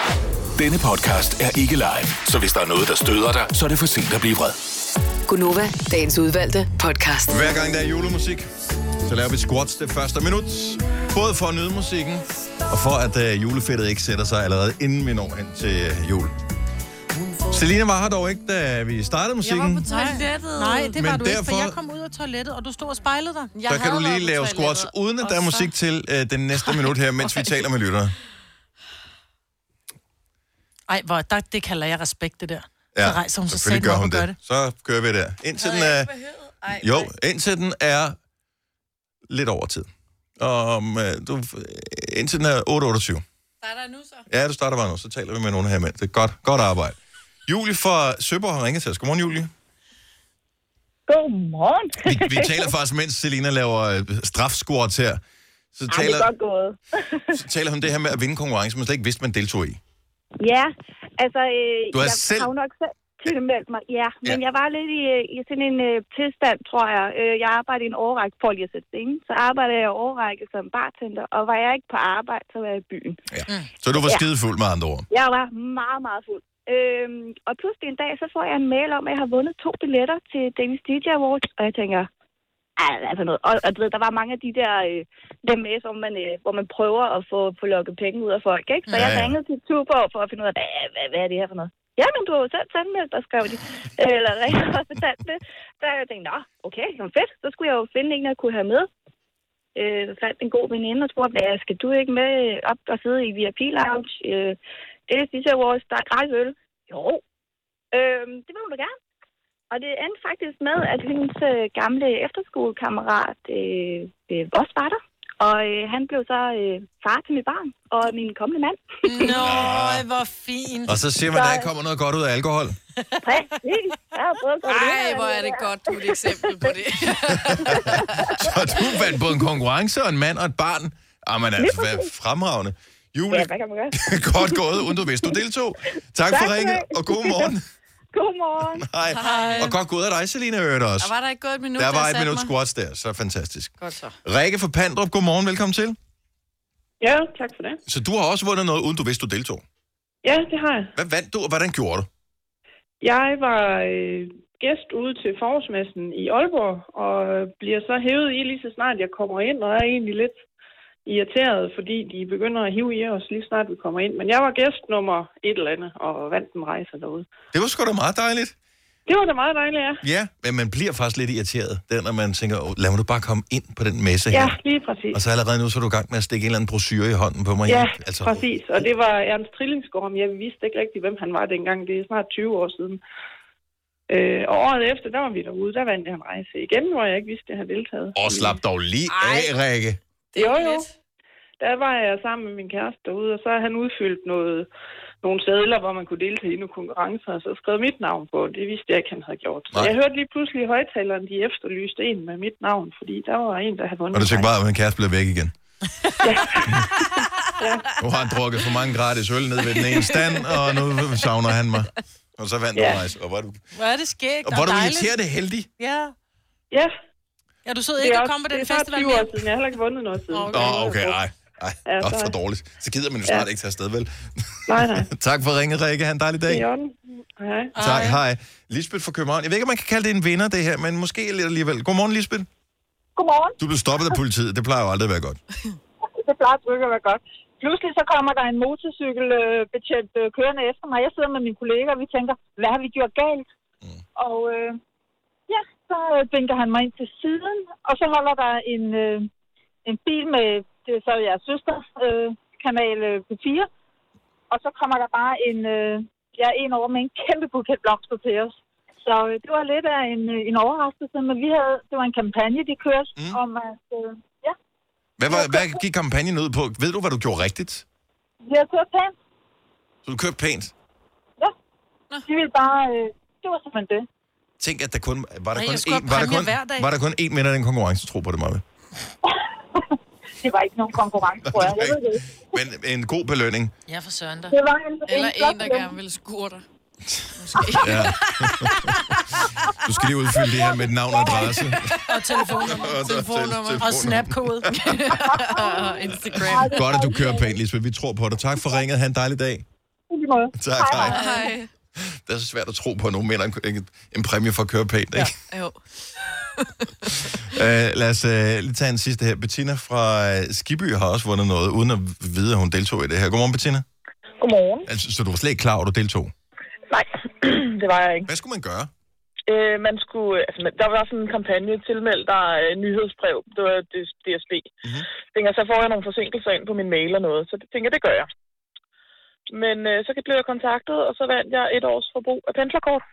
[SPEAKER 18] Denne podcast er ikke live, så hvis der er noget, der støder dig, så er det for sent at blive vred.
[SPEAKER 7] Gunova, dagens udvalgte podcast.
[SPEAKER 1] Hver gang der er julemusik, så laver vi squats det første minut. Både for at nyde musikken, og for at øh, julefedtet ikke sætter sig allerede inden vi når hen til øh, jul. Selina var her dog ikke, da vi startede musikken.
[SPEAKER 3] toilettet. Nej, det var
[SPEAKER 1] Men
[SPEAKER 3] du ikke, for
[SPEAKER 1] derfor-
[SPEAKER 3] jeg kom ud af toilettet, og du stod og spejlede dig. Jeg
[SPEAKER 1] Så kan du lige lave squats, uden at der er musik til øh, den næste minut her, mens vi taler med lyttere.
[SPEAKER 3] Ej, hvor, der, det kalder jeg respekt, det der.
[SPEAKER 1] Ja,
[SPEAKER 3] så rejser hun sig
[SPEAKER 1] selvfølgelig
[SPEAKER 3] selv
[SPEAKER 1] gør
[SPEAKER 3] op
[SPEAKER 1] hun
[SPEAKER 3] og gør
[SPEAKER 1] det.
[SPEAKER 3] det.
[SPEAKER 1] Så kører vi der. Indtil den er... Jo, indtil den er lidt over tid. Og om, øh, du, indtil den er 8.28.
[SPEAKER 2] Starter jeg nu så?
[SPEAKER 1] Ja, du starter bare nu, så taler vi med nogen her imens. Det er godt, godt arbejde. Julie fra Søborg har ringet til os. Godmorgen, Julie.
[SPEAKER 9] Godmorgen.
[SPEAKER 1] Vi, vi taler faktisk, mens Selina laver øh, strafsquats her. Så
[SPEAKER 9] Ej, det
[SPEAKER 1] taler,
[SPEAKER 9] er godt gået.
[SPEAKER 1] så taler hun om det her med at vinde konkurrence, man slet ikke vidste, man deltog i.
[SPEAKER 9] ja, altså... Øh,
[SPEAKER 1] Du har
[SPEAKER 9] jeg
[SPEAKER 1] selv-
[SPEAKER 9] har jo nok selv tilmeldt mig. Ja, men
[SPEAKER 1] Ja.
[SPEAKER 9] jeg var lidt i, øh, i sådan en øh, tilstand, tror jeg. Øh, jeg arbejdede i en årrække, for lige at sætte det, ikke? Så arbejdede jeg i en årrække som bartender, og var jeg ikke på arbejde, så var jeg i byen.
[SPEAKER 1] Så du var
[SPEAKER 9] Ja.
[SPEAKER 1] skidefuld med andre ord.
[SPEAKER 9] Jeg var meget, meget fuld.
[SPEAKER 12] Øhm, og pludselig en dag, så får jeg en mail om, at jeg har vundet to billetter til Danish DJ Awards, og jeg tænker, "Ej, hvad for noget? Og, og du ved, der var mange af de der, øh, dem med, som man, øh, hvor man prøver at få, få lukket penge ud af folk, ikke? Så
[SPEAKER 24] Ja,
[SPEAKER 12] jeg
[SPEAKER 24] ja.
[SPEAKER 12] ringede til Tuborg for at finde ud af, hvad, hvad, hvad er det her for noget? Jamen, du har jo selv tandmeldt, der skrev de. Eller ringede og fortalte det. Så jeg tænkte, nå, okay, jamen fedt. Så skulle jeg jo finde en, jeg kunne have med. Øh, jeg fandt en god veninde og spurgte, hvad skal du ikke med op og sidde i VIP Lounge? Øh, det er Stitcher Awards, der er gratis øl. Jo. Øh, det vil hun da gerne. Og det endte faktisk med, at hendes øh, gamle efterskolekammerat øh, øh, også var der. Og øh, han blev så øh, far til mit barn og min kommende mand.
[SPEAKER 3] Nå, hvor fint.
[SPEAKER 1] Og så siger man, at der ikke kommer noget godt ud af alkohol.
[SPEAKER 12] Præcis. Jeg har prøvet at gøre det.
[SPEAKER 2] Ej, hvor er det godt, du er et eksempel på det.
[SPEAKER 1] Så du vandt både en konkurrence og en mand og et barn. Jamen
[SPEAKER 12] Lige
[SPEAKER 1] altså, hvad
[SPEAKER 12] præcis.
[SPEAKER 1] fremragende.
[SPEAKER 12] Ja,
[SPEAKER 1] Julie,
[SPEAKER 12] hvad kan man gøre?
[SPEAKER 1] godt gået, uden du vidste, du deltog. Tak for ringet, og god morgen.
[SPEAKER 12] Godmorgen.
[SPEAKER 1] Hej.
[SPEAKER 2] Hej.
[SPEAKER 1] Og godt gået af dig, Selina, øvrigt også.
[SPEAKER 2] Og var der ikke gået et minut,
[SPEAKER 1] Der
[SPEAKER 2] da jeg
[SPEAKER 1] var et
[SPEAKER 2] satte
[SPEAKER 1] minut
[SPEAKER 2] mig?
[SPEAKER 1] squats der, så fantastisk.
[SPEAKER 2] Godt så.
[SPEAKER 1] Rikke fra Pandrup, godmorgen, velkommen til.
[SPEAKER 25] Ja, tak for det.
[SPEAKER 1] Så du har også vundet noget, uden du vidste, du deltog.
[SPEAKER 25] Ja, det har jeg.
[SPEAKER 1] Hvad vandt du, og hvordan gjorde du?
[SPEAKER 25] Jeg var øh, gæst ude til forårsmessen i Aalborg, og bliver så hævet i lige så snart jeg kommer ind, og er egentlig lidt irriteret, fordi de begynder at hive i os lige snart vi kommer ind. Men jeg var gæst nummer et eller andet, og vandt en rejse derude.
[SPEAKER 1] Det var sgu da meget dejligt.
[SPEAKER 25] Det var da meget dejligt, ja.
[SPEAKER 1] Ja, men man bliver faktisk lidt irriteret, der, når man tænker, "Åh, lad mig nu bare komme ind på den messe
[SPEAKER 25] Ja,
[SPEAKER 1] her.
[SPEAKER 25] lige præcis.
[SPEAKER 1] Og så allerede nu, så er du i gang med at stikke en eller anden brochure i hånden på mig.
[SPEAKER 25] Ja,
[SPEAKER 1] ikke?
[SPEAKER 25] altså, præcis. Og det var Ernst Trillingsgaard, men jeg vidste ikke rigtig, hvem han var dengang. Det er snart 20 år siden. Øh, og året efter, der var vi derude, der vandt jeg en rejse igen, hvor jeg ikke vidste, at jeg havde deltaget.
[SPEAKER 1] Og slap dog lige af, Rikke.
[SPEAKER 25] Det jo, jo. Der var jeg sammen med min kæreste derude, og så har han udfyldt noget, nogle sædler, hvor man kunne deltage i nogle konkurrencer, og så skrev mit navn på. Det vidste jeg ikke, han havde gjort. Så
[SPEAKER 1] Nej.
[SPEAKER 25] jeg hørte lige pludselig i højtaleren, de efterlyste en med mit navn, fordi der var en, der havde vundet.
[SPEAKER 1] Og du tænkte
[SPEAKER 25] en
[SPEAKER 1] bare, at min kæreste blev væk igen. Nu har han drukket for mange gratis øl ned ved den ene stand, og nu savner han mig. Og så vandt
[SPEAKER 3] Ja.
[SPEAKER 1] du rejse. Og hvor er du,
[SPEAKER 3] Hvor er det skægt
[SPEAKER 1] og
[SPEAKER 3] og,
[SPEAKER 1] hvor er du
[SPEAKER 3] dejligt.
[SPEAKER 1] irriterende heldig.
[SPEAKER 3] Ja.
[SPEAKER 25] Ja.
[SPEAKER 3] Ja, du sidder
[SPEAKER 25] Det er
[SPEAKER 3] ikke og
[SPEAKER 25] også-
[SPEAKER 3] kommer på den
[SPEAKER 25] det er snart
[SPEAKER 3] festival
[SPEAKER 25] 20
[SPEAKER 3] mere.
[SPEAKER 25] år siden. Jeg har heller ikke vundet noget siden.
[SPEAKER 1] Åh, okay. okay, ej. Ej,
[SPEAKER 25] Ja,
[SPEAKER 1] det er
[SPEAKER 25] så-
[SPEAKER 1] for dårligt. Så gider man jo
[SPEAKER 25] Ja.
[SPEAKER 1] snart ikke tage afsted, vel?
[SPEAKER 25] Nej, nej.
[SPEAKER 1] tak for ringet, Rikke. Ha' en dejlig dag.
[SPEAKER 25] Det er i orden. Hej.
[SPEAKER 1] Tak, hej. Lisbeth fra København. Jeg ved ikke, om man kan kalde det en vinder, det her, men måske lidt alligevel. Godmorgen, Lisbeth.
[SPEAKER 25] Godmorgen.
[SPEAKER 1] Du blev stoppet af politiet. Det plejer jo aldrig at være godt.
[SPEAKER 25] Det
[SPEAKER 26] plejer at ikke at være godt. Pludselig så kommer der en motorcykelbetjent øh, kørende efter mig. Jeg sidder med mine kolleger, og vi tænker, hvad har vi gjort galt? Mm. Og øh, ja, så øh, vinker han mig ind til siden, og så holder der en, øh, en bil med, det er så jeres søster, øh, kanal øh, P4, og så kommer der bare en, øh, ja, en over med en kæmpe buket blomster til os. Så øh, det var lidt af en, øh, en overraskelse, men vi havde, det var en kampagne, de kørte mm. om, at øh, ja,
[SPEAKER 1] Hvad, var, hvad gik kampagnen ud på? Ved du, hvad du gjorde rigtigt?
[SPEAKER 26] vi havde kørt pænt.
[SPEAKER 1] Så du kørte pænt.
[SPEAKER 26] Ja. De ville bare... Øh, det var simpelthen det.
[SPEAKER 1] Tænk, at der kun var der
[SPEAKER 26] Nej,
[SPEAKER 1] kun
[SPEAKER 26] jeg skulle
[SPEAKER 1] én,
[SPEAKER 26] have
[SPEAKER 1] var der
[SPEAKER 26] præmier
[SPEAKER 1] kun,
[SPEAKER 26] hver dag.
[SPEAKER 1] var der kun én vinder i den konkurrence, tro på det, Maja.
[SPEAKER 26] Det var ikke nogen konkurrence, tror jeg. Jeg ved det ikke.
[SPEAKER 1] Men en god belønning.
[SPEAKER 3] Ja, for søren da.
[SPEAKER 26] Det var en,
[SPEAKER 2] Eller
[SPEAKER 26] flot
[SPEAKER 2] en, der
[SPEAKER 26] løn.
[SPEAKER 2] gerne ville skure dig.
[SPEAKER 1] Ja. Du skal lige udfylde det her med et navn og adresse.
[SPEAKER 3] Og telefonnummer.
[SPEAKER 1] Og der-
[SPEAKER 3] telefonnummer.
[SPEAKER 1] telefonnummer.
[SPEAKER 3] Og snapkode.
[SPEAKER 2] og Instagram.
[SPEAKER 1] Godt, at du kører pænt, Lisbeth. Vi tror på dig. Tak for ringet. Ha' en dejlig dag. Tak, hej.
[SPEAKER 2] Hej.
[SPEAKER 1] Det er så svært at tro på, at nogen mener en, en præmie for at køre pænt, ikke?
[SPEAKER 2] Jo.
[SPEAKER 1] Uh, lad os uh, lige tage en sidste her. Bettina fra øh, Skibby har også vundet noget, uden at vide, at hun deltog i det her. Godmorgen, Bettina.
[SPEAKER 8] Godmorgen.
[SPEAKER 1] Altså, så du var slet ikke klar over, at du deltog?
[SPEAKER 8] Nej, det var jeg ikke.
[SPEAKER 1] Hvad skulle man gøre?
[SPEAKER 8] Øh, man skulle, øh, altså, man- der var sådan en kampagne tilmeldt der øh, nyhedsbrev. Det var D- DSB. Mm-hmm. Tænker, så får jeg nogle forsinkelser ind på min mail og noget. Så det tænker jeg, det gør jeg. Men øh, så blev jeg kontaktet, og så vandt jeg et års forbrug af pendlerkort.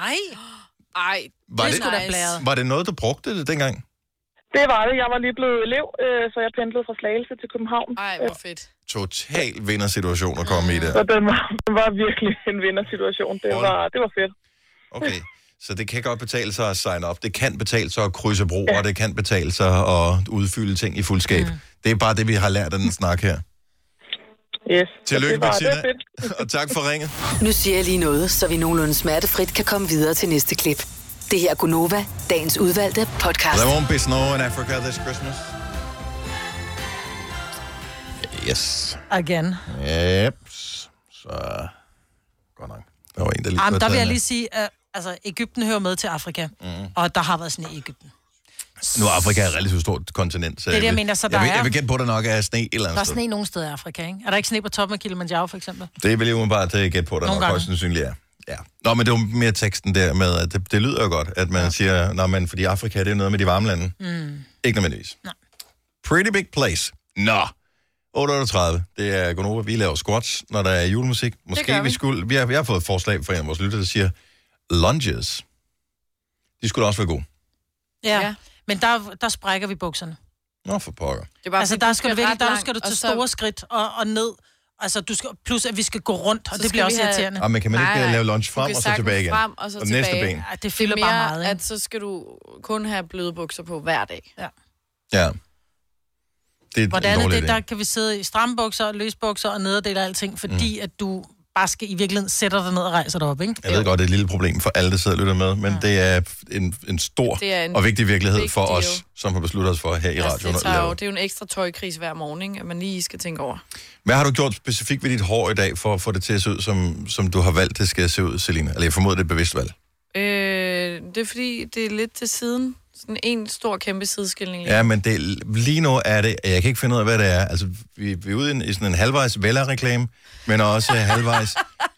[SPEAKER 3] Nej.
[SPEAKER 2] Ej,
[SPEAKER 1] Var var det noget, du brugte det dengang?
[SPEAKER 8] Det var det. Jeg var lige blevet elev, øh, så jeg pendlede fra Slagelse til København.
[SPEAKER 2] Ej, hvor fedt.
[SPEAKER 1] Total vindersituation at komme i
[SPEAKER 8] Så
[SPEAKER 1] der.
[SPEAKER 8] den var, den var virkelig en vindersituation. Det var, det var fedt.
[SPEAKER 1] Okay. Så det kan godt betale sig at sign op. Det kan betale sig at krydse broer, det kan betale sig at udfylde ting i fuldskab. Det er bare det, vi har lært af den snak her.
[SPEAKER 8] Yes.
[SPEAKER 1] Tillykke,
[SPEAKER 8] Det var- det var
[SPEAKER 1] Bettina. Og tak for ringet.
[SPEAKER 20] Nu siger jeg lige noget, så vi nogenlunde smertefrit kan komme videre til næste klip. Det her er Gunova, dagens udvalgte podcast.
[SPEAKER 1] There won't be snow in Africa this Christmas. Yes.
[SPEAKER 3] Again.
[SPEAKER 1] Yep. Så... Godt nok. der lige
[SPEAKER 3] Jamen, der
[SPEAKER 1] var
[SPEAKER 3] vil jeg
[SPEAKER 1] taget
[SPEAKER 3] lige sige, at altså, Ægypten hører med til Afrika,
[SPEAKER 1] Mhm.
[SPEAKER 3] mm. og der har været sne i Ægypten.
[SPEAKER 1] med. øh, Nu er Afrika et relativt stort kontinent, så
[SPEAKER 3] Det er det, jeg
[SPEAKER 1] vil-
[SPEAKER 3] mener, så
[SPEAKER 1] jeg
[SPEAKER 3] der
[SPEAKER 1] vil,
[SPEAKER 3] er-
[SPEAKER 1] jeg vil gætte på, at der nok er sne et
[SPEAKER 3] Der
[SPEAKER 1] eller
[SPEAKER 3] er
[SPEAKER 1] andet sted.
[SPEAKER 3] sne nogen steder i Afrika, ikke? Er der ikke sne på toppen af Kilimanjaro, for eksempel?
[SPEAKER 1] Det vil jeg umiddelbart øh, gætte på, at der
[SPEAKER 3] Nogle
[SPEAKER 1] nok
[SPEAKER 3] gange.
[SPEAKER 1] højst sandsynligt er. Ja. Nå, men det var mere teksten der med, at det, det lyder jo godt, at man ja. siger, nej, men fordi Afrika, det er noget med de varme lande.
[SPEAKER 3] Mm.
[SPEAKER 1] Ikke nødvendigvis. Nej. Pretty big place. Nå. 38. Det er Gonova. Vi laver squats, når der er julemusik. Måske
[SPEAKER 6] gør
[SPEAKER 1] vi.
[SPEAKER 6] vi.
[SPEAKER 1] skulle... Vi har, vi har fået et forslag fra en af vores lyttere, der siger lunges. De skulle da også være gode.
[SPEAKER 3] Ja. ja. Men der, der sprækker vi bukserne.
[SPEAKER 1] Nå, for pokker.
[SPEAKER 2] Det er
[SPEAKER 3] Bare, altså,
[SPEAKER 2] fordi
[SPEAKER 3] der
[SPEAKER 2] du
[SPEAKER 3] skal, du
[SPEAKER 2] ret
[SPEAKER 3] virkelig, der
[SPEAKER 2] langt,
[SPEAKER 3] skal du
[SPEAKER 2] og
[SPEAKER 3] til
[SPEAKER 2] så-
[SPEAKER 3] store skridt og, og ned. Altså, du skal, plus at vi skal gå rundt, og
[SPEAKER 2] Så
[SPEAKER 3] det
[SPEAKER 2] skal
[SPEAKER 3] bliver
[SPEAKER 2] vi
[SPEAKER 3] også
[SPEAKER 2] have-
[SPEAKER 3] irriterende.
[SPEAKER 1] Ah, men kan man ikke, øh, lave lunge
[SPEAKER 2] Du
[SPEAKER 1] frem
[SPEAKER 2] kan
[SPEAKER 1] og så
[SPEAKER 2] sagtens
[SPEAKER 1] tilbage igen?
[SPEAKER 2] Frem og så
[SPEAKER 1] Og
[SPEAKER 2] tilbage.
[SPEAKER 1] næste ben.
[SPEAKER 3] Ja, det fylder
[SPEAKER 2] er
[SPEAKER 3] bare
[SPEAKER 2] mere,
[SPEAKER 3] meget, ikke?
[SPEAKER 2] at så skal du kun have bløde bukser på hver dag.
[SPEAKER 3] Ja.
[SPEAKER 1] Ja. Det er
[SPEAKER 3] Hvordan
[SPEAKER 1] en
[SPEAKER 3] er
[SPEAKER 1] dårlig
[SPEAKER 3] det,
[SPEAKER 1] idé.
[SPEAKER 3] der kan vi sidde i stramme bukser, løse bukser og nederdel og alting, fordi mm. at du bare skal i virkeligheden sætter dig ned og rejser dig op, ikke?
[SPEAKER 1] Jeg ved godt, det er et lille problem for alle, der sidder og lytter med, men ja. det er en, en stor
[SPEAKER 2] Det er en
[SPEAKER 1] og vigtig virkelighed vigtig for
[SPEAKER 2] vigtig
[SPEAKER 1] os, som har besluttet os for her i
[SPEAKER 2] Altså,
[SPEAKER 1] radioen.
[SPEAKER 2] det,
[SPEAKER 1] at
[SPEAKER 2] tager jo,
[SPEAKER 1] lave.
[SPEAKER 2] det er jo en ekstra tøjkris hver morgen, ikke? at man lige skal tænke over.
[SPEAKER 1] Hvad har du gjort specifikt ved dit hår i dag, for at få det til at se ud, som, som du har valgt, det skal se ud, Selina? Eller jeg formoder, det er et bevidst valg.
[SPEAKER 2] Øh, det er fordi, det er lidt til siden. Sådan en stor, kæmpe sideskilling. lige.
[SPEAKER 1] Ja, men det, lige nu er det, jeg kan ikke finde ud af, hvad det er. Altså, vi, vi er ude i en- i sådan en halvvejs Vella-reklame, men også halvvejs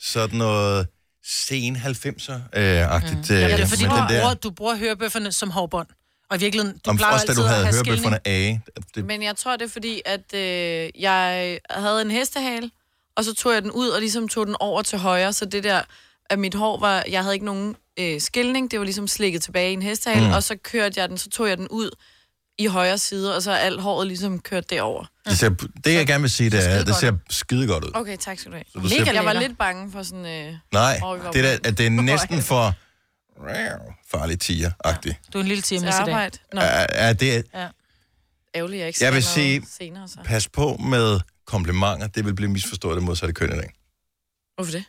[SPEAKER 1] sådan noget sen 90'er-agtigt. Mm.
[SPEAKER 3] Ja, det er fordi, du bruger, du bruger hørebøfferne som hårbånd. Og i virkeligheden, du
[SPEAKER 1] Om,
[SPEAKER 3] plejer
[SPEAKER 1] også da
[SPEAKER 3] altid
[SPEAKER 1] du
[SPEAKER 3] at
[SPEAKER 1] havde
[SPEAKER 3] have
[SPEAKER 1] hørebøfferne
[SPEAKER 3] skilning.
[SPEAKER 1] af. Det,
[SPEAKER 2] Men jeg tror, det er fordi, at øh, jeg havde en hestehale, og så tog jeg den ud og ligesom tog den over til højre, så det der, at mit hår var, jeg havde ikke nogen øh, skilning, det var ligesom slikket tilbage i en hestehale,
[SPEAKER 1] Mm.
[SPEAKER 2] mm. og så kørte jeg den, så tog jeg den ud i højre side, og så er alt håret ligesom kørt derover.
[SPEAKER 1] det, ser, det, jeg gerne vil sige, det er, det ser skide godt ud.
[SPEAKER 2] Okay, tak skal du have.
[SPEAKER 1] Så du ser- Mega
[SPEAKER 2] jeg var
[SPEAKER 1] lækker.
[SPEAKER 2] lidt bange for sådan... Øh,
[SPEAKER 1] Nej,
[SPEAKER 2] åh, vi var
[SPEAKER 1] det, der,
[SPEAKER 2] på-
[SPEAKER 1] at det er næsten for farlig tiger-agtig.
[SPEAKER 3] Du er en lille time i
[SPEAKER 2] til
[SPEAKER 3] dag.
[SPEAKER 2] arbejde. Nå,
[SPEAKER 1] Er, er det,
[SPEAKER 3] Ja.
[SPEAKER 2] ærgerligt, jeg ikke
[SPEAKER 1] jeg
[SPEAKER 2] skal
[SPEAKER 1] vil
[SPEAKER 2] noget
[SPEAKER 1] sige,
[SPEAKER 2] senere. Så.
[SPEAKER 1] pas på med komplimenter. Det vil blive misforstået af det modsatte køn i dag.
[SPEAKER 2] Hvorfor det?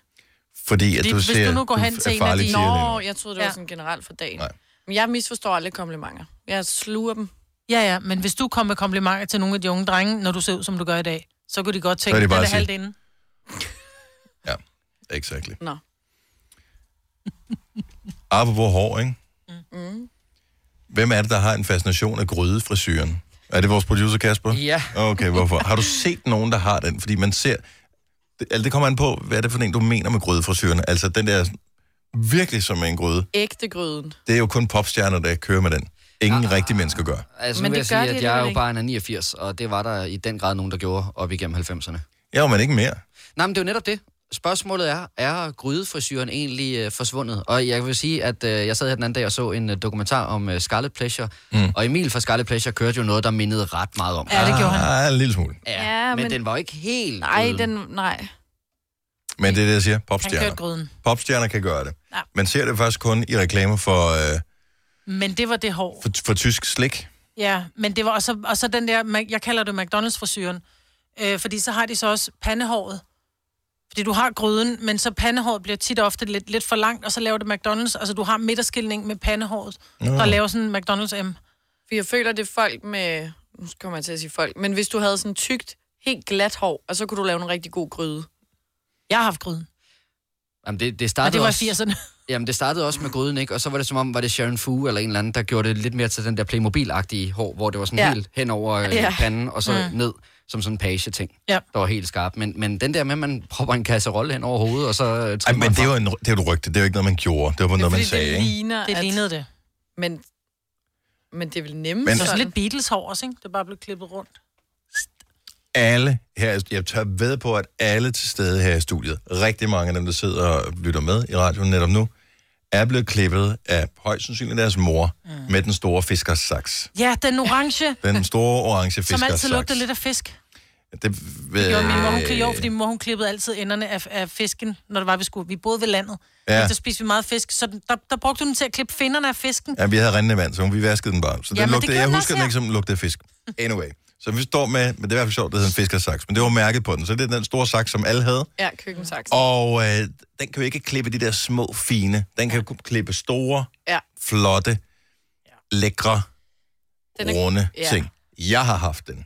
[SPEAKER 1] Fordi at
[SPEAKER 2] Fordi
[SPEAKER 1] du
[SPEAKER 2] hvis
[SPEAKER 1] ser,
[SPEAKER 2] du nu går hen
[SPEAKER 1] er
[SPEAKER 2] til en af
[SPEAKER 1] farlig
[SPEAKER 2] de...
[SPEAKER 1] tiger lige nu.
[SPEAKER 2] Nå, jeg troede, det var sådan generelt for dagen. Nej. Men jeg misforstår alle komplimenter. Jeg sluger dem.
[SPEAKER 3] Ja, ja, men hvis du kommer med komplimenter til nogle af de unge drenge, når du ser ud, som du gør i dag, så kunne de godt tænke,
[SPEAKER 1] Så er
[SPEAKER 3] at
[SPEAKER 1] det
[SPEAKER 3] det
[SPEAKER 1] bare
[SPEAKER 3] er
[SPEAKER 1] at sige-
[SPEAKER 3] halvt inden.
[SPEAKER 1] Exactly.
[SPEAKER 2] Nå.
[SPEAKER 1] Apropos hår, ikke?
[SPEAKER 2] Mm.
[SPEAKER 1] Hvem er det, der har en fascination af grydefrisyren? Er det vores producer, Kasper?
[SPEAKER 4] Ja.
[SPEAKER 1] Okay, hvorfor? Har du set nogen, der har den? Fordi man ser... Det, altså, det kommer an på, hvad er det for en, du mener med grydefrisyren? Altså, den der virkelig som en gryde.
[SPEAKER 2] Ægte gryden.
[SPEAKER 1] Det er jo kun popstjerner, der kører med den. Ingen ah, rigtige mennesker gør.
[SPEAKER 4] Altså,
[SPEAKER 2] Men
[SPEAKER 4] Men nu vil
[SPEAKER 2] det
[SPEAKER 4] jeg
[SPEAKER 2] gør
[SPEAKER 4] sige,
[SPEAKER 2] de
[SPEAKER 4] at jeg er jo
[SPEAKER 2] alligevel
[SPEAKER 4] bare en af 89, og det var der i den grad nogen, der gjorde op igennem 90'erne.
[SPEAKER 1] Ja, men ikke mere.
[SPEAKER 4] Nej, men det er jo netop det. Spørgsmålet er, er grydefrisyren egentlig øh, forsvundet? Og jeg vil sige, at øh, jeg sad her den anden dag og så en øh, dokumentar om øh, Scarlet Pleasure, mm. og Emil fra Scarlet Pleasure kørte jo noget, der mindede ret meget om.
[SPEAKER 1] Ja, det gjorde han. Ah, en lille smule.
[SPEAKER 4] Ja, men, men den var jo ikke helt...
[SPEAKER 2] Nej,
[SPEAKER 4] ude.
[SPEAKER 2] den... Nej.
[SPEAKER 1] Men det er det, jeg siger.
[SPEAKER 3] Han
[SPEAKER 1] Popstjerner.
[SPEAKER 3] kørte gryden.
[SPEAKER 1] Popstjerner kan gøre det.
[SPEAKER 3] Ja.
[SPEAKER 1] Man ser det faktisk kun i reklamer for, øh,
[SPEAKER 3] Men det var det hår.
[SPEAKER 1] for, for tysk slik.
[SPEAKER 3] Ja, men det var også, og så den der, Mac- jeg kalder det McDonald's-frisyren, øh, fordi så har de så også pandehåret. Fordi du har gryden, men så pandehåret bliver tit og ofte lidt, lidt for langt, og så laver det McDonald's. Altså, du har midterskilning med pandehåret,
[SPEAKER 2] Nå.
[SPEAKER 3] der laver sådan en McDonald's M.
[SPEAKER 2] For jeg føler, det er folk med... Nu kommer jeg til at sige folk. Men hvis du havde sådan tykt, helt glat hår, og så kunne du lave en rigtig god gryde.
[SPEAKER 3] Jeg har haft gryden.
[SPEAKER 4] Jamen, det, det
[SPEAKER 3] Og
[SPEAKER 4] startede
[SPEAKER 3] det var i
[SPEAKER 4] også-
[SPEAKER 3] 80'erne.
[SPEAKER 4] Jamen, det startede også med gryden, ikke? Og så var det som om, var det Sharon Fu eller en eller anden, der gjorde det lidt mere til den der Playmobil-agtige hår, hvor det var sådan
[SPEAKER 3] Ja.
[SPEAKER 4] ja. helt hen over øh,
[SPEAKER 3] Ja.
[SPEAKER 4] ja. panden, og så
[SPEAKER 3] Mm.
[SPEAKER 4] mm. ned som sådan en page-ting,
[SPEAKER 3] Ja.
[SPEAKER 4] der var helt skarp. Men, men den der med, at man propper en kasserolle hen over hovedet, og så... Øh,
[SPEAKER 1] Ej, men det er jo en, det er jo et rygte. Det er jo ikke noget, man gjorde. Det var noget, man sagde,
[SPEAKER 2] det
[SPEAKER 1] ikke?
[SPEAKER 2] ligner,
[SPEAKER 3] Det
[SPEAKER 2] at...
[SPEAKER 3] lignede det.
[SPEAKER 2] Men, men det er vel nemme
[SPEAKER 1] Men-
[SPEAKER 2] men...
[SPEAKER 3] Det var sådan
[SPEAKER 2] sådan.
[SPEAKER 3] lidt Beatles-hår også, ikke? Det er bare blevet klippet rundt.
[SPEAKER 1] Alle her, jeg tør ved på, at alle til stede her i studiet, rigtig mange af dem, der sidder og lytter med i radioen netop nu, er blevet klippet af højst sandsynligt deres mor mm. med den store fiskersaks.
[SPEAKER 3] Ja, den orange,
[SPEAKER 1] Den store orange
[SPEAKER 3] som altid
[SPEAKER 1] fiskersaks.
[SPEAKER 3] lugtede lidt af fisk.
[SPEAKER 1] Det
[SPEAKER 3] Det gjorde min mor, hun,
[SPEAKER 1] ved...
[SPEAKER 3] kli- jo, fordi min mor, hun klippede altid enderne af, af fisken, når det var, vi skulle. Vi boede ved landet,
[SPEAKER 1] Ja.
[SPEAKER 3] ja. så spiste vi meget fisk, så den- der, der brugte hun den til at klippe finderne af fisken.
[SPEAKER 1] Ja, vi havde rendende vand, så vi vaskede den bare. Så den
[SPEAKER 3] Jamen, det
[SPEAKER 1] lugtede,
[SPEAKER 3] gjorde
[SPEAKER 1] jeg
[SPEAKER 3] den
[SPEAKER 1] husker
[SPEAKER 3] også
[SPEAKER 1] den
[SPEAKER 3] her.
[SPEAKER 1] ikke som lugtede af fisk. Anyway. Så vi står med, men det er i hvert fald sjovt, det hedder en fiskersaks, men det var mærket på den. Så det er den store saks, som alle havde.
[SPEAKER 2] Ja, køkkensaks.
[SPEAKER 1] Og øh, den kan jo ikke klippe de der små, fine. Den kan jo kun klippe store,
[SPEAKER 2] Ja.
[SPEAKER 1] flotte, lækre,
[SPEAKER 2] Den
[SPEAKER 1] den
[SPEAKER 2] er-
[SPEAKER 1] runde
[SPEAKER 2] ja.
[SPEAKER 1] ting. Jeg har haft den.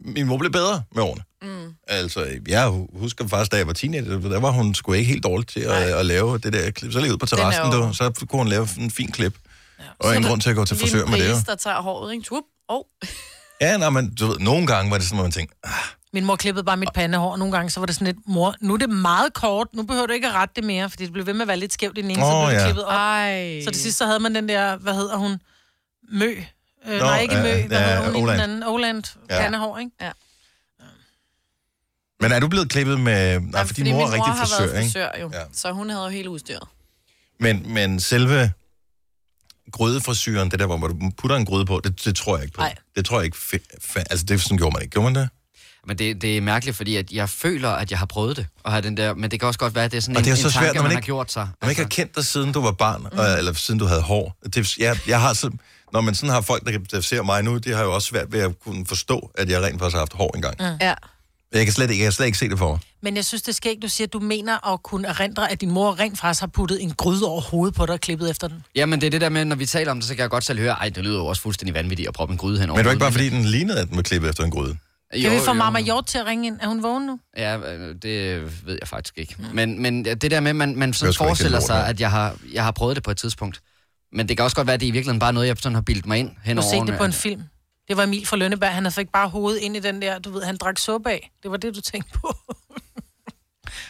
[SPEAKER 1] min mor blev bedre med årene. Mm. Altså, jeg husker faktisk, da jeg var teenager, der var hun sgu ikke helt dårlig til at, at lave det der klip. Så lige ud på terrassen,
[SPEAKER 2] Den er jo-
[SPEAKER 1] du, så kunne hun lave en fin klip. Ja. Og ingen grund til at gå til frisør med det.
[SPEAKER 2] Lige
[SPEAKER 1] jo.
[SPEAKER 2] en bris, der tager håret, ikke? Tup. Oh.
[SPEAKER 1] Ja, nej, men du ved, nogle gange var det sådan, at man tænkte,
[SPEAKER 3] Min mor klippede bare mit pandehår, og nogle gange så var det sådan lidt, mor, nu er det meget kort, nu behøver du ikke at rette det mere, fordi det blev ved med at være lidt skævt i den ene, oh, så
[SPEAKER 1] Åh,
[SPEAKER 3] blev det
[SPEAKER 1] ja.
[SPEAKER 3] klippet op. Ej. Så til sidst så havde man den der, hvad hedder hun, Mø. Øh,
[SPEAKER 1] Nå,
[SPEAKER 3] nej, ikke
[SPEAKER 1] ja,
[SPEAKER 3] Mø,
[SPEAKER 1] ja,
[SPEAKER 3] hvad hedder hun, i den
[SPEAKER 1] Oland.
[SPEAKER 3] anden, Oland,
[SPEAKER 1] Ja.
[SPEAKER 3] ja. pandehår, ikke? Ja.
[SPEAKER 1] men er du blevet klippet med... Nej, for din mor er rigtig
[SPEAKER 2] har
[SPEAKER 1] frisør,
[SPEAKER 2] været
[SPEAKER 1] ikke?
[SPEAKER 2] frisør, jo. Ja. Så hun havde jo hele udstyret.
[SPEAKER 1] Men, men selve grydefrisyren, det der, hvor du putter en gryde på, det, det tror jeg ikke på.
[SPEAKER 2] Nej.
[SPEAKER 1] Det tror jeg ikke... Fe- fa- altså, det sådan gjorde man ikke. Gjorde man det?
[SPEAKER 4] Men det, det er mærkeligt, fordi at jeg føler, at jeg har prøvet det. Og har den der, men det kan også godt være, at det er sådan
[SPEAKER 1] Og
[SPEAKER 4] en,
[SPEAKER 1] det er jo så
[SPEAKER 4] en
[SPEAKER 1] svært,
[SPEAKER 4] tanke,
[SPEAKER 1] når man
[SPEAKER 4] man har
[SPEAKER 1] ikke-
[SPEAKER 4] gjort sig. altså.
[SPEAKER 1] Man ikke har kendt dig, siden du var barn, mm. eller siden du havde hår. Det, jeg, jeg har så, når man sådan har folk, der, kan- der ser mig nu, de har jo også svært ved at kunne forstå, at jeg rent faktisk har haft hår engang.
[SPEAKER 3] Mm. ja.
[SPEAKER 1] Jeg kan slet ikke, jeg kan slet ikke se det for mig.
[SPEAKER 3] Men jeg synes, det skal ikke, du siger, at du mener at kunne erindre, at din mor rent faktisk har puttet en gryde over hovedet på dig og klippet efter den.
[SPEAKER 4] Jamen, det er det der med, når vi taler om det, så kan jeg godt selv høre, ej, det lyder jo også fuldstændig vanvittigt at proppe en gryde hen over.
[SPEAKER 1] Men det var ikke bare,
[SPEAKER 4] hovedet."
[SPEAKER 1] fordi den lignede, at den var klippet efter en gryde.
[SPEAKER 4] Jo,
[SPEAKER 3] kan vi få
[SPEAKER 4] jo.
[SPEAKER 3] Mama Hjort til at ringe ind? Er hun vågen nu?
[SPEAKER 4] Ja, øh, det ved jeg faktisk ikke. Men, men det der med, at man, man
[SPEAKER 1] Det er
[SPEAKER 4] sådan
[SPEAKER 1] sgu ikke
[SPEAKER 4] forestiller
[SPEAKER 1] helt lort,
[SPEAKER 4] sig,
[SPEAKER 1] ja.
[SPEAKER 4] at jeg har, jeg har prøvet det på et tidspunkt. Men det kan også godt være, at det i virkeligheden bare er noget, jeg sådan har bildt mig ind hen
[SPEAKER 3] Du har
[SPEAKER 4] over
[SPEAKER 3] set det
[SPEAKER 4] årene,
[SPEAKER 3] på en
[SPEAKER 4] at-
[SPEAKER 3] film. Det var Emil fra Lønneberg. Han havde fik bare hovedet ind i den der, du ved, han drak suppe af. Det var det, du tænkte på.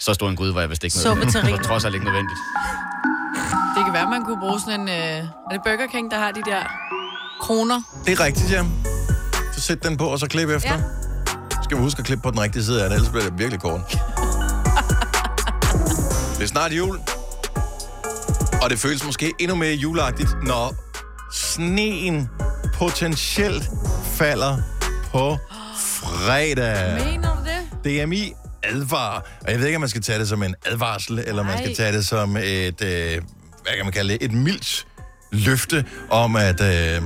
[SPEAKER 4] Så stor en gryde var jeg vist ikke
[SPEAKER 3] Suppe til
[SPEAKER 4] nødvendigt.
[SPEAKER 3] rim.
[SPEAKER 4] Så trods alt ikke nødvendigt.
[SPEAKER 2] Det kan være, man kunne bruge sådan en... Øh, er det Burger King, der har de der kroner?
[SPEAKER 1] Det er rigtigt, ja. Så sæt den på, og så klip efter. Ja. Skal vi huske at klippe på den rigtige side af den, ellers bliver det virkelig kort. det er snart jul. Og det føles måske endnu mere juleagtigt, når sneen potentielt falder på fredag.
[SPEAKER 2] Mener du det?
[SPEAKER 1] DMI advarer. Og jeg ved ikke, om man skal tage det som en advarsel, eller om man skal
[SPEAKER 2] Nej.
[SPEAKER 1] tage det som et, øh, hvad kan man kalde det, et mildt løfte om, at øh,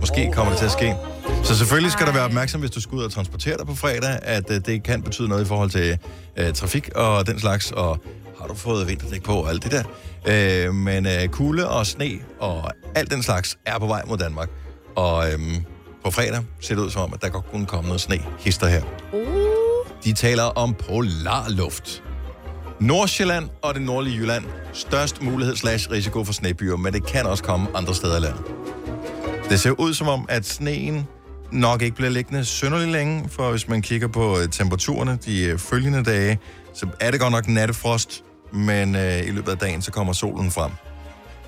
[SPEAKER 1] måske kommer det til at ske. Så selvfølgelig skal du være opmærksom, hvis du skal ud og transportere dig på fredag, at øh, det kan betyde noget i forhold til øh, trafik og den slags, og har du fået vinterdæk på og alt det der. Øh, men øh, kulde og sne og alt den slags er på vej mod Danmark. Og øh, på fredag ser det ud som om, at der godt kunne komme noget sne hister her. De taler om polarluft. Nordsjælland og det nordlige Jylland. Størst mulighed slash risiko for snebyer, men det kan også komme andre steder i landet. Det ser ud som om, at sneen nok ikke bliver liggende sønderlig længe, for hvis man kigger på øh, temperaturerne de øh, følgende dage, så er det godt nok nattefrost, men øh, i løbet af dagen, så kommer solen frem,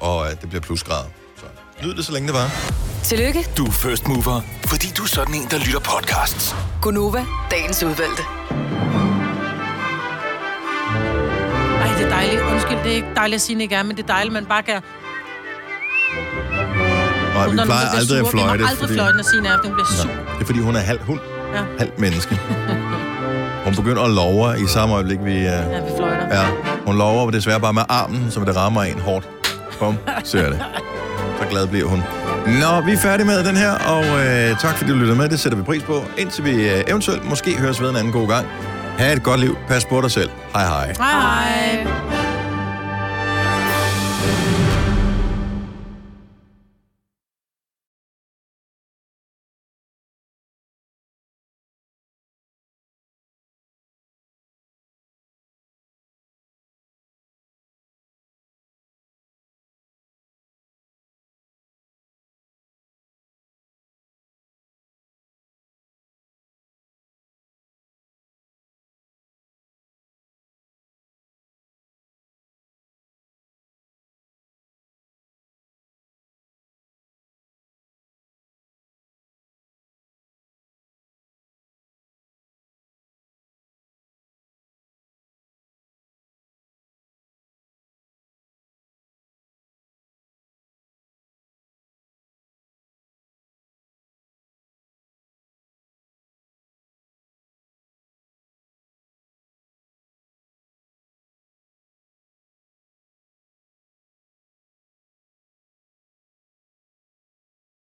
[SPEAKER 1] og øh, det bliver plusgrader. Så nyd det, så længe det var.
[SPEAKER 7] Tillykke,
[SPEAKER 1] Du er first mover,
[SPEAKER 5] Fordi du er sådan en, der lytter podcasts.
[SPEAKER 7] Gunova, dagens udvalgte.
[SPEAKER 3] Ej, det er dejligt. Undskyld, det er ikke dejligt at sige, det ikke er, men det er dejligt, man bare kan...
[SPEAKER 1] Og vi
[SPEAKER 3] Når nogen
[SPEAKER 1] plejer
[SPEAKER 3] bliver
[SPEAKER 1] aldrig at
[SPEAKER 3] sure, vi må
[SPEAKER 1] fløjte.
[SPEAKER 3] aldrig fløjte, når Signe er, hun bliver sur.
[SPEAKER 1] Det er fordi, hun er halv hund,
[SPEAKER 3] Ja.
[SPEAKER 1] halv menneske. Hun begynder at love i samme øjeblik, vi... Uh... Ja,
[SPEAKER 3] vi fløjter.
[SPEAKER 1] Ja. Hun lover desværre bare med armen, så det rammer en hårdt. Kom, ser det. Så glad bliver hun. Nå, vi er færdige med den her, og øh, tak fordi du lyttede med. Det sætter vi pris på. Indtil vi øh, eventuelt måske høres ved en anden god gang. Ha' et godt liv. Pas på dig selv. Hej hej.
[SPEAKER 3] Hej, hej.